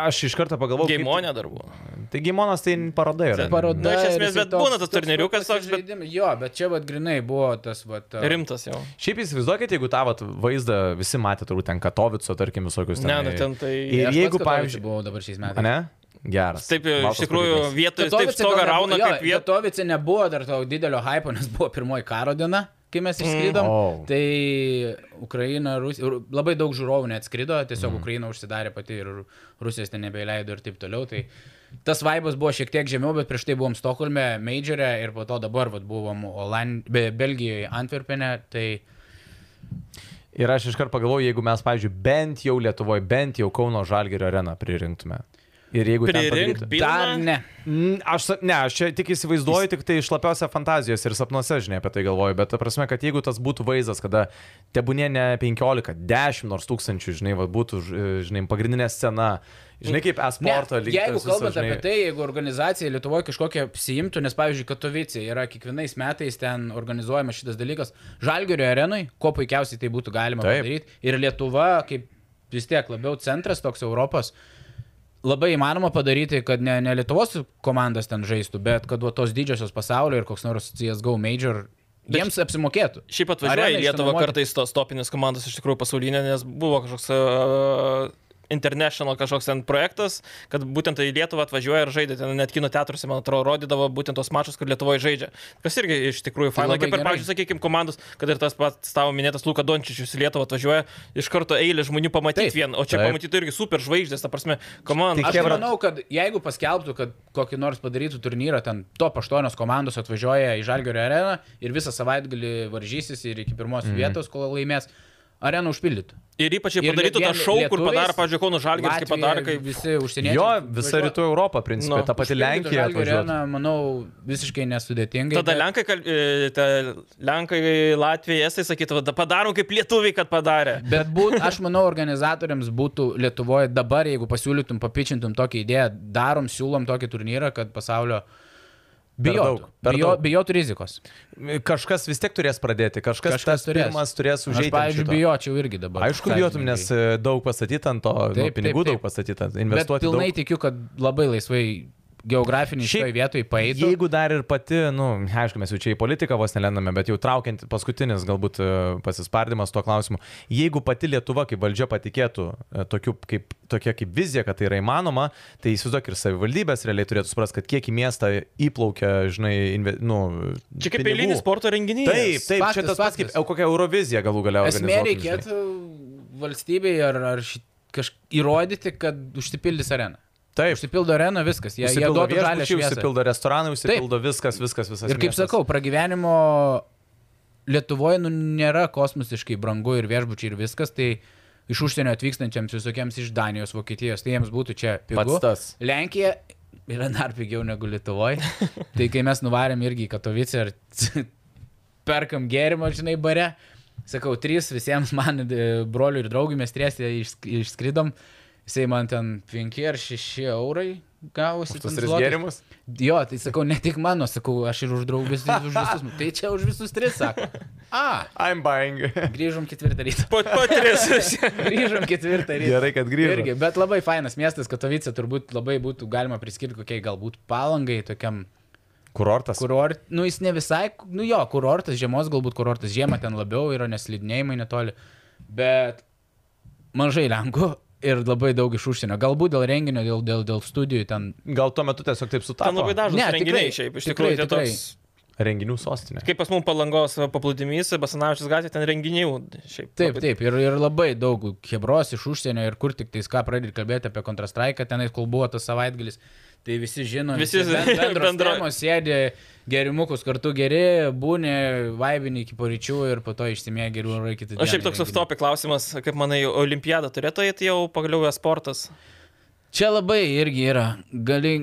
Speaker 1: Aš iš karto pagalvojau. kaip-
Speaker 3: Geimonė dar buvo.
Speaker 1: Tai Gimonas tai paroda yra.
Speaker 2: Paroda.
Speaker 3: Na, iš
Speaker 2: ir
Speaker 3: esmės,
Speaker 2: jisai
Speaker 3: bet būna tas turniriukas toks, bet-
Speaker 2: pasižaidimas. Jo, bet čia vad grinai buvo tas uh, vad... a,
Speaker 3: Rimtas jau.
Speaker 1: Šiaip įsivaizduokit, jeigu tą vat vaizdą visi matė, turbūt ten Katovico, tarkim, visokius
Speaker 3: Ne, nu ten tai...
Speaker 1: Ir
Speaker 2: aš pats
Speaker 1: jeigu,
Speaker 2: Katovice
Speaker 1: pavyzdžiui-
Speaker 2: buvau dabar šiais metais.
Speaker 1: Ne? Geras.
Speaker 3: Taip, iš
Speaker 1: Baltas
Speaker 3: tikrųjų,
Speaker 1: kūdikas.
Speaker 3: vietoje tai taip
Speaker 2: Katovice
Speaker 3: stogą
Speaker 2: gal nebuvo-
Speaker 3: rauna,
Speaker 2: jo,
Speaker 3: kaip vietoje.
Speaker 2: Katovice nebuvo dar to didelio hypo, nes buvo pirmoji karo diena, kai mes išskridom. Mm.
Speaker 1: Au.
Speaker 2: Tai Ukraina, Rusija, labai daug žiūrovų neatskrido, tiesiog mm. Ukraina užsidarė pati ir Ru- Rusijos ten nebeileido ir taip toliau. Tai tas vaibas buvo šiek tiek žemiau, bet prieš tai buvom Stokholme, Majorė ir po to dabar vat, buvom Oland... be, Belgijoje, Antverpene. Tai
Speaker 1: Ir aš iškart pagalvojau, jeigu mes, pavyzdžiui, bent jau Lietuvoje, bent jau Kauno Žalgėrio areną pririnktume. Ir jeigu ten
Speaker 3: Prirink
Speaker 1: padarytume-
Speaker 3: Pilna?
Speaker 2: dar ne.
Speaker 1: Mm, Aš, sa- ne, aš čia tik įsivaizduoju, tik tai šlapiose fantazijose ir sapnuose, žinai, apie tai galvoju, bet ta prasme, kad jeigu tas būtų vaizdas, kada tebūnė ne 15, 10 nors tūkstančių, žinai, va, būtų, ž- žinai, pagrindinė scena, žinai, kaip esporto
Speaker 2: Ne,
Speaker 1: lygis.
Speaker 2: Jeigu kalbant žinai... apie tai, jeigu organizacija Lietuvoje kažkokią apsijimtų, nes pavyzdžiui, Katovice yra kiekvienais metais ten organizuojamas šitas dalykas, Žalgerio arenui, kuo puikiausiai tai būtų galima
Speaker 1: Taip.
Speaker 2: Taip. padaryti. Ir Lietuva, kaip vis tiek labiau centras toks Europos, labai įmanoma padaryti, kad ne, ne Lietuvos komandas ten žaistų, bet kad va tos didžiosios pasaulio ir koks nors CSGO major jiems apsimokėtų.
Speaker 3: Šiaip atvažiuoja
Speaker 2: Areną
Speaker 3: į Lietuvą
Speaker 2: išsinuomoti.
Speaker 3: kartais tos topinės komandos iš tikrųjų pasaulinė, nes buvo kažkoks uh, international kažkoks ten projektas, kad būtent tai į Lietuvą atvažiuoja ir žaidė, ten net kino teatruose, man atrodo, rodydavo būtent tos mačus, kur Lietuvoje žaidžia. Kas irgi iš
Speaker 2: Tai
Speaker 3: tikrųjų faina,
Speaker 2: labai
Speaker 3: kaip ir,
Speaker 2: gerai.
Speaker 3: pavyzdžiui, sakykime, komandos, kad ir tas pats tavo minėtas Luka Dončičius į Lietuvą atvažiuoja, iš karto eilė žmonių pamatyti
Speaker 2: Taip. Tai
Speaker 3: vien, o čia
Speaker 1: Taip.
Speaker 3: pamatyti irgi super žvaigždės, ta prasme, komanda.
Speaker 1: Tik
Speaker 2: Aš
Speaker 1: Chebra-
Speaker 2: manau, kad jeigu paskelbtų, kad kokį nors padarytų turnyrą, ten top 8 komandos atvažiuoja į Žalgėrio areną ir visą savaitgalį varžysis ir iki pirmos
Speaker 1: Mhm.
Speaker 2: mm. vietos, kol laimės, areną užpildytų.
Speaker 3: Ir ypač jei
Speaker 2: Ir
Speaker 3: padarytų tą
Speaker 2: vien
Speaker 3: šou, kur
Speaker 2: lietuviais,
Speaker 3: padarė, pavyzdžiui, Kauno Žalgiris, kaip
Speaker 2: Latvija,
Speaker 3: padarė, kai
Speaker 2: visi užsieniečiai.
Speaker 1: Jo, visa rytų Europa, principai,
Speaker 3: Nu,
Speaker 1: ta pati Lenkija. atvažiuotų.
Speaker 2: Arena, manau, visiškai nesudėtingai.
Speaker 3: Tada Lenkai, kal- e, ta, Lenkai Latvijai, Estai sakytų, "Va, padarom kaip lietuviai, kad padarė.
Speaker 2: Bet būt, aš manau, organizatoriams būtų Lietuvoje dabar, jeigu pasiūlytum, papičintum tokią idėją, darom, siūlom tokį turnyrą, kad pasaulio Bijotų.
Speaker 1: daug, per
Speaker 2: Bijo,
Speaker 1: daug.
Speaker 2: bijotų rizikos.
Speaker 1: Kažkas vis tiek turės pradėti, kažkas,
Speaker 2: Kažkas
Speaker 1: tas
Speaker 2: turės.
Speaker 1: pirmas turės
Speaker 2: Aš,
Speaker 1: užžeisti.
Speaker 2: pavyzdžiui, bijočiau irgi dabar.
Speaker 1: Aišku, bijotum, nes
Speaker 2: sąžiningai.
Speaker 1: e, daug pastatyta ant to, nu,
Speaker 2: Taip,
Speaker 1: pinigų daug
Speaker 2: taip, taip.
Speaker 1: pastatyta,
Speaker 2: Bet
Speaker 1: investuoti
Speaker 2: pilnai tai
Speaker 1: daug.
Speaker 2: tikiu, kad labai laisvai geografiniai
Speaker 1: Šiaip,
Speaker 2: šioje vietoje paėdė.
Speaker 1: Jeigu dar ir pati, na, nu, aišku, mes jau čia į politiką vos nelendame, bet jau traukiant paskutinis galbūt e, pasispardimas tuo klausimu, jeigu pati Lietuva kaip valdžia patikėtų e, tokiu kaip, tokia kaip vizija, kad tai yra įmanoma, tai įsivaizduok ir savivaldybės realiai turėtų suprasti, kad kiek į miestą įplaukia, žinai, inve, nu,
Speaker 3: Čia kaip
Speaker 1: pinigų.
Speaker 3: eilinis sporto renginys.
Speaker 1: Taip, taip, faktas, čia
Speaker 2: Faktas,
Speaker 1: tas pats kaip
Speaker 2: faktas.
Speaker 1: e, kokia Eurovizija galų galiausiai.
Speaker 2: Esmė reikėtų valstybei ar, ar ši- kaž- įrodyti, kad užsipildys arena.
Speaker 1: Taip,
Speaker 2: Užsipildo arena viskas. Jie, jie
Speaker 1: Užsipildo
Speaker 2: duoda žalę
Speaker 1: viešbučiai,
Speaker 2: šviesą.
Speaker 1: užsipildo restoranai, užsipildo viskas, viskas, visas.
Speaker 2: Ir kaip
Speaker 1: miestas.
Speaker 2: sakau, pragyvenimo Lietuvoje nu, nėra kosmosiškai brangu ir viešbučiai ir viskas, tai iš užsienio atvykstančiams visokiems iš Danijos, Vokietijos, tai jiems būtų čia pigu.
Speaker 1: Pats tas.
Speaker 2: Lenkija yra dar pigiau negu Lietuvoje. tai kai mes nuvarėm irgi į Katovice ir perkam gėrimą, žinai, bare, sakau, trys visiems man e, broliui ir draugui mes triesė išskridom, jisai man ten 5 ar 6 eurai gavosi.
Speaker 1: Už tuos
Speaker 2: ten
Speaker 1: tris
Speaker 2: zlotais.
Speaker 1: gėrimus.
Speaker 2: Jo, tai sakau, ne tik mano, sakau, aš ir už draugus, ir už visus. Tai čia už visus tris, sako. A,
Speaker 1: I'm buying.
Speaker 2: grįžom ketvirtą rytą.
Speaker 3: Po, po tris.
Speaker 2: Grįžom ketvirtą rytą.
Speaker 1: Gerai, kad grįžom.
Speaker 2: Irgi, bet labai fainas miestas, Katovice turbūt labai būtų galima priskirti kokiai galbūt palangai, tokiam
Speaker 1: Kurortas. Kur...
Speaker 2: kurort, nu jis ne visai, nu jo, kurortas, žiemos galbūt kurortas, žiemą ten labiau yra neslidinėjimai netoli, bet mažai lenkų ir labai daug iš užsienio. Galbūt dėl renginio, dėl, dėl, dėl studijų ten.
Speaker 1: Gal tuo metu tiesiog taip sutapo.
Speaker 3: Ten labai dažnai
Speaker 2: Ne,
Speaker 3: renginiai
Speaker 2: tikrai,
Speaker 3: šiaip. Iš
Speaker 2: tikrai,
Speaker 3: tikrųjų, tai
Speaker 2: tikrai.
Speaker 3: toks.
Speaker 1: Renginių sostinė.
Speaker 3: Kaip pas mums palangos paplūdimys, Basanavičius gatvė, ten renginių. Šiaip,
Speaker 2: Taip,
Speaker 3: labai-
Speaker 2: taip, ir, ir labai daug hebros iš užsienio ir kur tik tais ką pradedi kalbėti apie kontrastraiką, tenais kol buvo tas savaitgalis, tai visi žino,
Speaker 3: Visi
Speaker 2: ben- bendros
Speaker 3: bendro-
Speaker 2: temos sėdi, gerimukus kartu geri, būni, vaibini iki poryčių ir po to išsimiegi ir yra kiti.
Speaker 3: O šiaip toks užtopi klausimas, kaip manai, olimpiada turėtų eiti jau pagaliau e-sportas.
Speaker 2: Čia labai irgi yra. Gali...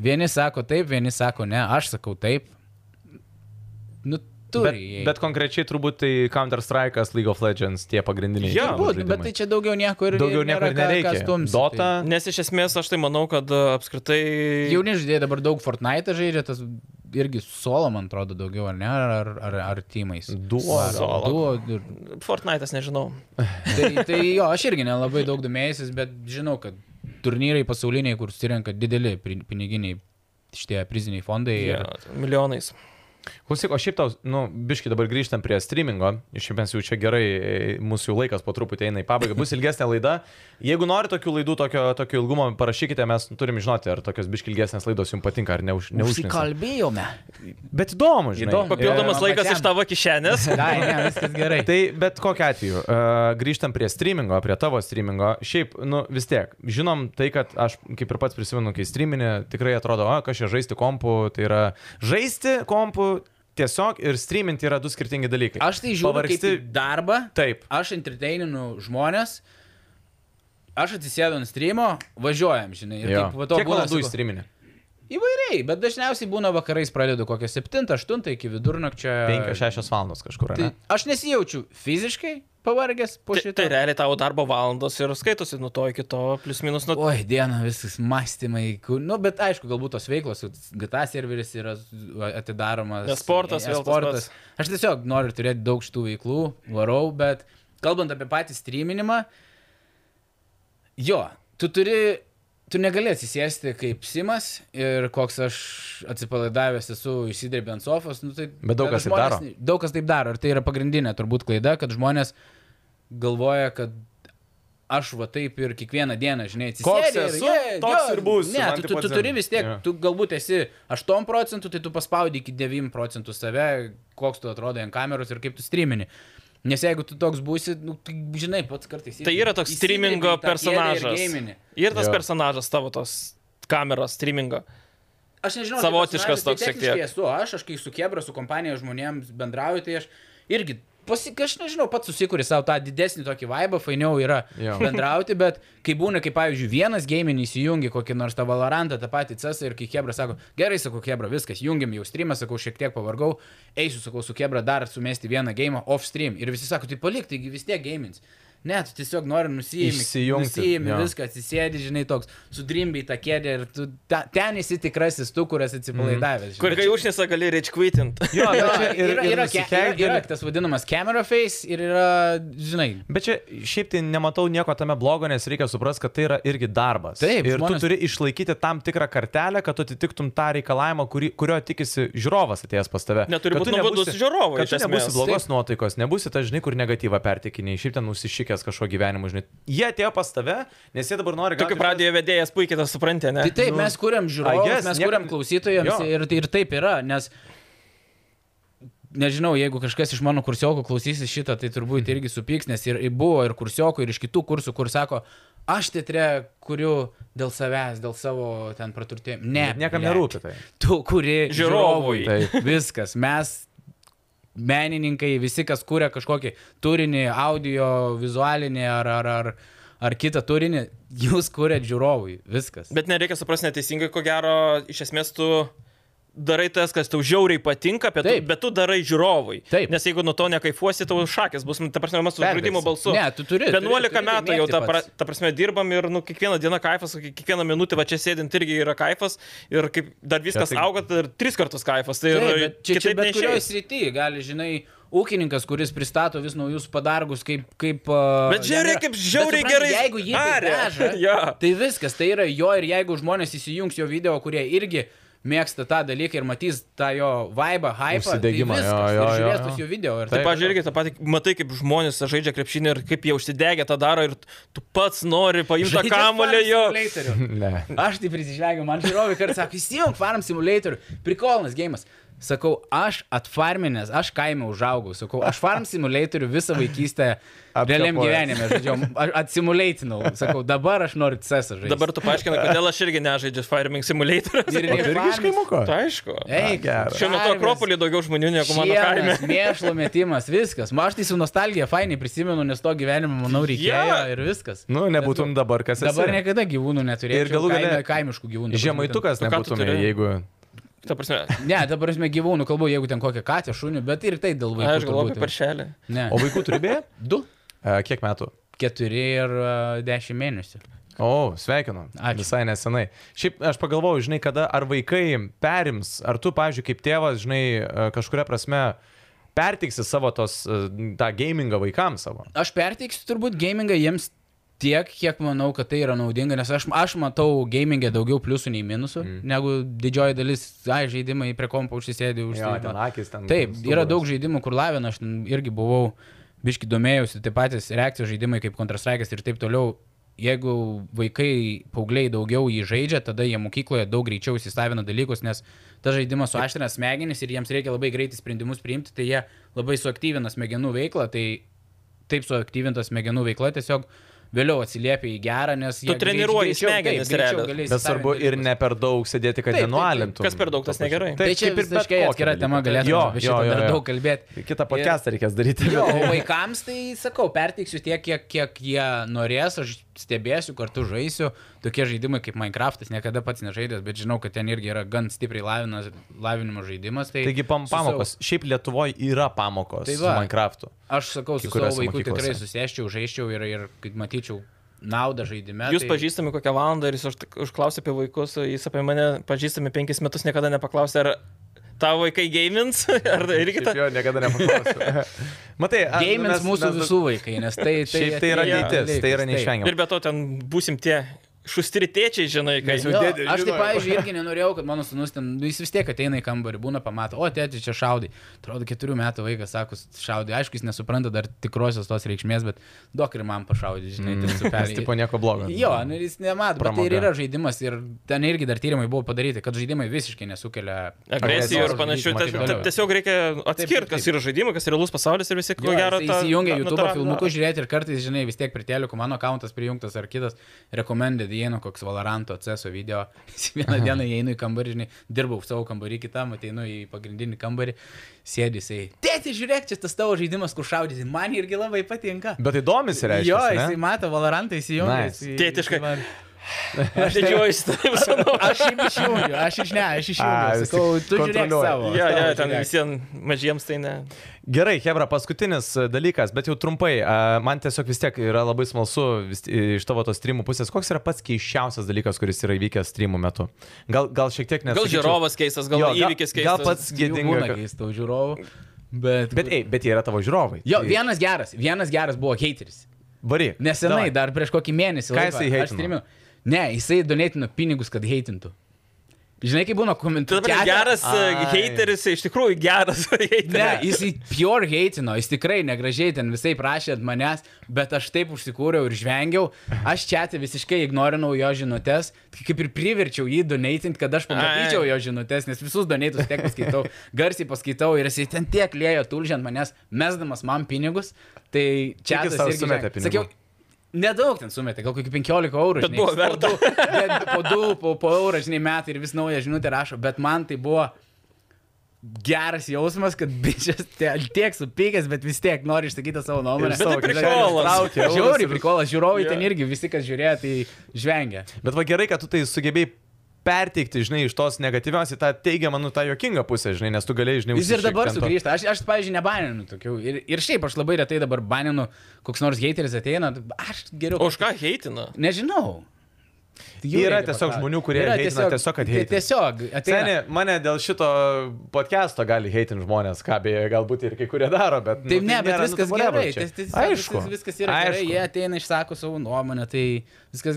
Speaker 2: Vieni sako taip, vieni sako ne, aš sakau taip. Nu, tu.
Speaker 1: Bet, bet konkrečiai turbūt tai Counter-Strike'as, League of Legends tie pagrindiniai.
Speaker 3: Jo.
Speaker 1: turbūt
Speaker 2: Būt, bet
Speaker 1: žaidimai.
Speaker 2: tai čia daugiau nieko ir
Speaker 1: Daugiau
Speaker 2: ir
Speaker 1: nieko
Speaker 2: nėra
Speaker 1: ir
Speaker 2: ką-
Speaker 1: nereikia.
Speaker 2: ką stumsi,
Speaker 1: Dota.
Speaker 3: Nes iš esmės aš tai manau, kad e, apskritai...
Speaker 2: Tai. Jauni žaidėjai dabar daug Fortnite e žaidžia, tas irgi solo, man atrodo, daugiau ar ne, ar, ar, ar, ar teamais.
Speaker 1: Duo.
Speaker 2: Ar
Speaker 3: Solo.
Speaker 2: Duo. Ir...
Speaker 3: Fortnite'as, nežinau.
Speaker 2: Tai, tai jo, aš irgi nelabai daug domėjęsis, bet žinau, kad turnyrai pasauliniai, kur susirenka dideli pri- piniginiai šitie priziniai fondai.
Speaker 3: Jo,
Speaker 2: Yeah.
Speaker 3: Milijonais.
Speaker 1: Klausyk, o šiaip tau, nu, biški dabar grįžtam prie streamingo, iš esmės jau čia gerai, e, mūsų jau laikas po truputį eina į pabaigą, bus ilgesnė laida. Jeigu nori tokių laidų, tokio, tokio ilgumo, parašykite, mes turim žinoti, ar tokios biški ilgesnės laidos jums patinka, ar neuž, neužsikalbėti.
Speaker 2: Užsikalbėjome.
Speaker 1: Bet įdomu, žinai.
Speaker 2: Įdomu.
Speaker 3: Papildomas
Speaker 2: man
Speaker 3: laikas
Speaker 2: pačiam.
Speaker 3: iš tavo kišenės.
Speaker 2: Dai, ne, viskas gerai.
Speaker 1: Tai bet kokiu atveju, uh, grįžtam prie streamingo, prie tavo streamingo. Šiaip, nu vis tiek, žinom tai, kad aš kaip ir pats prisimenu, kai streaminė, tikrai atrodo, o kas čia žaisti kompu, tai yra žaisti kompu tiesiog ir streaminti yra du skirtingi dalykai.
Speaker 2: Aš tai žiūriu Pavargsti...
Speaker 1: Pavargsti-
Speaker 2: kaip į darbą.
Speaker 1: Taip.
Speaker 2: Aš entertaininu žmonės. Aš atsisėdu ant streamo, važiuojam, žinai. Ir
Speaker 1: Jo.
Speaker 2: kaip po to
Speaker 1: Kiek
Speaker 2: būna,
Speaker 1: valandų į
Speaker 2: sakau,
Speaker 1: streaminę?
Speaker 2: Įvairiai, bet dažniausiai būna vakarais pradedu kokią 7-8 iki vidurnakčio.
Speaker 1: 5-6 valandos kažkur.
Speaker 2: Tai
Speaker 1: Tai...
Speaker 2: aš nesijaučiu fiziškai pavargęs po
Speaker 3: Tai,
Speaker 2: šito.
Speaker 3: tai realiai tavo darbo valandos ir skaitosi nuo to iki to, plus minus nuo...
Speaker 2: Oi, diena, viskas mąstymai. kur- Nu, bet aišku, galbūt tos veiklos, GTA serveris yra atidaromas.
Speaker 3: Ne sportas, vėl tas
Speaker 2: sportas. Aš tiesiog noriu turėti daug šitų veiklų, varau, bet kalbant apie patį streaminimą, jo, tu turi, tu negali atsisėsti kaip Simas ir koks aš atsipalaidavęs esu išsidirbę ant sofos. Nu, tai,
Speaker 1: Bet daug
Speaker 2: tada
Speaker 1: kas taip
Speaker 2: žmonės-
Speaker 1: daro.
Speaker 2: Daug kas taip daro ir tai yra pagrindinė turbūt klaida, kad žmonės galvoja, kad aš va taip ir kiekvieną dieną, žinai,
Speaker 1: Koks
Speaker 2: atsisėdžiu.
Speaker 1: esu, toks ir būsiu,
Speaker 2: Ne,
Speaker 1: man
Speaker 2: tu,
Speaker 1: taip
Speaker 2: tu,
Speaker 1: pat
Speaker 2: tu
Speaker 1: dzin.
Speaker 2: turi vis tiek,
Speaker 1: Jo.
Speaker 2: yeah. tu galbūt esi 8 procentų, tai tu paspaudi iki 9 procentų save, koks tu atrodai ant kameros ir kaip tu streamini. Nes jeigu tu toks būsi, nu, tai, žinai, pats kartais...
Speaker 3: Tai yra toks streamingo personažas. Ir tas
Speaker 1: Jo.
Speaker 3: personažas tavo tos kameros streamingo.
Speaker 2: Aš nežinau,
Speaker 3: Savotiškas toks šiek
Speaker 2: šiek
Speaker 3: tiek.
Speaker 2: tiek. Esu aš, aš kai su Kebra, su kompanija žmonėms bendrauju, tai aš irgi, pasi, aš nežinau, pats susikuri savo tą didesnį tokį vaibą, fainiau yra
Speaker 1: Jo.
Speaker 2: bendrauti, bet kai būna, kaip pavyzdžiui, vienas gėminį įsijungi kokį nors tą Valorantą, tą patį Cesą ir kai Kebra sako, gerai, sakau, Kebra, viskas, jungiam jau streamą, sakau, šiek tiek pavargau, eisiu, sakau, su Kebra dar sumesti vieną gėjimą off stream. Ir visi sako, tai palik, taigi vis tiek gėjimins. Ne, tu tiesiog nori nusijimti.
Speaker 1: Išsijungti,
Speaker 2: Nusijimti
Speaker 1: jo.
Speaker 2: viską, atsisėdi, žinai, toks, sudrimbi į tą kėdę ir tu ta, ten esi tikrasis tu, kurias atsipalaidavęs.
Speaker 3: Kur kai užnisa gali reičkvitinti.
Speaker 1: Jo,
Speaker 2: Jo,
Speaker 1: bet čia ir,
Speaker 2: yra,
Speaker 1: ir
Speaker 2: yra, ke- yra,
Speaker 1: nusikeikt
Speaker 2: yra
Speaker 1: gali.
Speaker 2: tas vadinamas camera face ir yra, žinai,
Speaker 1: Bet čia šiaip tai nematau nieko tame blogo, nes reikia suprasti, kad tai yra irgi darbas.
Speaker 2: Taip,
Speaker 1: ir
Speaker 2: žmonės-
Speaker 1: tu turi išlaikyti tam tikrą kartelę, kad tu atitiktum tą reikalavimą, kurį, kurio tikisi žiūrovas atėjęs pas tave.
Speaker 3: Neturi
Speaker 1: Kad
Speaker 3: būt
Speaker 1: tu
Speaker 3: nuobodus
Speaker 1: nebūsi-
Speaker 3: žiūrovui,
Speaker 1: Kad
Speaker 3: iš
Speaker 1: tu nebūsi
Speaker 3: esmės.
Speaker 1: blogos nuotaikos, nebūsi ta žinai, kur negatyvą pertikiniai, šiaip ten nusišykęs kažko gyvenimu, žinai. Jie atėjo pas tave, nes jie dabar nori
Speaker 3: Tu kaip radio vedėjas puikiai tą supranti, ne?
Speaker 2: Tai taip, nu, mes kuriam žiūrovams,
Speaker 1: guess,
Speaker 2: mes
Speaker 1: niek-
Speaker 2: kuriam klausytojams
Speaker 1: Jo.
Speaker 2: ir, ir taip yra, nes nežinau, jeigu kažkas iš mano kursiokų klausysis šitą, tai turbūt irgi supyks, nes ir ir buvo ir kursiokų, ir iš kitų kursų, kur sako, aš teatre kuriu dėl savęs, dėl savo ten praturtėjimų. Ne,
Speaker 1: Bet niekam
Speaker 2: blet.
Speaker 1: nerūpi tai.
Speaker 2: Tu kuri
Speaker 3: Žiūrovui.
Speaker 2: žiūrovui. Viskas, mes menininkai, visi, kas kuria kažkokį turinį, audio, vizualinį ar, ar, ar, ar kitą turinį, jūs kuriat žiūrovui. Viskas.
Speaker 3: Bet nereikia suprasti neteisingai, ko gero, iš esmės tu darai tas, kas tau žiauriai patinka, bet, tu,
Speaker 2: Taip.
Speaker 3: bet tu darai žiūrovui.
Speaker 2: Taip.
Speaker 3: Nes jeigu nuo to nekaifuosi, tau šakės bus, nu, ta prasme, mes su
Speaker 1: Perversi.
Speaker 3: žaidimo balsu.
Speaker 2: Ne, tu turi, turi,
Speaker 3: 11
Speaker 2: turi
Speaker 3: metų
Speaker 2: mėgti
Speaker 3: jau, ta,
Speaker 2: pats.
Speaker 3: pra, ta prasme, dirbam ir, nu, kiekvieną dieną kaifas, kiek- kiekvieną minutę va čia sėdint irgi yra kaifas ir kaip dar viskas
Speaker 1: tai-
Speaker 3: tai... auga, tai ir tris kartus kaifas. Tai
Speaker 2: Taip,
Speaker 3: ir
Speaker 2: bet čia, čia
Speaker 3: kitaip
Speaker 2: bet
Speaker 3: neišeis.
Speaker 2: kurioje srityje gali, žinai, ūkininkas, kuris pristato vis naujus padargus, kaip... kaip a,
Speaker 3: Bet
Speaker 2: jam
Speaker 3: žiauriai
Speaker 2: yra-
Speaker 3: kaip žiauriai
Speaker 2: Bet supranti,
Speaker 3: gerai
Speaker 2: Jeigu jį
Speaker 3: darė.
Speaker 2: veža,
Speaker 3: Jo.
Speaker 2: tai viskas, tai yra jo ir jeigu žmonės įsijungs jo video, kurie irgi mėgsta tą dalyką ir matys tą jo vaibą, hype,
Speaker 1: Užsidegimą,
Speaker 2: tai viskas,
Speaker 1: jo, jo,
Speaker 2: ir
Speaker 1: jo,
Speaker 2: žiūrės
Speaker 1: jo.
Speaker 2: tas jo video. Ir
Speaker 1: Taip.
Speaker 3: Tai, pažiūrėk, irgi tą patį, matai, kaip žmonės žaidžia krepšinį ir kaip jie užsidegę tą daro ir tu pats nori paimti tą
Speaker 2: Žaidžia
Speaker 3: kamulį
Speaker 2: Farm
Speaker 3: jo.
Speaker 2: Simulatorių.
Speaker 1: Ne.
Speaker 2: Aš tai prisižlegiu, man žiūrovai kartais sako, įsijung farm simulatorių, prikolnas gėjimas. Sakau, aš atfarminęs, aš kaime užaugau, sakau, aš farm simulatorių visą vaikystę realiam
Speaker 1: Apkapojęs.
Speaker 2: gyvenime žaidžiau, aš atsimulaitinau, sakau, dabar aš noriu cesą žaisti.
Speaker 3: Dabar tu paaiškinai, kodėl aš irgi nežaidžiu Fireming Simulator.
Speaker 2: Ir
Speaker 1: O tu irgi iš
Speaker 2: farmis-
Speaker 1: kaimuko?
Speaker 3: Tai aišku.
Speaker 2: Eik,
Speaker 1: geras.
Speaker 3: Šiuo metu
Speaker 2: karvės,
Speaker 3: Akropolį daugiau žmonių negu mano kaime.
Speaker 2: šienas, Mėšlo metimas, viskas. Ma, aš tai su nostalgija fainai prisimenu, nes to gyvenimo, manau, reikėjo
Speaker 3: Jo.
Speaker 2: ir viskas.
Speaker 1: Nu, nebūtum dabar kas esi.
Speaker 2: Dabar niekada gyvūnų neturėjau.
Speaker 1: Ir galų gale-
Speaker 2: kaimiškų gyvūnų. dabar būtent-
Speaker 1: Žemaitukas
Speaker 3: Nu, ką tu
Speaker 1: nebūtumė,
Speaker 3: turi?
Speaker 1: jeigu...
Speaker 3: Ta prasme,
Speaker 2: Ne, dabar aš gyvūnų kalbu, jeigu ten kokią katę, šunį, bet ir tai dėl vaikų.
Speaker 3: aš galvoju
Speaker 2: turbūt.
Speaker 3: apie paršelį.
Speaker 2: Ne.
Speaker 1: O vaikų turi beje?
Speaker 2: Du.
Speaker 1: E, Kiek metų?
Speaker 2: Keturi ir a, dešimt mėnesių.
Speaker 1: O, sveikinu.
Speaker 2: Ačiū.
Speaker 1: Visai nesenai. Šiaip aš pagalvojau, žinai, kada ar vaikai perims, ar tu, pavyzdžiui, kaip tėvas, žinai, e, kažkuria prasme pertiksi savo tos, e, tą gamingą vaikams savo.
Speaker 2: Aš perteiksiu turbūt gamingą jiems tiek, kiek manau, kad tai yra naudinga, nes aš, aš matau gamingę daugiau pliusų nei minusų, mm. negu didžioji dalis, ai, žaidimai prie kompo užsisėdė už
Speaker 1: Jo, ten akys ten
Speaker 2: Taip, yra
Speaker 1: stuburas.
Speaker 2: daug žaidimų, kur lavina, aš ten irgi buvau, biški domėjausi, tai patys reakcijos žaidimai kaip kontrastraikės ir taip toliau. Jeigu vaikai, paaugliai daugiau jį žaidžia, tada jie mokykloje daug greičiau įsisavina dalykus, nes ta žaidimas suaštrina smegenis ir jiems reikia labai greitai sprendimus priimti, tai jie labai suaktyvina smegenų veiklą, tai taip suaktyvinta smegenų veikla tiesiog vėliau atsiliepia į gerą, nes jie greit-
Speaker 3: treniruoji
Speaker 2: greičiau- taip,
Speaker 3: smegenis
Speaker 2: greičiau
Speaker 3: realiai.
Speaker 2: gali įsisavint
Speaker 1: Bet svarbu ir
Speaker 2: dalykus.
Speaker 1: ne per daug sėdėti, kad
Speaker 2: Taip, taip, taip.
Speaker 1: nenualintum.
Speaker 3: Kas per daug, tas negerai.
Speaker 1: Taip,
Speaker 2: Tai
Speaker 1: kaip
Speaker 2: čia
Speaker 1: ir
Speaker 2: ir
Speaker 1: bet
Speaker 2: visiškai
Speaker 1: kokį
Speaker 2: atskira
Speaker 1: dalyką.
Speaker 2: tema galėtume
Speaker 1: Jo,
Speaker 2: apie
Speaker 1: jo,
Speaker 2: šitą
Speaker 1: jo,
Speaker 2: dar
Speaker 1: jo.
Speaker 2: daug kalbėti.
Speaker 1: Kitą podcastą reikės daryti.
Speaker 2: Jo, o vaikams tai sakau, perteiksiu tiek, kiek, kiek jie norės, aš stebėsiu, kartu žaisiu. Tokie žaidimai kaip Minecraftas niekada pats nežaidęs, bet žinau, kad ten irgi yra gan stipriai lavinas, lavinimo žaidimas. Tai
Speaker 1: Taigi pam,
Speaker 2: su savo-
Speaker 1: pamokos. Šiaip Lietuvoje yra pamokos
Speaker 2: Tai
Speaker 1: tai su
Speaker 2: va.
Speaker 1: Minecraftu.
Speaker 2: Aš sakau,
Speaker 1: Kai
Speaker 2: su
Speaker 1: kuriose
Speaker 2: savo vaiku
Speaker 1: mokyklose.
Speaker 2: tikrai susėščiau, žaisčiau ir, ir kad matyčiau naudą žaidime. tai
Speaker 3: Jūs pažįstami kokią valandą ir jis už- užklausė apie vaikus, jis apie mane pažįstami penkis metus niekada nepaklausė, ar tavo vaikai gamins, ar
Speaker 1: Taip,
Speaker 3: irgi ta...
Speaker 1: jo, niekada nepaklausiu. Matai, a, nu,
Speaker 2: Gamins
Speaker 1: mes-
Speaker 2: mūsų
Speaker 1: mes-
Speaker 2: visų vaikai, nes tai... tai
Speaker 1: Šiaip tai yra
Speaker 2: ateities
Speaker 1: ateitis, tai
Speaker 2: dalykas,
Speaker 1: yra
Speaker 2: taip.
Speaker 1: neišvengiama.
Speaker 3: Ir be to ten busim tie šustritiečiai, žinai, kai...
Speaker 1: jau-
Speaker 2: Jo,
Speaker 1: dėdė
Speaker 2: aš tai,
Speaker 1: žinojo.
Speaker 2: pavyzdžiui, irgi nenorėjau, kad mano sunus ten, nu, jis vis tiek ateina į kambarį, būna pamato, o tėti čia šaudai. Atrodo, keturių metų vaikas sako, šaudai. Aišku, jis nesupranta dar tikrosios tos reikšmės, bet dok ir man pašaudai, žinai, ten
Speaker 1: Mm, Nes tipo
Speaker 2: supelė.
Speaker 1: nieko blogo.
Speaker 2: Jo, nu, jis nemato, bet tai ir
Speaker 1: Pramoga.
Speaker 2: yra žaidimas ir ten irgi dar tyrimai buvo padaryti, kad žaidimai visiškai nesukelia
Speaker 3: agresijų ir
Speaker 1: Agresijos
Speaker 3: panašių.
Speaker 1: žaidimą,
Speaker 3: Ta,
Speaker 1: taip
Speaker 3: ta,
Speaker 1: toliau.
Speaker 3: tiesiog reikia atskirti, kas
Speaker 2: taip.
Speaker 3: yra žaidimai, kas realus pasaulis ir visi, ko gero,
Speaker 2: tai
Speaker 3: tą-
Speaker 2: įsijungia
Speaker 3: tą-
Speaker 2: YouTube
Speaker 3: tą-
Speaker 2: filmukus žiūrėti ir kartais, žinai, vis tiek pritelėku, mano akantas prijungtas ar kitas, recommended įeinu koks Valoranto CSO video, vieną dieną įeinu į kambarį, žinai, dirbau savo kambarį, kitam ateinu į pagrindinį kambarį, sėdi jisai. Tėti, žiūrėk, čia tas tavo žaidimas, kur šaudyti, man irgi labai patinka.
Speaker 1: Bet tai įdomis reiškia.
Speaker 2: Jo, jisai mato Valorantą įsijungęs.
Speaker 1: Nice.
Speaker 2: į-
Speaker 3: Tėtiškai.
Speaker 2: į man-
Speaker 3: Aš didžiuojuosi tavim, senu.
Speaker 2: Aš šiaip išjungiu, aš iš ne, aš
Speaker 1: A,
Speaker 2: išjungiu.
Speaker 1: vis
Speaker 2: Sakau,
Speaker 1: tik
Speaker 2: tu žiūrėk
Speaker 1: kontroliuoji.
Speaker 2: savo.
Speaker 3: Jo,
Speaker 2: savo
Speaker 3: jo, ten
Speaker 2: žiūrėk.
Speaker 3: visiems mažiems tai ne.
Speaker 1: Gerai, Hebra, paskutinis e, dalykas, bet jau trumpai. E, Man tiesiog vis tiek yra labai smalsu vis, e, iš tavo tos streamų pusės. Koks yra pats keiščiausias dalykas, kuris yra įvykęs streamų metu? Gal, gal šiek tiek nes...
Speaker 3: Gal žiūrovas keistas, gal
Speaker 1: Jo, gal-
Speaker 3: įvykis keistas.
Speaker 1: gal pats
Speaker 2: Jų
Speaker 1: gėdinga,
Speaker 2: Būna
Speaker 1: kad-
Speaker 2: keistų žiūrovų. Bet,
Speaker 1: Bet, ei, bet jie yra tavo žiūrovai.
Speaker 2: Jo,
Speaker 1: Tai-
Speaker 2: vienas geras, vienas geras buvo hateris.
Speaker 1: Varyk.
Speaker 2: Nesenai,
Speaker 1: Davai.
Speaker 2: dar prieš kokį mėnesį.
Speaker 1: Ką
Speaker 2: laiko
Speaker 1: jisai
Speaker 2: aš
Speaker 1: heitino?
Speaker 2: streaminu. Ne, jisai donėtino pinigus, kad heitintų. Žinai, kaip būna
Speaker 3: Tu dabar
Speaker 2: komentarai.
Speaker 3: geras
Speaker 1: Ai.
Speaker 3: Ai. hateris, iš tikrųjų geras hateris.
Speaker 2: Ne, jis į pure heitino, jis tikrai negražiai ten visai prašė ant manęs, bet aš taip užsikūriau ir žvengiau. Aš čia tai visiškai ignorinau jo žinutės, tai kaip ir priverčiau jį donatint, kad aš pamatyčiau
Speaker 3: Ai.
Speaker 2: jo žinutės, nes visus donatus tiek paskaitau, garsiai paskaitau ir jisai ten tiek lėjo tulžiant manęs, mesdamas man pinigus. Tai čia
Speaker 1: Kiek jis tau sumetė pinigų?
Speaker 2: Sakiau, Nedaug ten sumetė, gal kokį 15 eurų.
Speaker 3: Bet buvo verta.
Speaker 2: Po 2, po, du, po, po eurą, žinai, metai ir vis naują žinutę rašo, bet man tai buvo geras jausmas, kad bičias te- tiek supykęs, bet vis tiek nori išsakyti savo nuomonę.
Speaker 3: Bet tai
Speaker 2: Savo kišenės
Speaker 3: prikolas.
Speaker 2: traukia eurus Žiauriai
Speaker 1: ir-
Speaker 2: prikolas, žiūrovai
Speaker 3: Jo.
Speaker 2: ten irgi, visi, kas žiūrėjo, tai žvengia.
Speaker 1: Bet va gerai, kad tu tai sugebėjai perteikti, žinai, iš tos negatyvios į tą teigiamą, nu tą jokingą pusę, žinai, nes tu galėjai, žinai,
Speaker 2: Jis ir dabar
Speaker 1: užsišikti ant to.
Speaker 2: sugrįžta. Aš, aš pavyzdžiui, nebaninu tokių. Ir, ir šiaip aš labai retai dabar baninu, koks nors hateris ateina, aš geriau.
Speaker 3: O už ką heitina?
Speaker 2: Nežinau. Tai jų
Speaker 1: Yra
Speaker 2: reikia
Speaker 1: tiesiog
Speaker 2: paklaust.
Speaker 1: žmonių, kurie
Speaker 2: Yra tai
Speaker 1: heitina tiesiog, kad heitina.
Speaker 2: Tiesiog.
Speaker 1: Seni,
Speaker 2: ateina-
Speaker 1: mane dėl šito podcast'o gali heitin žmonės, ką beje, galbūt ir kai kurie daro, bet... nu,
Speaker 2: Taip, ne, bet
Speaker 1: nėra, nu,
Speaker 2: viskas
Speaker 1: tai whatever
Speaker 2: gerai.
Speaker 1: čia.
Speaker 2: Ties- ties-
Speaker 1: Aišku.
Speaker 2: viskas- Viskas yra gerai.
Speaker 1: aišku.
Speaker 2: Jie ateina, išsako savo nuomonę, tai viskas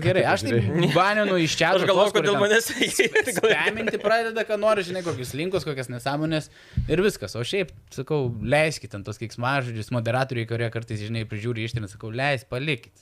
Speaker 2: gerai. Aš tai
Speaker 1: žiūrėjai.
Speaker 2: baninu iš čia.
Speaker 3: Aš galvoju, kad dėl manęs heitina.
Speaker 2: Paminti pradeda, ką nori, žinai, kokius linkus, kokias nesąmonės ir viskas. O šiaip, sakau, leiskit ant tos keiksmažodžius, moderatoriai, kurie kartais, žinai, prižiūri ištinę, sakau, leis, palikit.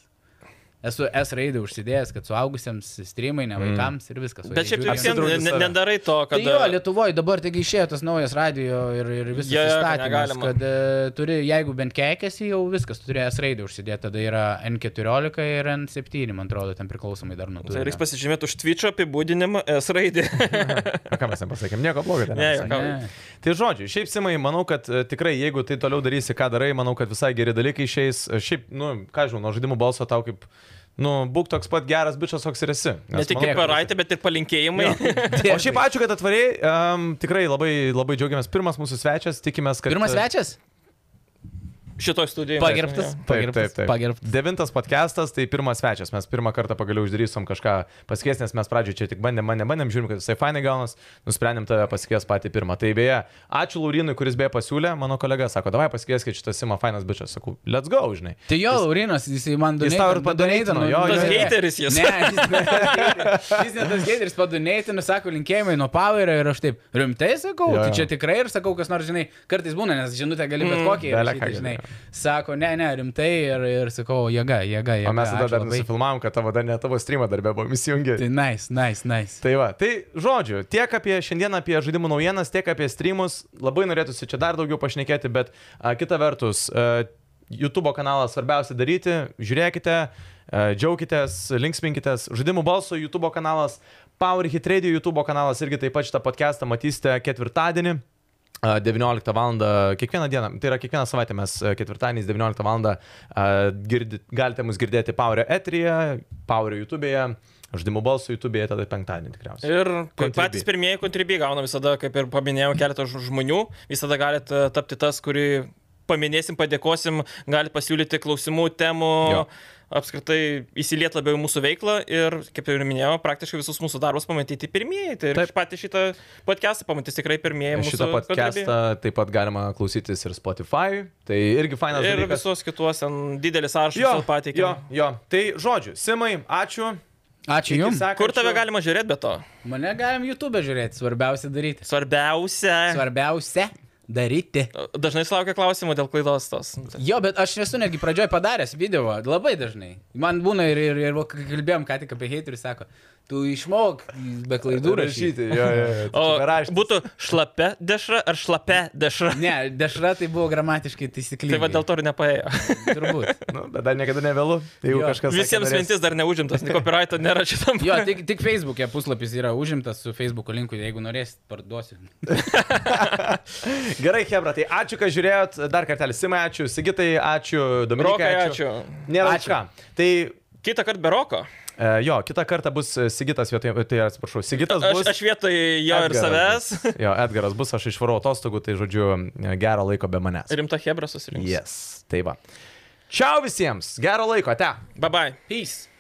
Speaker 2: Esu S raidę užsidėjęs, kad suaugusiems streamai, ne vaikams ir viskas. O
Speaker 3: Bet
Speaker 2: jie
Speaker 3: šiaip
Speaker 2: žiūri
Speaker 3: tai
Speaker 2: ant-
Speaker 3: vis vien
Speaker 1: Apsidraudi
Speaker 3: ne-
Speaker 1: save.
Speaker 3: nedarai to,
Speaker 2: Tai
Speaker 3: kad... e,
Speaker 2: jo, Lietuvoje dabar taigi išėjo tas naujas radio ir, ir visas
Speaker 3: Jo, jo,
Speaker 2: yeah,
Speaker 3: kad
Speaker 2: įstatymas,
Speaker 3: negalima.
Speaker 2: kad, kad turi, jeigu bent keikiasi, jau viskas, tu turi S-raidę užsidėti, tada yra N14 ir N7, man atrodo, ten priklausomai dar nuo
Speaker 3: Tai
Speaker 2: to.
Speaker 3: reiks pasižymėti už Twitch'o apibūdinimą S raidį.
Speaker 1: Na, ką mes ten pasakėm, nieko blogo. ten
Speaker 3: Ne,
Speaker 1: nepasakėm.
Speaker 3: juokauju.
Speaker 1: Tai žodžiu, šiaip Simai, manau, kad e, tikrai, jeigu tai toliau darysi, ką darai, manau, kad visai geri dalykai išeis. E, Šiaip, nu, ką žinau, nuo žaidimų balso tau kaip, nu, būk toks pat geras bičias, koks ir esi.
Speaker 3: Ne tik
Speaker 1: manau,
Speaker 3: kaip paraitė, bet ir palinkėjimai.
Speaker 1: O šiaip ačiū, kad atvarėjai. Um, tikrai labai, labai džiaugiamės. Pirmas mūsų svečias, tikimės, kad...
Speaker 2: Pirmas svečias?
Speaker 3: Šitoj studijoje.
Speaker 2: Pagerbtas.
Speaker 1: Taip, taip,
Speaker 2: Pagerbtas,
Speaker 1: taip.
Speaker 2: pagerbtas.
Speaker 1: Devintas podcastas, tai pirmas svečias. Mes pirmą kartą pagaliau uždarysim kažką pasikvies, nes mes pradžioje čia tik bandėm, bandėm, bandėm, žiūrim, kad jisai fainai gaunas, nusprendėm tave pasikvies patį pirmą. Tai beje, ačiū Laurinui, kuris beje pasiūlė, mano kolega sako, davai pasikvieskit šitą Simą fainas bičias. Sakau, let's go, žinai.
Speaker 2: Tai jo, Laurinas, jisai man
Speaker 1: Jis
Speaker 2: donatino.
Speaker 1: tau ir padaneitino, jo,
Speaker 3: Tas
Speaker 1: jo, jo.
Speaker 3: hateris jis.
Speaker 2: Ne, jis ne tas hateris. jis ne tas hateris, padonėtinu, sako linkėjimai nuo Powerio ir aš taip, rimtai sakau,
Speaker 1: Jo,
Speaker 2: tai
Speaker 1: jo.
Speaker 2: čia tikrai ir sakau, kas nors, žinai, kartais būna, nes žinutę gali bet
Speaker 3: Mm,
Speaker 2: kokį,
Speaker 1: bele ką
Speaker 2: rašyti,
Speaker 1: gali,
Speaker 2: žinai.
Speaker 1: jo.
Speaker 2: Sako, ne, ne, rimtai ir, ir sakau, jėga, jėga, jėga.
Speaker 1: O mes tada
Speaker 2: ačiū
Speaker 1: dar
Speaker 2: labai.
Speaker 1: nusifilmavom, kad tavo dar ne tavo streamą darbę buvom įsijungę.
Speaker 2: Tai nice, nice, nice.
Speaker 1: Tai va, tai žodžiu, tiek apie šiandieną apie žaidimų naujienas, tiek apie streamus. Labai norėtųsi čia dar daugiau pašnekėti, bet a, kita vertus, a, YouTube kanalą svarbiausia daryti, žiūrėkite, a, džiaukitės, linksminkitės. Žaidimų balso YouTube kanalas, Power Hit Radio YouTube kanalas irgi taip pat šitą podcastą matysite ketvirtadienį. a, 19 val. kiekvieną dieną, tai yra kiekvieną savaitę mes a, ketvirtadieniais 19 val. Girdit, galite mus girdėti Power Eterija, Power YouTube'e, Žaidimų balso YouTube'e, tada penktadienį tikriausiai.
Speaker 3: Ir
Speaker 1: Contribui.
Speaker 3: patys pirmieji kontribiai gauna visada, kaip ir paminėjau, keletą ž- žmonių. Visada galite tapti tas, kurį paminėsim, padėkosim, galite pasiūlyti klausimų, temų.
Speaker 1: Jo.
Speaker 3: Jo. Apskritai įsiliet labiau į mūsų veiklą ir, kaip jau ir minėjau, praktiškai visus mūsų darbus pamatyti pirmieji. Tai ir
Speaker 1: Taip.
Speaker 3: patį šitą podcastą pamatys tikrai pirmieji mūsų
Speaker 1: Šitą podcastą
Speaker 3: contribui.
Speaker 1: taip pat galima klausytis ir Spotify. Tai irgi fainas
Speaker 3: Ir
Speaker 1: dalykas.
Speaker 3: visos kitos, ten didelis sąrašas
Speaker 1: jo,
Speaker 3: pateikė.
Speaker 1: jo. Tai žodžiu, Simai, ačiū.
Speaker 2: Ačiū
Speaker 1: Iki
Speaker 2: Jums.
Speaker 1: sekančio.
Speaker 3: Kur tave galima žiūrėti be to?
Speaker 2: Mane galim YouTube žiūrėti, svarbiausia daryti.
Speaker 3: Svarbiausia.
Speaker 2: Svarbiausia daryti.
Speaker 3: Dažnai sulaukia klausimų dėl klaidos tos.
Speaker 2: Jo, bet aš esu netgi pradžioj padaręs video, labai dažnai. Man būna ir, ir, ir va, kai kalbėjom ką tik apie haterį, sako, tu išmok be klaidų rašyti.
Speaker 1: Jo, jo, jo.
Speaker 3: O
Speaker 1: Čia beraštis.
Speaker 3: būtų šlapia dešra ar šlapia dešra?
Speaker 2: Ne, dešra tai buvo gramatiškai taisyklinga.
Speaker 3: Tai va dėl to ir nepaėjo.
Speaker 2: Turbūt.
Speaker 1: Nu, bet dar niekada nevėlu. Jeigu
Speaker 2: Jo.
Speaker 1: kažkas... sakė,
Speaker 3: Visiems
Speaker 1: norės-
Speaker 3: mintis dar neužimtas, nei copyrighto nėra šitam.
Speaker 2: Jo, tik, tik Facebook'e puslapis yra užimtas su Facebook'o linku, jeigu norėsit, parduosiu.
Speaker 1: Gerai, Hebra, tai ačiū, kad žiūrėjot. Dar kartelį Simai, ačiū. Sigitai, ačiū. Dominikai,
Speaker 3: Rokai,
Speaker 1: ačiū.
Speaker 3: ačiū.
Speaker 1: Nėra
Speaker 2: Ačiū.
Speaker 1: ačiū. ką. Tai
Speaker 3: Kita kart be roko.
Speaker 1: E, jo, kitą kartą bus Sigitas vietoj, tai atsiprašau, Sigitas
Speaker 3: Aš,
Speaker 1: bus.
Speaker 3: aš vietoj jo ir
Speaker 1: Edgaras
Speaker 3: savęs.
Speaker 1: bus. Jo, Edgaras bus, aš išvarau atostogų, tai žodžiu, gero laiko be manęs.
Speaker 3: Rimta Hebra susirinks.
Speaker 1: Yes, tai va. Čiau visiems, gero laiko, te.
Speaker 3: Bye bye.
Speaker 2: Peace.